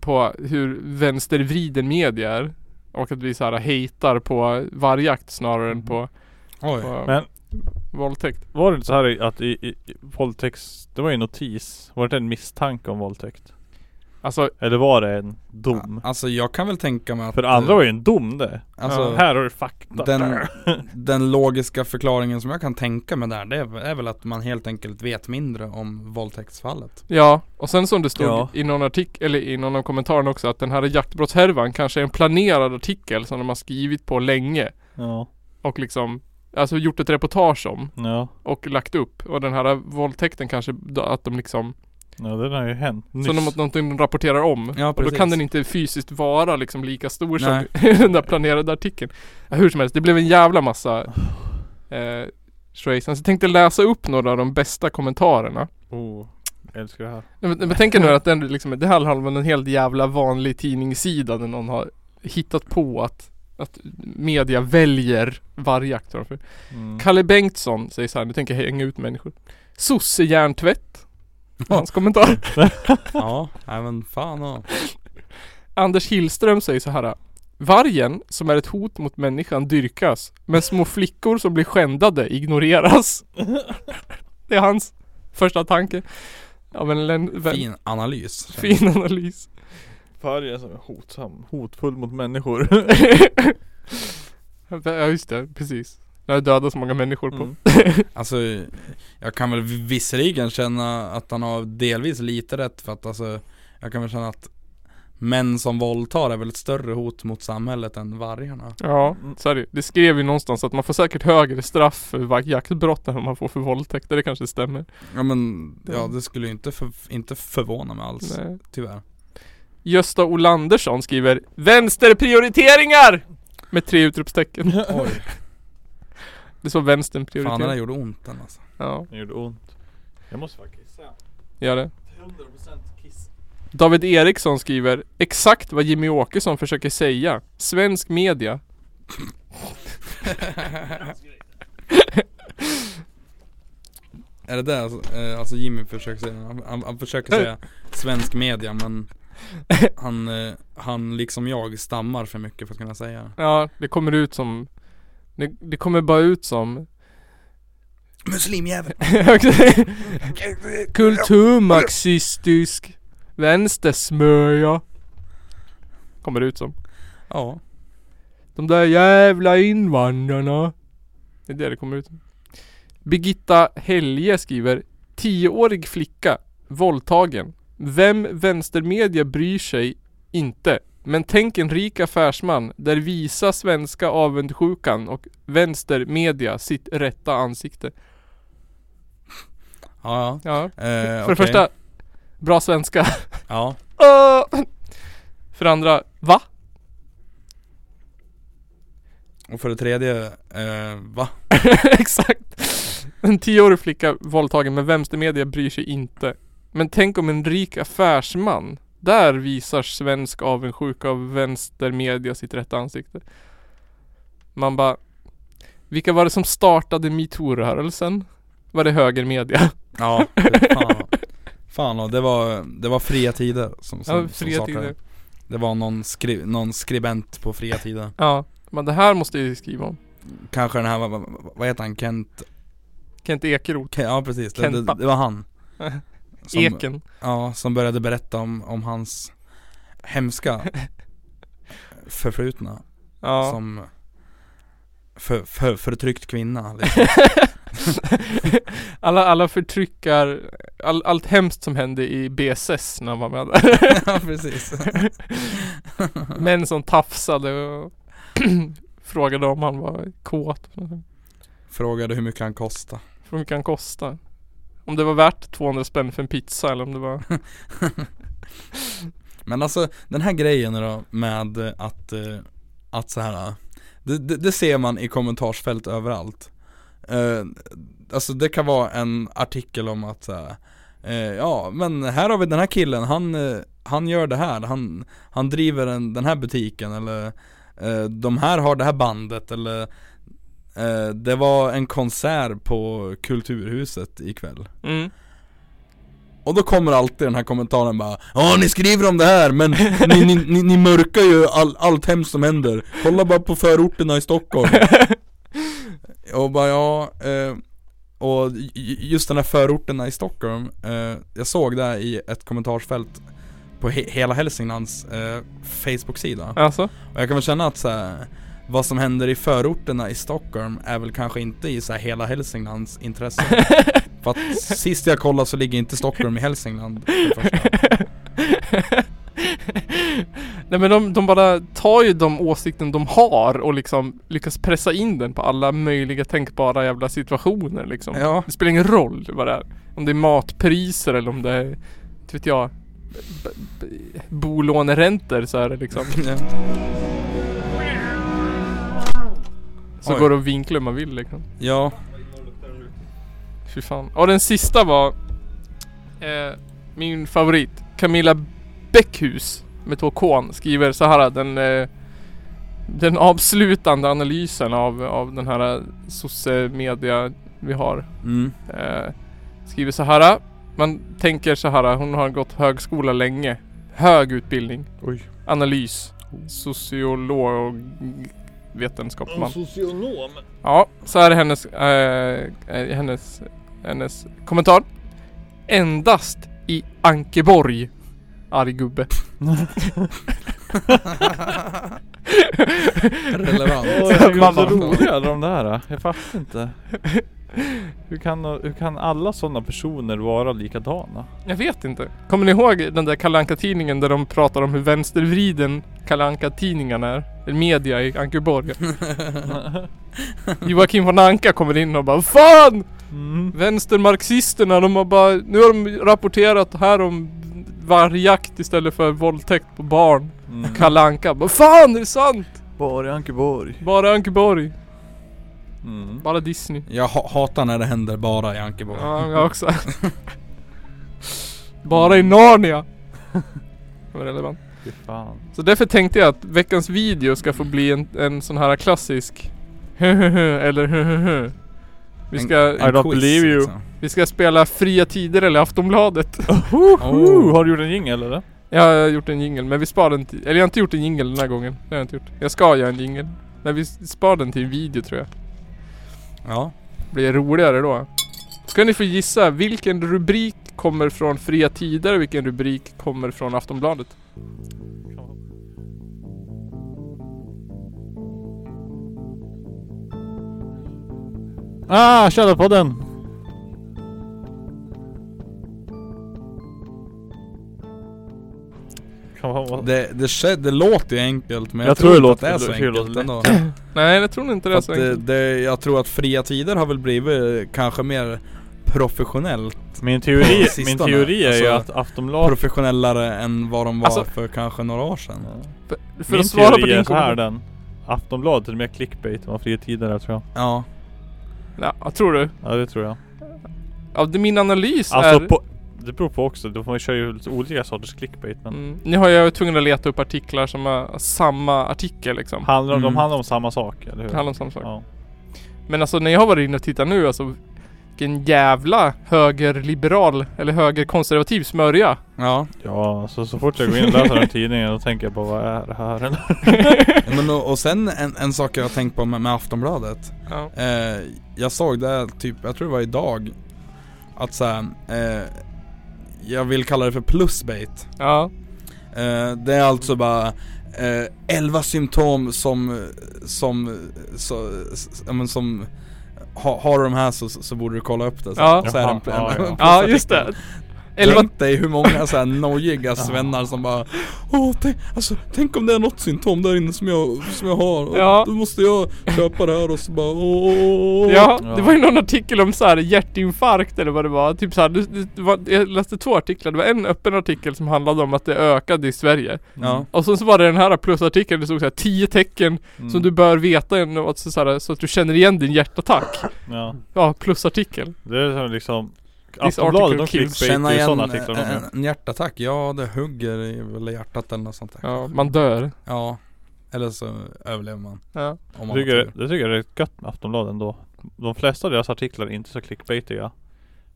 [SPEAKER 1] på hur vänstervriden media är. Och att vi så här hejtar på vargjakt snarare än på,
[SPEAKER 4] Oj.
[SPEAKER 1] på
[SPEAKER 2] Mm. Men-
[SPEAKER 1] våldtäkt.
[SPEAKER 2] Var det inte så här i- att i, i, i våldtäkts... Det var ju en notis. Var det inte en misstanke om våldtäkt?
[SPEAKER 1] Alltså
[SPEAKER 2] Eller var det en dom?
[SPEAKER 4] Alltså jag kan väl tänka mig att
[SPEAKER 2] För det andra var ju en dom det.
[SPEAKER 4] alltså,
[SPEAKER 2] här har du fakta.
[SPEAKER 4] den, den logiska förklaringen som jag kan tänka mig där Det är, är väl att man helt enkelt vet mindre om våldtäktsfallet
[SPEAKER 1] Ja, och sen som det stod
[SPEAKER 2] Ja.
[SPEAKER 1] i någon artikel, eller i någon av kommentarerna också att den här jaktbrottshärvan kanske är en planerad artikel som de har skrivit på länge
[SPEAKER 2] Ja.
[SPEAKER 1] och liksom Alltså gjort ett reportage om
[SPEAKER 2] Ja.
[SPEAKER 1] och lagt upp och den här våldtäkten kanske då- att de liksom
[SPEAKER 2] Ja den har ju hänt nyss.
[SPEAKER 1] Som de, någonting de rapporterar om
[SPEAKER 4] Ja,
[SPEAKER 1] och då
[SPEAKER 4] precis.
[SPEAKER 1] kan den inte fysiskt vara liksom lika stor som
[SPEAKER 4] Nej.
[SPEAKER 1] den där planerade artikeln ja, Hur som helst, det blev en jävla massa eh, Schweizern. Så jag tänkte läsa upp några av de bästa kommentarerna
[SPEAKER 2] Oh, jag älskar det här.
[SPEAKER 1] Nej, Men, men tänk er nu att den, liksom, det här handlar om en helt jävla vanlig tidningssida där någon har hittat på att, att media väljer vargjakt. framför.
[SPEAKER 2] Mm.
[SPEAKER 1] Kalle Bengtsson säger så här, nu tänker jag hänga ut människor. Sossejärntvätt. Hans kommentar.
[SPEAKER 4] Ja, nej men fan ja.
[SPEAKER 1] Anders Hillström säger så här. Vargen som är ett hot mot människan dyrkas, men små flickor som blir skändade ignoreras. Det är hans första tanke. Ja men en fin,
[SPEAKER 4] Fin analys känner jag.
[SPEAKER 1] fin analys.
[SPEAKER 2] Vargen som är hotsam. Hotfull mot människor.
[SPEAKER 1] ja just det, precis. När jag dödar så många människor på.
[SPEAKER 2] Mm.
[SPEAKER 4] Alltså, jag kan väl visserligen känna att han har delvis lite rätt för att alltså Jag kan väl känna att Män som våldtar är väl ett större hot mot samhället än vargarna
[SPEAKER 1] Ja, så är det ju. Det skrev ju någonstans att man får säkert högre straff för va- jaktbrott än vad man får för våldtäkter, det kanske stämmer.
[SPEAKER 4] Ja men, ja det skulle ju inte, för, inte förvåna mig alls
[SPEAKER 1] Nej.
[SPEAKER 4] Tyvärr
[SPEAKER 1] Gösta Olandersson skriver Vänsterprioriteringar! Med tre utropstecken.
[SPEAKER 4] Oj,
[SPEAKER 1] Det står vänstern
[SPEAKER 4] fan det där
[SPEAKER 1] prioriterar.
[SPEAKER 4] gjorde ont den alltså
[SPEAKER 1] Ja,
[SPEAKER 2] Det gjorde ont. Jag måste faktiskt kissa.
[SPEAKER 1] gör det.
[SPEAKER 2] 100% kiss.
[SPEAKER 1] David Eriksson skriver Exakt vad Jimmy Åkesson försöker säga. Svensk media.
[SPEAKER 4] Är det där alltså, eh, alltså Jimmy försöker säga, han, han, han försöker säga svensk media men han, eh, han liksom jag stammar för mycket för att kunna säga det.
[SPEAKER 1] Ja, det kommer ut som Det, det kommer bara ut som
[SPEAKER 4] Muslimjävel!
[SPEAKER 1] Kulturmarxistisk Vänstersmörja Kommer det ut som
[SPEAKER 4] Ja,
[SPEAKER 1] De där jävla invandrarna Det är det det kommer ut som Birgitta Helge skriver Tioårig flicka Våldtagen Vem vänstermedia bryr sig inte. Men tänk en rik affärsman där visa svenska avundsjukan och vänster media sitt rätta ansikte.
[SPEAKER 4] Ja,
[SPEAKER 1] Ja.
[SPEAKER 4] ja. Eh,
[SPEAKER 1] För det
[SPEAKER 4] okej.
[SPEAKER 1] första, bra svenska.
[SPEAKER 4] Ja.
[SPEAKER 1] Åh! För det andra, va?
[SPEAKER 4] Och för det tredje, eh, va?
[SPEAKER 1] Exakt. En tioårig flicka våldtagen men vänstermedia bryr sig inte. Men tänk om en rik affärsman. Där visar svensk avundsjuka av vänstermedia sitt rätta ansikte. Man bara Vilka var det som startade metoo-rörelsen? Var det högermedia?
[SPEAKER 4] Ja, fy fan. Fan och det var, det var fria tider som, som,
[SPEAKER 1] Ja, fria
[SPEAKER 4] som startade.
[SPEAKER 1] tider.
[SPEAKER 4] Det var någon, skri- någon skribent på fria tider.
[SPEAKER 1] Ja, men det här måste jag ju skriva om.
[SPEAKER 4] Kanske den här, vad, vad- vad heter han? Kent?
[SPEAKER 1] Kent Ekeroth.
[SPEAKER 4] Ke- ja precis, det, det,
[SPEAKER 1] Kenta.
[SPEAKER 4] det var han. Som,
[SPEAKER 1] Eken.
[SPEAKER 4] Ja, som började berätta om, om hans hemska förflutna.
[SPEAKER 1] Ja.
[SPEAKER 4] Som för, för, förtryckt kvinna. Liksom.
[SPEAKER 1] alla, alla förtryckar, all, allt hemskt som hände i BSS när man var där.
[SPEAKER 4] ja precis.
[SPEAKER 1] Män som tafsade och frågade om han var kåt.
[SPEAKER 4] Frågade hur mycket han kostade.
[SPEAKER 1] Hur mycket han kostar. Om det var värt 200 spänn för en pizza eller om det var...
[SPEAKER 4] Men alltså den här grejen då med eh, att, eh, att så här det, det, det ser man i kommentarsfält överallt Eh, Alltså det kan vara en artikel om att så här, eh, ja men här har vi den här killen, han, eh, han gör det här, han, han driver den, den här butiken eller eh, de här har det här bandet eller eh, det var en konsert på Kulturhuset ikväll
[SPEAKER 1] Mm.
[SPEAKER 4] och då kommer alltid den här kommentaren bara Ja ni skriver om det här men ni, ni, ni, ni mörkar ju all, allt hemskt som händer Kolla bara på förorterna i Stockholm Och bara ja eh, Och ju- ju- just den här förorterna i Stockholm eh, Jag såg det här i ett kommentarsfält På he, hela Hälsinglands eh, Facebook-sida
[SPEAKER 1] Alltså?
[SPEAKER 4] Och jag kan väl känna att så här, Vad som händer i förorterna i Stockholm är väl kanske inte i så här, hela Hälsinglands intresse för att sist jag kollade så ligger inte Stockholm i Hälsingland för det första.
[SPEAKER 1] Nej men de, de bara tar ju de åsikten de har och liksom lyckas pressa in den på alla möjliga tänkbara jävla situationer liksom.
[SPEAKER 4] Ja,
[SPEAKER 1] Det spelar ingen roll vad det är. Om det är matpriser eller om det är, inte vet jag, b- b- bolåneräntor så är det liksom. Så
[SPEAKER 4] Oj.
[SPEAKER 1] går det att vinkla hur man vill liksom.
[SPEAKER 4] ja,
[SPEAKER 1] Fy fan. Och den sista var eh, min favorit. Camilla Bäckhus med två K'n skriver så här den eh, den avslutande analysen av, av den här eh, sosse-media vi har
[SPEAKER 4] mm,
[SPEAKER 1] Eh, skriver så här. Man tänker så här. Hon har gått högskola länge. Hög utbildning.
[SPEAKER 4] Oj.
[SPEAKER 1] Analys. Sociolog.
[SPEAKER 2] Mm.
[SPEAKER 1] Vetenskapsman.
[SPEAKER 2] Socionom?
[SPEAKER 1] Ja, så här är hennes, eh, eh, hennes, hennes kommentar. Endast i Ankeborg. Arg gubbe.
[SPEAKER 4] relevant.
[SPEAKER 2] Oj, de är
[SPEAKER 1] Man
[SPEAKER 2] så
[SPEAKER 1] bara-
[SPEAKER 2] roliga de där. Jag fattar inte. Hur kan, hur kan alla sådana personer vara likadana?
[SPEAKER 1] Jag vet inte. Kommer ni ihåg den där Kalle Anka-tidningen där de pratar om hur vänstervriden Kalle Anka-tidningen är? Eller Media i Ankeborg. Joakim von Anka kommer in och bara Fan!
[SPEAKER 2] Mm.
[SPEAKER 1] Vänstermarxisterna de har bara Nu har de rapporterat här om vargjakt istället för våldtäkt på barn.
[SPEAKER 2] Mm.
[SPEAKER 1] Kalle Anka bara Fan är det sant?
[SPEAKER 2] Bara i Ankeborg.
[SPEAKER 1] Bara Ankeborg.
[SPEAKER 2] Mm.
[SPEAKER 1] Bara Disney.
[SPEAKER 4] Jag ha- hatar när det händer bara i Ankeborg.
[SPEAKER 1] Ja, jag också. bara i Narnia. Det var relevant.
[SPEAKER 2] Fy fan.
[SPEAKER 1] Så därför tänkte jag att veckans video ska få bli en, en sån här klassisk eller Vi ska,
[SPEAKER 2] I don't believe you.
[SPEAKER 4] liksom.
[SPEAKER 1] vi ska spela Fria Tider eller Aftonbladet.
[SPEAKER 4] Oh.
[SPEAKER 2] Ooh, har du gjort en jingel eller?
[SPEAKER 1] Jag har gjort en jingle men vi sparar den till, eller jag har inte gjort en jingle den här gången. Det har jag inte gjort. Jag ska göra en jingle. Men vi sparar den till en video tror jag.
[SPEAKER 4] Ja,
[SPEAKER 1] Blir roligare då. Ska ni få gissa vilken rubrik kommer från Fria Tider och vilken rubrik kommer från Aftonbladet?
[SPEAKER 2] Ah, Källarpodden! Kan man,
[SPEAKER 4] Det, det, sker, det låter ju enkelt men jag,
[SPEAKER 2] Jag tror
[SPEAKER 4] tror,
[SPEAKER 2] det
[SPEAKER 4] inte att
[SPEAKER 2] låter-
[SPEAKER 4] det är
[SPEAKER 2] jag tror
[SPEAKER 4] så
[SPEAKER 2] det
[SPEAKER 4] enkelt
[SPEAKER 2] låter
[SPEAKER 4] ändå.
[SPEAKER 1] Nej jag tror inte det
[SPEAKER 4] För
[SPEAKER 1] är
[SPEAKER 4] att
[SPEAKER 1] så
[SPEAKER 2] eh,
[SPEAKER 4] det,
[SPEAKER 1] enkelt.
[SPEAKER 4] det, jag tror att fria tider har väl blivit eh, kanske mer professionellt,
[SPEAKER 2] Min teori,
[SPEAKER 4] På sistone,
[SPEAKER 2] min teori är ju att
[SPEAKER 4] alltså,
[SPEAKER 2] Aftonbladet...
[SPEAKER 4] professionellare än vad de var
[SPEAKER 1] Alltså-
[SPEAKER 4] för kanske några år sedan.
[SPEAKER 1] För, för
[SPEAKER 2] Mm. Min
[SPEAKER 1] att svara på
[SPEAKER 2] teori
[SPEAKER 1] din
[SPEAKER 2] är så här
[SPEAKER 1] kommentar.
[SPEAKER 2] den. Aftonbladet är mer clickbait än vad Fria Tider är tror jag.
[SPEAKER 4] Ja,
[SPEAKER 1] Ja, jag tror du?
[SPEAKER 2] Ja det tror jag.
[SPEAKER 1] Ja, det, min analys
[SPEAKER 2] Alltså
[SPEAKER 1] är...
[SPEAKER 2] på... Det beror på också. Då får man köra ju lite olika sorters clickbait men...
[SPEAKER 1] Mm, nu har jag ju tvungen att leta upp artiklar som är samma artikel liksom.
[SPEAKER 2] Handlar, om De
[SPEAKER 4] Mm.
[SPEAKER 2] handlar om samma sak, eller hur?
[SPEAKER 1] Det handlar om samma sak.
[SPEAKER 2] Ja.
[SPEAKER 1] Men alltså när jag har varit inne och tittat nu alltså vilken jävla högerliberal eller högerkonservativ smörja.
[SPEAKER 4] ja.
[SPEAKER 2] Ja, så, så fort jag går in och läser den här tidningen då tänker jag på vad är det här?
[SPEAKER 4] Men, och, och sen en, en sak jag har tänkt på med, med Aftonbladet.
[SPEAKER 1] Ja.
[SPEAKER 4] Eh, jag såg det här typ, jag tror det var idag. Att såhär, eh, jag vill kalla det för plusbait.
[SPEAKER 1] Ja.
[SPEAKER 4] Eh, det är alltså bara eh, 11 symptom som, som, så, s- ja, men som ha, har de här så, så borde du kolla upp det. Så,
[SPEAKER 1] Ja.
[SPEAKER 4] så är det en,
[SPEAKER 2] Jaha, ja, ja.
[SPEAKER 4] en
[SPEAKER 1] ja just det.
[SPEAKER 4] Eller
[SPEAKER 1] Elva...
[SPEAKER 4] Tänk dig hur många så här nojiga svennar som bara Åh, tänk, alltså, tänk om det är något symptom där inne som jag, som jag har och
[SPEAKER 1] Ja.
[SPEAKER 4] Då måste jag köpa det här och så bara åh, åh, åh, åh."
[SPEAKER 1] Ja,
[SPEAKER 2] Ja.
[SPEAKER 1] det var ju någon artikel om så här hjärtinfarkt eller vad det var. Typ så här, det, det, det var, jag läste två artiklar. Det var en öppen artikel som handlade om att det ökade i Sverige.
[SPEAKER 4] Ja.
[SPEAKER 1] Och sen så var det den här plusartikeln, det stod så här 10 tecken
[SPEAKER 2] Mm.
[SPEAKER 1] som du bör veta innan- alltså så, här, så att du känner igen din hjärtattack.
[SPEAKER 2] ja.
[SPEAKER 1] Ja, plusartikel.
[SPEAKER 2] Det är som liksom...
[SPEAKER 1] article
[SPEAKER 2] Aftonbladet de
[SPEAKER 1] kills.
[SPEAKER 2] clickbaitar ju sådana artiklar de
[SPEAKER 4] eh, en,
[SPEAKER 2] gör.
[SPEAKER 4] en hjärtattack, ja det hugger i väl i hjärtat eller något sånt där
[SPEAKER 1] Ja, man dör.
[SPEAKER 4] Ja. Eller så överlever man
[SPEAKER 1] Ja.
[SPEAKER 4] om
[SPEAKER 2] Jag
[SPEAKER 4] man har
[SPEAKER 2] tycker,
[SPEAKER 4] tur.
[SPEAKER 2] det tycker jag är rätt gött med Aftonbladet ändå. De flesta av deras artiklar är inte så clickbaitiga.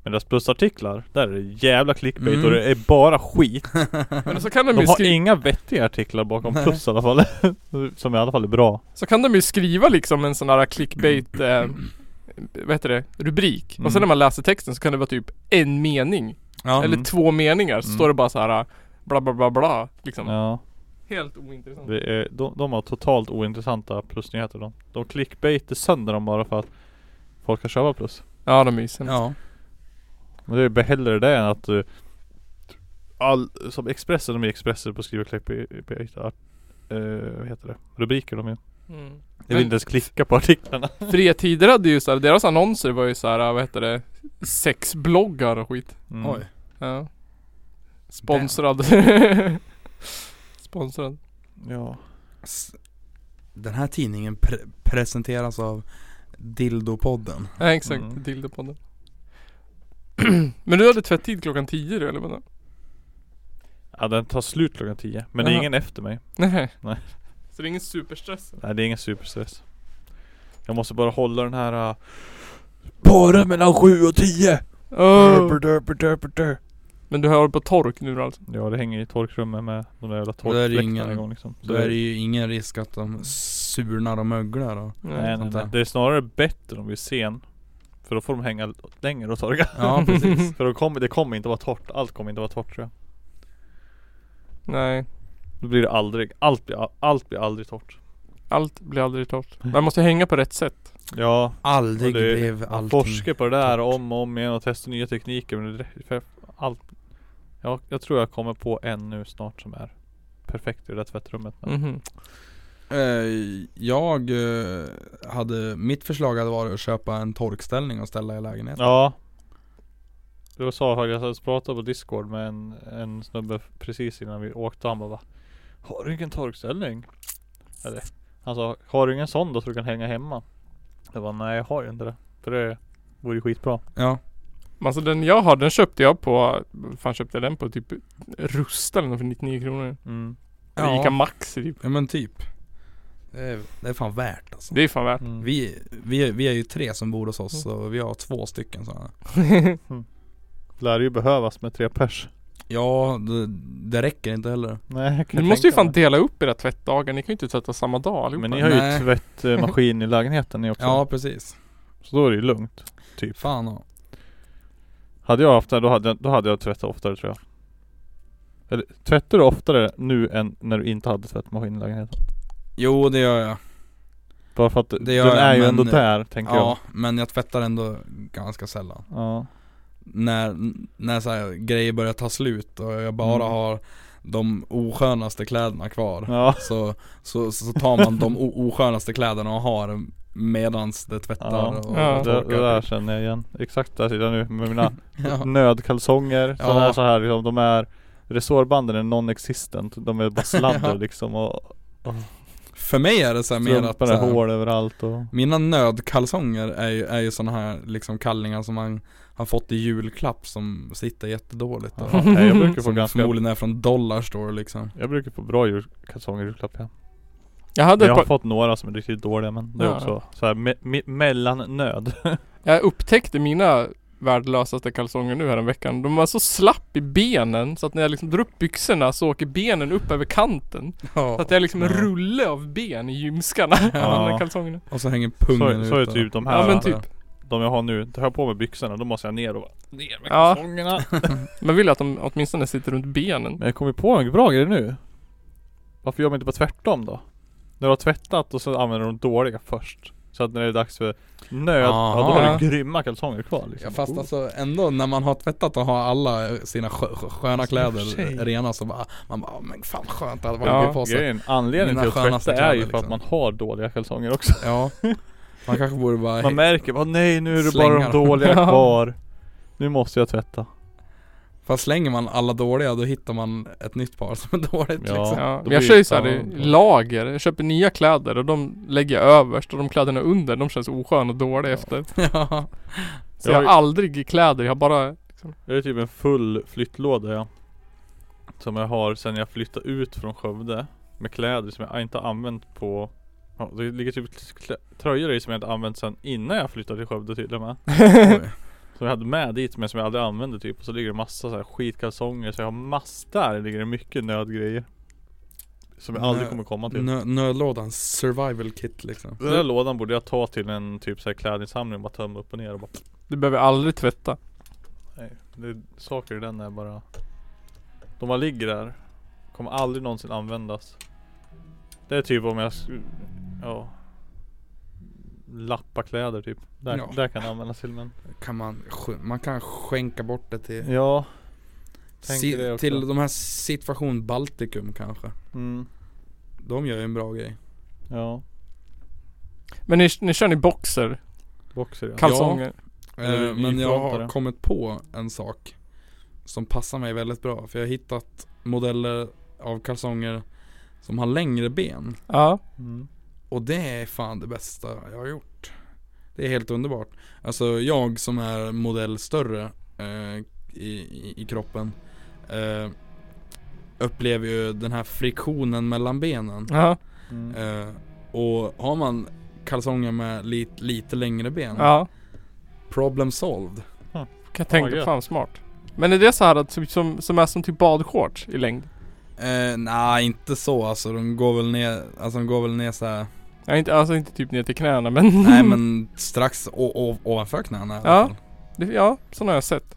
[SPEAKER 2] Men deras plusartiklar, där är det jävla clickbait
[SPEAKER 4] Mm.
[SPEAKER 2] och det är bara skit.
[SPEAKER 1] Men så kan de,
[SPEAKER 2] De
[SPEAKER 1] ju
[SPEAKER 2] har
[SPEAKER 1] skriva,
[SPEAKER 2] inga vettiga artiklar bakom
[SPEAKER 4] Nej.
[SPEAKER 2] plus i alla fall. Som i alla fall är bra.
[SPEAKER 1] så kan de ju skriva liksom en sån här clickbait eh, vad heter det? Rubrik. Och sen
[SPEAKER 2] Mm.
[SPEAKER 1] när man läser texten så kan det vara typ en mening.
[SPEAKER 4] ja.
[SPEAKER 1] Eller två meningar. Så
[SPEAKER 2] Mm.
[SPEAKER 1] står det bara så här eh, bla bla bla bla. Liksom.
[SPEAKER 2] Ja.
[SPEAKER 1] Helt ointressant.
[SPEAKER 2] Det är, de, de har totalt ointressanta plusnyheter de. De clickbaitar sönder dem bara för att folk ska köpa plus.
[SPEAKER 1] Ja, de är ju sämst.
[SPEAKER 4] ja.
[SPEAKER 2] Men det är bara hellre det än att du all, Som Expressen, de är Expressen på att skriva clickbait art, eh, Vad heter det? Rubriker de är
[SPEAKER 1] Mm.
[SPEAKER 2] Jag vill inte ens klicka på artiklarna
[SPEAKER 1] Fria Tider hade ju så här, deras annonser var ju så här, eh, vad heter det? Sexbloggar och skit.
[SPEAKER 2] mm.
[SPEAKER 4] Oj.
[SPEAKER 1] Ja. Sponsrad. Sponsrad.
[SPEAKER 2] Ja
[SPEAKER 4] S- Den här tidningen pre- presenteras av Dildopodden
[SPEAKER 1] Ja exakt,
[SPEAKER 2] Mm.
[SPEAKER 1] Dildopodden. Men du hade tvättid klockan 10 du eller vadå?
[SPEAKER 2] Ja den tar slut klockan 10 Men det är
[SPEAKER 1] Jaha.
[SPEAKER 2] ingen efter mig
[SPEAKER 1] Nej.
[SPEAKER 2] Nej.
[SPEAKER 1] Så det är ingen superstress?
[SPEAKER 2] Nej det är ingen superstress Jag måste bara hålla den här uh, Bara mellan 7 och 10 Ah.
[SPEAKER 1] Oh.
[SPEAKER 2] Derper-derper-derper-der.
[SPEAKER 1] Men du har på tork nu alltså?
[SPEAKER 2] Ja det hänger i torkrummet med de där jävla
[SPEAKER 4] Och där är det
[SPEAKER 2] torkfläktarna
[SPEAKER 4] ingen-
[SPEAKER 2] igång liksom Så
[SPEAKER 4] Då är det ju ingen risk att de surnar och möglar och
[SPEAKER 2] Nej, nej,
[SPEAKER 4] sånt
[SPEAKER 2] nej.
[SPEAKER 4] där.
[SPEAKER 2] Det är snarare bättre om vi är sen För då får de hänga längre och torka
[SPEAKER 4] Ja precis
[SPEAKER 2] För då kommer, det kommer inte vara torrt, allt kommer inte vara torrt tror jag
[SPEAKER 1] Nej.
[SPEAKER 2] Då blir det aldrig, allt blir, allt blir aldrig torrt
[SPEAKER 1] Allt blir aldrig torrt. Man måste hänga på rätt sätt.
[SPEAKER 2] Ja,
[SPEAKER 4] Aldrig
[SPEAKER 2] Och det-
[SPEAKER 4] blev
[SPEAKER 2] man
[SPEAKER 4] allting
[SPEAKER 2] forskar på det där om och om igen och testar nya tekniker men det, rä- för allt jag, jag tror jag kommer på en nu snart som är perfekt i det där tvättrummet
[SPEAKER 1] Mhm.
[SPEAKER 4] Eh, Jag eh, hade, mitt förslag hade varit att köpa en torkställning och ställa i lägenheten
[SPEAKER 2] Ja Du sa jag jag pratade på discord med en, en snubbe precis innan vi åkte han bara va? Har du ingen torkställning? Eller Han sa Har du ingen sån då så du kan hänga hemma? Jag bara nej jag har ju inte det För det vore ju skitbra
[SPEAKER 4] Ja,
[SPEAKER 1] Alltså den jag har, den köpte jag på, vad fan köpte jag den på? Typ Rusta eller något för 99 kronor.
[SPEAKER 2] mm.
[SPEAKER 1] Eller
[SPEAKER 4] Ja.
[SPEAKER 1] Ica Maxi typ.
[SPEAKER 4] ja men typ det är, det är fan värt alltså
[SPEAKER 1] Det är fan värt.
[SPEAKER 2] Mm.
[SPEAKER 4] vi, vi, vi är ju tre som bor hos oss och vi har två stycken sådana
[SPEAKER 2] Mm. Lär ju behövas med tre pers
[SPEAKER 4] Ja, det, det räcker inte heller
[SPEAKER 2] Nej jag kan
[SPEAKER 1] Ni
[SPEAKER 2] ju
[SPEAKER 1] måste ju
[SPEAKER 2] tänka
[SPEAKER 1] fan
[SPEAKER 2] mig.
[SPEAKER 1] dela upp era tvättdagar. Ni kan ju inte tvätta samma dag allihopa.
[SPEAKER 2] Men ni har ju
[SPEAKER 4] Nej.
[SPEAKER 2] tvättmaskin i lägenheten ni också
[SPEAKER 4] Ja precis,
[SPEAKER 2] Så då är det ju lugnt Typ
[SPEAKER 4] fan och,
[SPEAKER 2] Hade jag haft det då hade jag, då hade jag tvättat oftare tror jag Eller tvättar du oftare nu än när du inte hade tvättmaskin i lägenheten?
[SPEAKER 4] Jo det gör jag
[SPEAKER 2] Bara för att
[SPEAKER 4] Det
[SPEAKER 2] den
[SPEAKER 4] gör jag,
[SPEAKER 2] är ju
[SPEAKER 4] men- eh,
[SPEAKER 2] ändå där tänker jag
[SPEAKER 4] Ja, men jag tvättar ändå ganska sällan
[SPEAKER 2] Ja
[SPEAKER 4] när, när så här, grejer börjar ta slut och jag bara
[SPEAKER 2] Mm.
[SPEAKER 4] har de oskönaste kläderna kvar
[SPEAKER 2] Ja.
[SPEAKER 4] så, så, så tar man de o- oskönaste kläderna och har medans det tvättar
[SPEAKER 2] Ja.
[SPEAKER 4] och
[SPEAKER 1] Ja.
[SPEAKER 2] Det, det
[SPEAKER 4] torkar.
[SPEAKER 2] där känner jag igen. Exakt där sitter jag nu med mina
[SPEAKER 4] Ja.
[SPEAKER 2] nödkalsonger.
[SPEAKER 4] Ja.
[SPEAKER 2] Sådana här, så här liksom, de är Resårbanden är non-existent. De är bara sladdar
[SPEAKER 4] Ja.
[SPEAKER 2] liksom och
[SPEAKER 4] För mig är det så här mer att
[SPEAKER 2] strumporna
[SPEAKER 4] så här,
[SPEAKER 2] är hål överallt och
[SPEAKER 4] Mina nödkalsonger är ju, är ju såna här liksom kallningar som man har fått i julklapp som sitter jättedåligt
[SPEAKER 2] ja.
[SPEAKER 4] och,
[SPEAKER 2] Nej, jag brukar få
[SPEAKER 4] som
[SPEAKER 2] ganska
[SPEAKER 4] förmodligen är från Dollarstore liksom
[SPEAKER 2] Jag brukar få bra julkalsonger i julklapp ja.
[SPEAKER 1] Jag hade
[SPEAKER 2] Jag
[SPEAKER 1] ett
[SPEAKER 2] har
[SPEAKER 1] par,
[SPEAKER 2] fått några som är riktigt dåliga men det är
[SPEAKER 1] Ja.
[SPEAKER 2] också så här me me mellannöd.
[SPEAKER 1] jag upptäckte mina värdelösaste kalsonger nu här en veckan. De var så slapp i benen så att när jag liksom drar upp byxorna så åker benen upp över kanten. Så att det är liksom en
[SPEAKER 2] Ja.
[SPEAKER 1] rulle av ben i ljumskarna.
[SPEAKER 2] Ja.
[SPEAKER 1] Ja. kalsongerna.
[SPEAKER 4] Och så hänger
[SPEAKER 2] Så,
[SPEAKER 4] pungen
[SPEAKER 2] så är
[SPEAKER 4] ut och-
[SPEAKER 2] typ de här
[SPEAKER 1] Ja men
[SPEAKER 2] va?
[SPEAKER 1] typ.
[SPEAKER 2] de jag har nu. Tar jag på mig byxorna då måste jag ner och bara, ner med
[SPEAKER 1] Ja.
[SPEAKER 2] kalsongerna.
[SPEAKER 1] Men vill att de åtminstone sitter runt benen.
[SPEAKER 2] Men jag kommer på en bra grej nu. Varför gör man inte bara tvärtom då? När du har tvättat och så använder du de dåliga först. Så att när det är dags för nöd, ja, då
[SPEAKER 1] Aha.
[SPEAKER 2] har du grymma kalsonger kvar liksom.
[SPEAKER 4] Ja, fast alltså ändå när man har tvättat och har alla sina skö, skö- sköna
[SPEAKER 2] Alltså,
[SPEAKER 4] kläder
[SPEAKER 2] tjej.
[SPEAKER 4] rena så bara Man bara men fan skönt att man
[SPEAKER 1] Ja,
[SPEAKER 4] ja, på sig
[SPEAKER 2] Grejen, anledningen
[SPEAKER 4] Mina
[SPEAKER 2] till att
[SPEAKER 4] skönaste
[SPEAKER 2] tvätta är ju
[SPEAKER 4] kläder,
[SPEAKER 2] för att
[SPEAKER 4] liksom.
[SPEAKER 2] man har dåliga kalsonger också.
[SPEAKER 4] Ja Man kanske borde bara
[SPEAKER 2] Man märker bara nej nu är det
[SPEAKER 4] Slänga
[SPEAKER 2] bara de
[SPEAKER 4] dem.
[SPEAKER 2] dåliga
[SPEAKER 1] Ja.
[SPEAKER 2] kvar. Nu måste jag tvätta.
[SPEAKER 4] Fast slänger man alla dåliga då hittar man ett nytt par som är dåligt
[SPEAKER 2] Ja.
[SPEAKER 4] liksom
[SPEAKER 1] Ja,
[SPEAKER 2] då
[SPEAKER 1] men jag
[SPEAKER 2] blir
[SPEAKER 1] kör ju
[SPEAKER 2] det
[SPEAKER 1] såhär i
[SPEAKER 2] samma.
[SPEAKER 1] lager. Jag köper nya kläder och de lägger jag överst och de kläderna under de känns osköna och dåliga
[SPEAKER 2] Ja.
[SPEAKER 1] efter.
[SPEAKER 4] Ja
[SPEAKER 1] Så jag har
[SPEAKER 2] Jag har
[SPEAKER 1] aldrig kläder, jag har bara
[SPEAKER 2] Det är typ en full flyttlåda ja. Som jag har sen jag flyttade ut från Skövde. Med kläder som jag inte har använt på ja, Det ligger typ klä- tröjor i som jag inte använt sen innan jag flyttade till Skövde till och med.
[SPEAKER 4] Oj.
[SPEAKER 2] Som jag hade med dit men som jag aldrig använde typ. Och så ligger det massa så här skitkalsonger. Så jag har massor. Där ligger det mycket nödgrejer. Som jag aldrig
[SPEAKER 4] Nö-
[SPEAKER 2] kommer komma till.
[SPEAKER 4] Nö, nödlådan, survival kit liksom
[SPEAKER 2] Den där lådan borde jag ta till en typ så här klädinsamling. Bara tömma upp och ner och bara
[SPEAKER 1] Du behöver aldrig tvätta.
[SPEAKER 2] Nej, det är saker i den är bara De bara ligger där Kommer aldrig någonsin användas Det är typ om jag sk- Ja Lappa kläder typ Där,
[SPEAKER 4] Ja.
[SPEAKER 2] där kan det användas till men
[SPEAKER 4] Kan man, sk- man kan skänka bort det till
[SPEAKER 2] Ja tänker det
[SPEAKER 4] si,
[SPEAKER 2] också.
[SPEAKER 4] Till de här situation Baltikum kanske
[SPEAKER 2] mm,
[SPEAKER 4] De gör ju en bra grej
[SPEAKER 2] Ja
[SPEAKER 1] Men ni, ni kör ni boxer,
[SPEAKER 2] Boxer ja.
[SPEAKER 1] kalsonger?
[SPEAKER 2] Eller
[SPEAKER 4] Eh, Men jag
[SPEAKER 2] nyfrontade.
[SPEAKER 4] har kommit på en sak Som passar mig väldigt bra för jag har hittat modeller av kalsonger Som har längre ben
[SPEAKER 1] Ja.
[SPEAKER 2] mm.
[SPEAKER 4] Och det är fan det bästa jag har gjort Det är helt underbart Alltså jag som är modell större eh, i, i, i kroppen eh, Upplever ju den här friktionen mellan benen
[SPEAKER 1] Ja.
[SPEAKER 2] Mm.
[SPEAKER 4] eh, Och har man kalsonger med lite, lite längre ben
[SPEAKER 1] ja.
[SPEAKER 4] Problem solved
[SPEAKER 1] Kan jag tänka,
[SPEAKER 2] gött.
[SPEAKER 1] fan smart. Men är det så här att typ som, som är som typ badshorts i längd?
[SPEAKER 4] eh, Nej inte så alltså, de går väl ner, alltså de går väl ner så här.
[SPEAKER 1] Ja, inte, alltså inte typ ner till knäna men
[SPEAKER 4] Nej men strax o- o- ovanför knäna i alla
[SPEAKER 1] Ja.
[SPEAKER 4] fall.
[SPEAKER 1] Det- Ja, sådana har jag sett.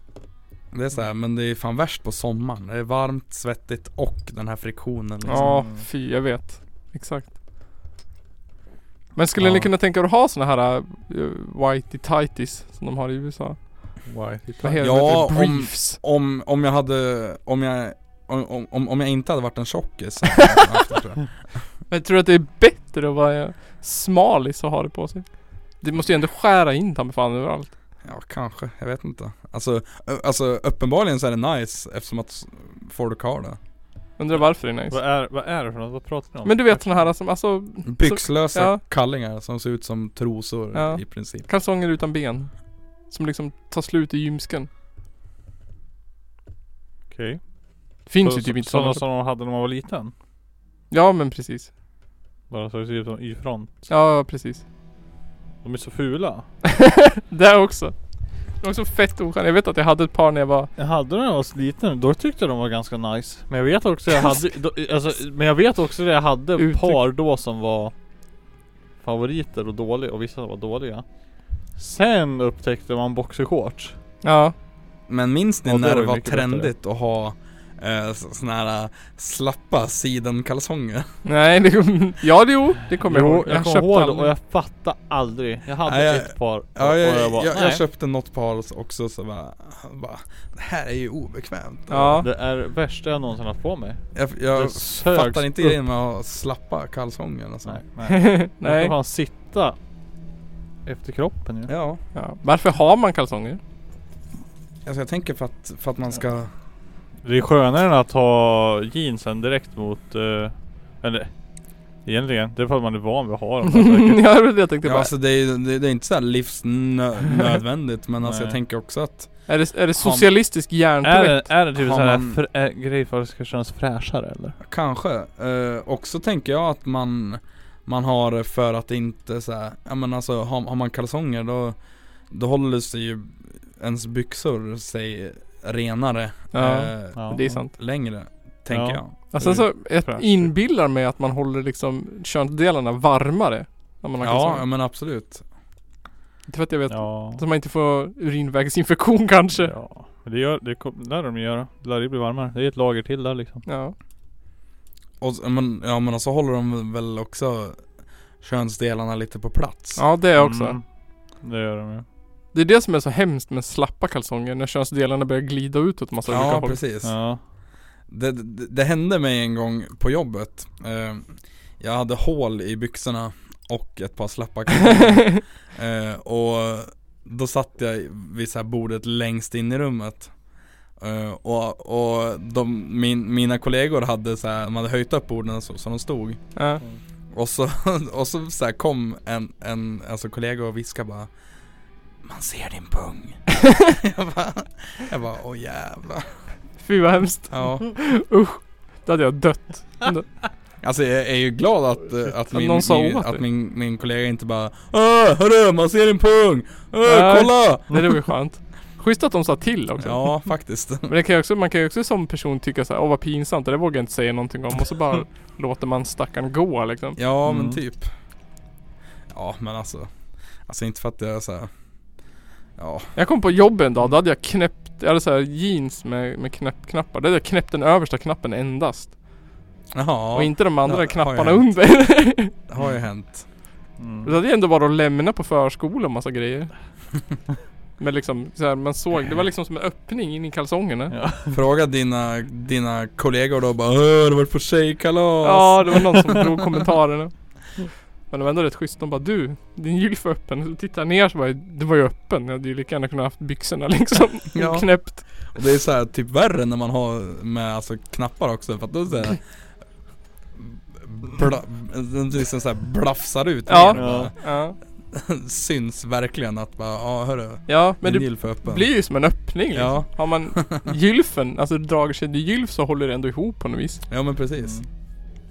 [SPEAKER 4] Det är så här, men det är fan värst på sommaren. Det är varmt, svettigt och den här friktionen liksom.
[SPEAKER 1] Ja,
[SPEAKER 2] Mm.
[SPEAKER 1] fy jag vet. Exakt. Men skulle
[SPEAKER 4] Ja.
[SPEAKER 1] ni kunna tänka er att ha såna här uh, whitey tighties som de har i USA?
[SPEAKER 2] Why?
[SPEAKER 1] Vad heter
[SPEAKER 4] Ja,
[SPEAKER 1] det?
[SPEAKER 4] om-
[SPEAKER 1] Briefs.
[SPEAKER 4] Om, om jag hade, om jag, om, om, om jag inte hade varit en tjockis så hade jag haft det, tror jag.
[SPEAKER 1] Men jag tror att det är bättre att vara eh, smalis och ha det på sig. Det måste ju ändå skära in ta mig fan överallt.
[SPEAKER 4] Ja kanske, jag vet inte. Alltså, ö- alltså uppenbarligen så är det nice eftersom att s- folk har det.
[SPEAKER 1] Undrar varför det är
[SPEAKER 2] Vad
[SPEAKER 1] nice.
[SPEAKER 2] är, vad är det för något? Vad pratar ni om?
[SPEAKER 1] Men du vet såna här som, alltså
[SPEAKER 4] Byxlösa
[SPEAKER 1] ja.
[SPEAKER 4] kallingar som ser ut som trosor
[SPEAKER 1] Ja.
[SPEAKER 4] i princip.
[SPEAKER 1] kalsonger utan ben. Som liksom tar slut i ljumsken.
[SPEAKER 2] Okej
[SPEAKER 1] Finns
[SPEAKER 2] Så-
[SPEAKER 1] ju typ inte
[SPEAKER 2] Sådana
[SPEAKER 1] sådana.
[SPEAKER 2] som de hade när man var liten?
[SPEAKER 1] Ja men precis.
[SPEAKER 2] Bara så det ser ut som Y-front
[SPEAKER 1] Ja precis.
[SPEAKER 2] De är så fula
[SPEAKER 1] Där också. Det är också fett oskönt. Jag vet att jag hade ett par när jag var
[SPEAKER 2] Jag hade den när jag var liten, då tyckte jag de var ganska nice Men jag vet också jag hade, då, alltså, men jag vet också det jag hade
[SPEAKER 1] Uttryck.
[SPEAKER 2] par då som var Favoriter och dåliga och vissa som var dåliga Sen upptäckte man boxershorts
[SPEAKER 1] Ja.
[SPEAKER 4] Men minns ni
[SPEAKER 2] Ja, det
[SPEAKER 4] när
[SPEAKER 2] var
[SPEAKER 4] det
[SPEAKER 2] ju
[SPEAKER 4] var
[SPEAKER 2] mycket bättre.
[SPEAKER 4] trendigt att ha eh, så- såna här eh, slappa sidenkalsonger.
[SPEAKER 1] Nej, det, ja det- jo, det kommer jag ihåg.
[SPEAKER 2] jag kommer
[SPEAKER 1] köpte
[SPEAKER 2] ihåg det
[SPEAKER 1] aldrig.
[SPEAKER 2] och jag fattade aldrig. Jag hade typ
[SPEAKER 4] Nej, jag-
[SPEAKER 2] ett par
[SPEAKER 4] Ja,
[SPEAKER 2] och
[SPEAKER 4] jag,
[SPEAKER 2] jag bara,
[SPEAKER 4] jag, jag
[SPEAKER 2] nej.
[SPEAKER 4] köpte något par också så bara, bara, det här är ju obekvämt.
[SPEAKER 1] Ja.
[SPEAKER 2] Det är det värsta jag någonsin haft på mig.
[SPEAKER 4] Jag, jag
[SPEAKER 2] det sögs
[SPEAKER 4] fattar inte
[SPEAKER 2] upp.
[SPEAKER 4] grejen med att ha slappa kalsonger och sånt.
[SPEAKER 2] Nej. nej. Jag
[SPEAKER 1] Nej.
[SPEAKER 2] ska fan sitta efter kroppen ju.
[SPEAKER 4] Ja,
[SPEAKER 1] Ja. Varför har man kalsonger?
[SPEAKER 4] alltså jag tänker för att, för att man ska,
[SPEAKER 2] Det är skönare än att ha jeansen direkt mot... eh, eller egentligen, det är för att man är van vid att ha dem. säkert.
[SPEAKER 1] ja, det var det jag tänkte
[SPEAKER 4] ja,
[SPEAKER 1] bara.
[SPEAKER 4] alltså det är, ju- det, det är inte så här livsnödvändigt men alltså jag
[SPEAKER 2] Nej.
[SPEAKER 4] tänker också att,
[SPEAKER 1] Är det, är det socialistisk
[SPEAKER 2] är,
[SPEAKER 1] hjärntvätt?
[SPEAKER 2] det, är det typ
[SPEAKER 4] Har
[SPEAKER 2] såhär
[SPEAKER 4] man-
[SPEAKER 2] fr- äh, grej för att det ska kännas fräschare eller?
[SPEAKER 4] kanske, eh, också tänker jag att man, man har för att inte så här, ja men alltså har, har man kalsonger då, då håller sig ju ens byxor sig renare
[SPEAKER 1] Ja,
[SPEAKER 4] eh,
[SPEAKER 2] Ja.
[SPEAKER 1] Det är sant.
[SPEAKER 4] längre, tänker
[SPEAKER 2] Ja.
[SPEAKER 4] jag.
[SPEAKER 1] Alltså, så jag
[SPEAKER 2] Fräscht.
[SPEAKER 1] inbillar mig att man håller liksom könsdelarna varmare. När man har
[SPEAKER 4] Ja,
[SPEAKER 1] kalsonger.
[SPEAKER 4] ja men absolut.
[SPEAKER 1] Inte för att jag vet.
[SPEAKER 2] Ja.
[SPEAKER 1] Så man inte får urinvägsinfektion kanske. Ja.
[SPEAKER 2] ja. Men det, gör, det kom, lär de ju göra. Det lär ju bli varmare. Det är ett lager till där liksom.
[SPEAKER 4] Och, s- men, ja men så håller de väl också könsdelarna lite på plats.
[SPEAKER 1] Ja det är också.
[SPEAKER 2] Mm. Det gör de ju.
[SPEAKER 1] Det är det som är så hemskt med slappa kalsonger. När könsdelarna börjar glida ut åt massa olika
[SPEAKER 4] Ja,
[SPEAKER 1] håll.
[SPEAKER 4] precis.
[SPEAKER 2] Ja.
[SPEAKER 4] Det, det, det hände mig en gång på jobbet. Eh, jag hade hål i byxorna och ett par slappa kalsonger. eh, och då satt jag vid så här bordet längst in i rummet. Eh, och och de, min, mina kollegor hade, så här, de hade höjt upp borden så, så de stod.
[SPEAKER 1] ja.
[SPEAKER 4] Och så, och så, så här kom en, en alltså kollega och viskade bara Man ser din pung jag, bara, jag bara, åh jävlar
[SPEAKER 1] Fy vad hemskt.
[SPEAKER 4] ja.
[SPEAKER 1] Då hade jag dött.
[SPEAKER 4] Alltså jag är ju glad att, eh, att, min,
[SPEAKER 1] någon sa
[SPEAKER 4] min,
[SPEAKER 1] åt
[SPEAKER 4] att
[SPEAKER 1] dig.
[SPEAKER 4] min, min kollega inte bara Åh, hörru, man ser din pung! Åh,
[SPEAKER 1] Nej.
[SPEAKER 4] kolla!
[SPEAKER 1] Nej, det var ju skönt. Schysst att de sa till också.
[SPEAKER 4] Ja, faktiskt
[SPEAKER 1] Men det kan ju också, man kan ju också som person tycka såhär, åh vad pinsamt, det där vågar jag inte säga någonting om. Och så bara låter man stackaren gå liksom.
[SPEAKER 4] Ja, men
[SPEAKER 2] Mm.
[SPEAKER 4] typ Ja, men alltså Alltså inte för att jag är så här. Ja,
[SPEAKER 1] Jag kom på jobbet en dag, då hade jag knäppt, jag hade såhär jeans med, med knäppknappar. Då hade jag knäppt den översta knappen endast. Och
[SPEAKER 4] jaha,
[SPEAKER 1] inte de andra
[SPEAKER 4] Ja, har
[SPEAKER 1] knapparna
[SPEAKER 4] jag
[SPEAKER 1] under.
[SPEAKER 4] det har ju hänt
[SPEAKER 1] Då
[SPEAKER 2] Mm.
[SPEAKER 1] hade jag ändå bara att lämna på förskola och massa grejer. Men liksom så här, man såg, det var liksom som en öppning in i kalsongerna.
[SPEAKER 2] Ja.
[SPEAKER 4] Fråga dina, dina kollegor då bara Åh, det var på tjejkalas!
[SPEAKER 1] Ja, det var någon som drog kommentarerna. Men det var ändå rätt schysst. De bara du, din gylf är öppen. Så tittar jag ner så var det var ju öppen. Jag hade ju lika gärna kunnat haft byxorna liksom
[SPEAKER 4] Ja.
[SPEAKER 1] knäppt.
[SPEAKER 4] Och det är så här typ värre när man har med alltså knappar också för att då såhär Bla, den liksom såhär blafsar ut
[SPEAKER 1] Ja.
[SPEAKER 4] ner och
[SPEAKER 1] Ja,
[SPEAKER 4] bara, syns verkligen att bara ja hörru,
[SPEAKER 1] ja men
[SPEAKER 4] din
[SPEAKER 1] det
[SPEAKER 4] gylf är öppen.
[SPEAKER 1] blir ju som en öppning liksom.
[SPEAKER 4] Ja,
[SPEAKER 1] Har man gylfen, alltså drar sig till gylf så håller det ändå ihop på något vis.
[SPEAKER 4] ja men precis.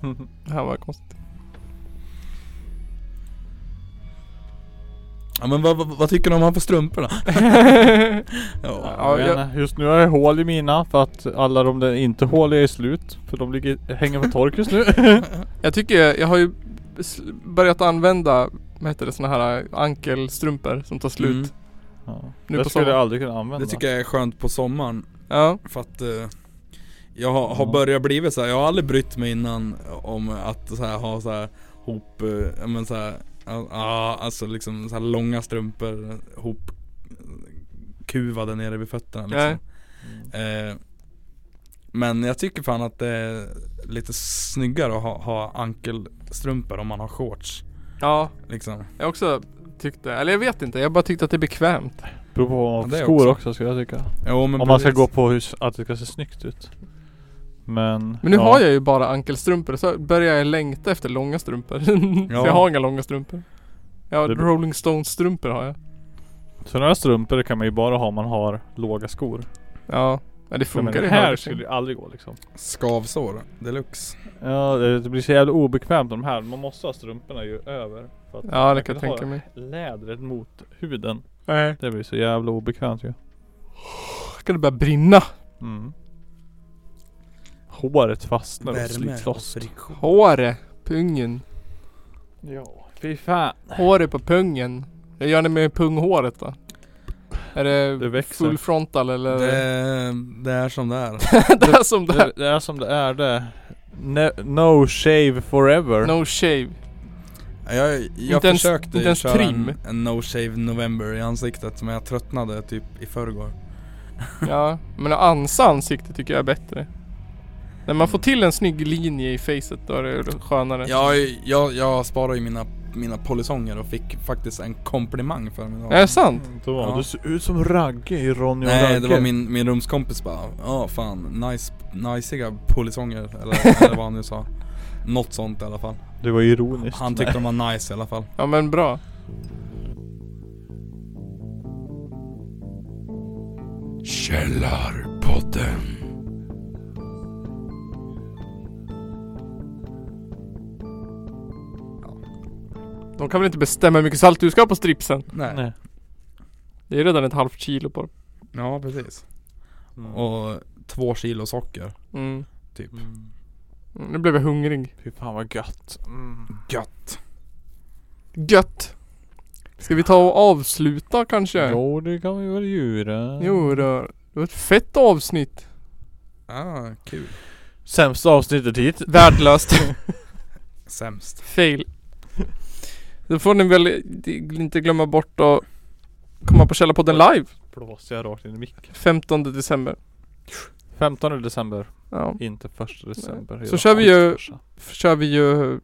[SPEAKER 2] Mm.
[SPEAKER 1] Det här var konstigt.
[SPEAKER 4] Ja men vad, vad, vad tycker ni om han på strumporna? ja.
[SPEAKER 1] Ja,
[SPEAKER 2] jag vet
[SPEAKER 1] jag-
[SPEAKER 2] inte. Just nu har jag hål i mina för att alla de där inte håliga är slut. För de ligger, hänger på tork just nu.
[SPEAKER 1] Jag tycker, jag har ju s- börjat använda, vad heter det, såna här äh, ankelstrumpor som tar slut.
[SPEAKER 4] Mm.
[SPEAKER 2] Ja.
[SPEAKER 1] Nu
[SPEAKER 2] det
[SPEAKER 1] på
[SPEAKER 2] skulle jag
[SPEAKER 1] sommaren.
[SPEAKER 2] aldrig kunna använda.
[SPEAKER 4] Det tycker jag är skönt på sommaren
[SPEAKER 1] Ja,
[SPEAKER 4] för att eh, jag har, har
[SPEAKER 2] Ja.
[SPEAKER 4] börjat blivit så här, jag har aldrig brytt mig innan om att så här, ha så här hop, eh, ja, men så här, ja, ja, alltså liksom så här långa strumpor hop kuvade nere vid fötterna liksom.
[SPEAKER 2] Mm.
[SPEAKER 4] eh, Men jag tycker fan att det är lite snyggare att ha, ha ankelstrumpor om man har shorts
[SPEAKER 1] ja,
[SPEAKER 4] liksom.
[SPEAKER 1] jag också tyckte, eller jag vet inte, jag bara tyckte att det är bekvämt.
[SPEAKER 2] Beror på vad man har
[SPEAKER 4] Ja, det
[SPEAKER 2] för skor också.
[SPEAKER 4] också.
[SPEAKER 2] skulle jag tycka.
[SPEAKER 4] Jo, men
[SPEAKER 2] Om man ska
[SPEAKER 4] precis.
[SPEAKER 2] gå på hur, s- att det ska se snyggt ut. Men...
[SPEAKER 1] Men nu
[SPEAKER 2] ja.
[SPEAKER 1] har jag ju bara ankelstrumpor så börjar jag längta efter långa strumpor.
[SPEAKER 4] Ja.
[SPEAKER 1] så jag har inga långa strumpor. Ja,
[SPEAKER 2] Det-
[SPEAKER 1] Rolling Stones strumpor har jag.
[SPEAKER 2] Sådana här strumpor kan man ju bara ha om man har låga skor.
[SPEAKER 1] Ja, men det
[SPEAKER 2] Men
[SPEAKER 1] funkar
[SPEAKER 2] det
[SPEAKER 1] ju
[SPEAKER 2] här
[SPEAKER 1] här.
[SPEAKER 2] skulle ju aldrig gå liksom.
[SPEAKER 4] Skavsår deluxe
[SPEAKER 2] Ja det det blir så jävla obekvämt med de här. Man måste ha strumporna ju över. För
[SPEAKER 1] Ja,
[SPEAKER 2] att
[SPEAKER 1] det kan jag
[SPEAKER 2] verkligen
[SPEAKER 1] tänka
[SPEAKER 2] ha
[SPEAKER 1] mig.
[SPEAKER 2] Lädret mot huden.
[SPEAKER 1] Nej.
[SPEAKER 2] Det blir så jävla obekvämt ju.
[SPEAKER 1] Ska det börja brinna?
[SPEAKER 2] Mm. Håret fastnar och
[SPEAKER 4] Värme
[SPEAKER 2] slits
[SPEAKER 4] och
[SPEAKER 2] loss.
[SPEAKER 4] friktion
[SPEAKER 1] Håret, pungen.
[SPEAKER 2] Ja, fy fan.
[SPEAKER 1] Håret på pungen. Jag gör det med punghåret då. Är det,
[SPEAKER 2] Det växer.
[SPEAKER 1] full frontal eller?
[SPEAKER 4] Det,
[SPEAKER 1] Det,
[SPEAKER 4] det är som det är.
[SPEAKER 1] är som det
[SPEAKER 2] Det,
[SPEAKER 1] här.
[SPEAKER 2] det är som det är det. No, no shave forever.
[SPEAKER 1] No shave.
[SPEAKER 4] Jag, jag
[SPEAKER 1] Inte ens-
[SPEAKER 4] försökte
[SPEAKER 1] inte ens
[SPEAKER 4] köra
[SPEAKER 1] trim.
[SPEAKER 4] En, en no shave november i ansiktet men jag tröttnade typ i förrgår.
[SPEAKER 1] Mm. Ja, men att ansa ansiktet tycker jag är bättre. När man får till en snygg linje i facet då är det skönare.
[SPEAKER 4] Jag, jag, jag sparar ju mina, mina polisonger och fick faktiskt en komplimang för min
[SPEAKER 1] Är det sant?
[SPEAKER 2] Då,
[SPEAKER 4] Ja.
[SPEAKER 2] Du ser ut som Ragge i Ronny och Ragge.
[SPEAKER 4] Nej, det var min, min rumskompis bara, ja fan, nice, najsiga polisonger eller, eller vad han nu sa. Något sånt i alla fall.
[SPEAKER 2] Det var ironiskt.
[SPEAKER 4] Han tyckte de var nice i alla fall.
[SPEAKER 1] Ja men bra.
[SPEAKER 4] Källarpodden.
[SPEAKER 1] De kan väl inte bestämma hur mycket salt du ska ha på stripsen?
[SPEAKER 4] Nej.
[SPEAKER 2] Nej.
[SPEAKER 1] Det är redan ett halvt kilo på dem.
[SPEAKER 4] Ja, precis.
[SPEAKER 2] Mm.
[SPEAKER 4] Och två kilo socker,
[SPEAKER 1] Mm.
[SPEAKER 4] typ.
[SPEAKER 2] Mm.
[SPEAKER 1] Mm, Nu blev jag hungrig.
[SPEAKER 2] Fy fan vad gött. Mm.
[SPEAKER 4] Gött.
[SPEAKER 1] Gött! Ska vi ta och avsluta kanske?
[SPEAKER 2] Jo det kan vi väl göra.
[SPEAKER 1] Jo då. Det var ett fett avsnitt.
[SPEAKER 4] Ah, kul.
[SPEAKER 2] Sämsta avsnittet hit.
[SPEAKER 1] Värdelöst.
[SPEAKER 4] Sämst.
[SPEAKER 1] Fail. Då får ni väl inte glömma bort att komma på Källarpodden live.
[SPEAKER 2] Blåser jag rakt in i micken.
[SPEAKER 1] 15 december.
[SPEAKER 2] 15 december.
[SPEAKER 1] Ja.
[SPEAKER 2] Inte 1 december.
[SPEAKER 1] Så kör vi ju-
[SPEAKER 2] Första.
[SPEAKER 1] F- Kör vi ju,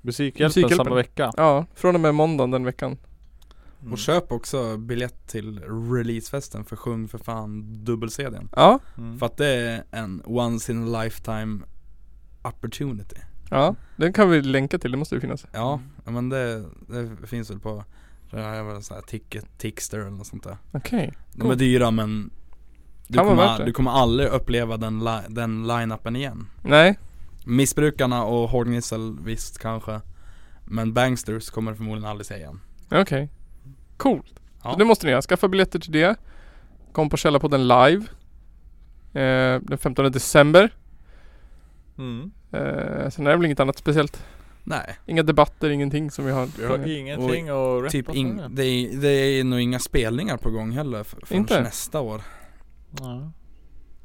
[SPEAKER 2] Musikhjälpen,
[SPEAKER 1] Musikhjälpen.
[SPEAKER 2] samma vecka.
[SPEAKER 1] ja, från och med måndagen den veckan.
[SPEAKER 2] Mm.
[SPEAKER 4] Och köp också biljett till releasefesten för Sjung för fan dubbel-CDn.
[SPEAKER 1] Ja,
[SPEAKER 2] Mm.
[SPEAKER 4] För att det är en once in a lifetime opportunity.
[SPEAKER 1] ja. Den kan vi länka till, det måste ju finnas.
[SPEAKER 4] Ja, ja, men det, det finns väl på det här var en sån här ticket, Tickster eller något sånt där.
[SPEAKER 1] Okej.
[SPEAKER 4] De är dyra men du
[SPEAKER 1] Kan vara värt
[SPEAKER 4] kommer,
[SPEAKER 1] det.
[SPEAKER 4] du kommer aldrig uppleva den, li- den line-upen igen.
[SPEAKER 1] Nej,
[SPEAKER 4] Missbrukarna och Hårdnissel visst kanske. Men Bangsters kommer du förmodligen aldrig se igen.
[SPEAKER 1] okej. Coolt.
[SPEAKER 4] Ja.
[SPEAKER 1] Så det måste ni göra. Skaffa biljetter till det. Kom på Källarpodden live. Eh, den 15 december.
[SPEAKER 2] Mm.
[SPEAKER 1] Eh, sen är det väl inget annat speciellt.
[SPEAKER 4] Nej,
[SPEAKER 1] Inga debatter, ingenting som vi har.
[SPEAKER 2] Vi har ingenting att
[SPEAKER 4] typ
[SPEAKER 2] rappa
[SPEAKER 4] ing-
[SPEAKER 2] för.
[SPEAKER 4] det, är, det är nog inga spelningar på gång heller f- förrän
[SPEAKER 1] Inte?
[SPEAKER 4] nästa år.
[SPEAKER 2] Nej.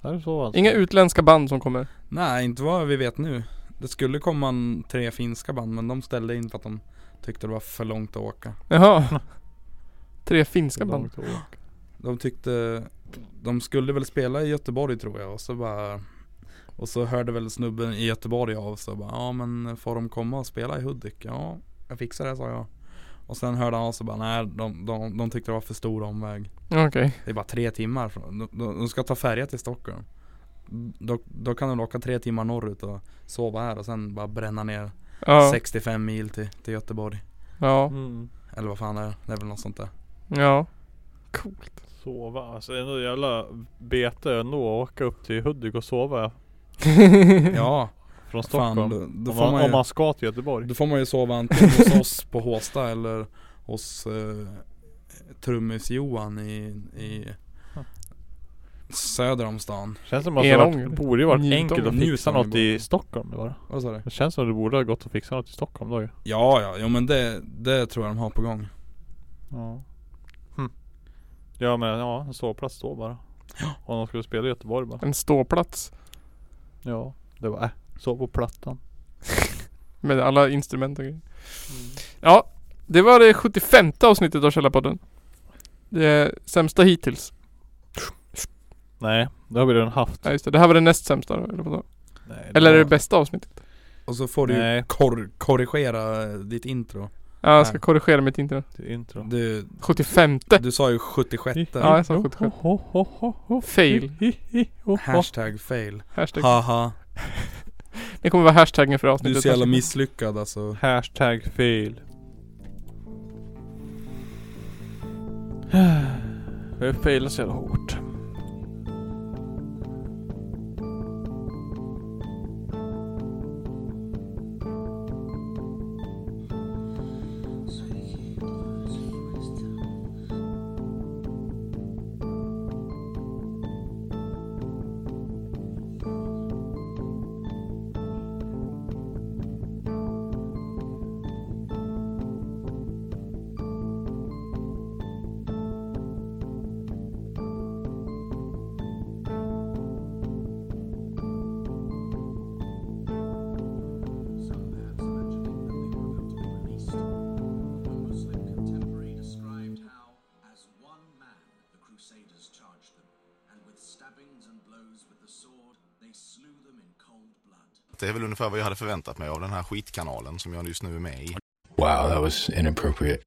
[SPEAKER 2] Det är så alltså.
[SPEAKER 1] Inga utländska band som kommer.
[SPEAKER 4] Nej, inte vad vi vet nu. Det skulle komma en, tre finska band men de ställde in för att de tyckte det var för långt att åka.
[SPEAKER 1] Jaha. Tre finska band.
[SPEAKER 2] Långt åk.
[SPEAKER 4] De tyckte, de skulle väl spela i Göteborg tror jag och så bara Och så hörde väl snubben i Göteborg av sig och bara ja men får de komma och spela i Hudik? Ja, jag fixar det sa jag Och sen hörde han av sig och bara nej de, de, de tyckte det var för stor omväg
[SPEAKER 1] Okej.
[SPEAKER 4] Det är bara tre timmar från, de, de, de ska ta färja till Stockholm då, då kan de åka tre timmar norrut och sova här och sen bara bränna ner
[SPEAKER 1] Ja.
[SPEAKER 4] 65 mil till, till Göteborg
[SPEAKER 1] Ja.
[SPEAKER 2] Mm.
[SPEAKER 4] Eller vad fan det är, det är väl något sånt där
[SPEAKER 1] Ja. Coolt.
[SPEAKER 2] Sova. Alltså det är nog jävla bete ändå att åka upp till Hudik och sova
[SPEAKER 4] Ja,
[SPEAKER 2] från
[SPEAKER 4] fan
[SPEAKER 2] Stockholm.
[SPEAKER 4] då, då
[SPEAKER 2] om,
[SPEAKER 4] får
[SPEAKER 2] man,
[SPEAKER 4] man
[SPEAKER 2] om
[SPEAKER 4] ju
[SPEAKER 2] man ska till Göteborg.
[SPEAKER 4] Då får man ju sova antingen hos oss på Håsta eller hos eh, trummis Johan i, i söder om stan.
[SPEAKER 2] Känns som att det
[SPEAKER 1] Enånger.
[SPEAKER 2] varit- borde ju varit
[SPEAKER 1] Njutånger.
[SPEAKER 2] enkelt att fixa
[SPEAKER 4] Njutånger
[SPEAKER 2] något
[SPEAKER 4] borde-
[SPEAKER 2] i Stockholm det var.
[SPEAKER 4] Vad sa du?
[SPEAKER 2] Det känns som att det borde ha gått att fixa något i Stockholm då ju.
[SPEAKER 4] Ja, ja, jo men det, det tror jag de har på gång.
[SPEAKER 2] Ja. Hm. Ja men ja, en sovplats då bara. Om de skulle spela i Göteborg bara.
[SPEAKER 1] En ståplats.
[SPEAKER 2] Ja. Det var äh, sov på plattan.
[SPEAKER 1] Med alla instrument och grejer.
[SPEAKER 2] Mm.
[SPEAKER 1] Ja, det var det 75 avsnittet av Källarpodden. Det sämsta hittills.
[SPEAKER 2] Nej, det har vi redan haft.
[SPEAKER 1] Ja, just det. Det här var det näst sämsta då, eller vadå?
[SPEAKER 2] Nej,
[SPEAKER 1] Eller är det
[SPEAKER 2] var-
[SPEAKER 1] bästa avsnittet?
[SPEAKER 4] Och så får du ju
[SPEAKER 2] Nej.
[SPEAKER 4] kor- korrigera eh, ditt intro.
[SPEAKER 1] Ja, jag ska
[SPEAKER 4] Nej.
[SPEAKER 1] korrigera mitt intro.
[SPEAKER 2] det är intro.
[SPEAKER 4] Du,
[SPEAKER 1] 75
[SPEAKER 4] du sa ju 76
[SPEAKER 1] Ja, jag sa 77.
[SPEAKER 4] Oh,
[SPEAKER 2] Ho, ho, ho, ho.
[SPEAKER 1] Fail.
[SPEAKER 4] Mm.
[SPEAKER 2] Hi, hi, hi, ho, ho.
[SPEAKER 4] Hashtag fail.
[SPEAKER 1] Hashtag.
[SPEAKER 4] Haha.
[SPEAKER 1] Det kommer vara hashtaggen för
[SPEAKER 4] Du är
[SPEAKER 1] avsnittet.
[SPEAKER 4] så jävla misslyckad alltså.
[SPEAKER 2] Hashtag fail. Vi har failat så jävla hårt.
[SPEAKER 6] det är väl ungefär vad jag hade förväntat mig av den här skitkanalen som jag just nu är med i.
[SPEAKER 7] Wow, that was inappropriate.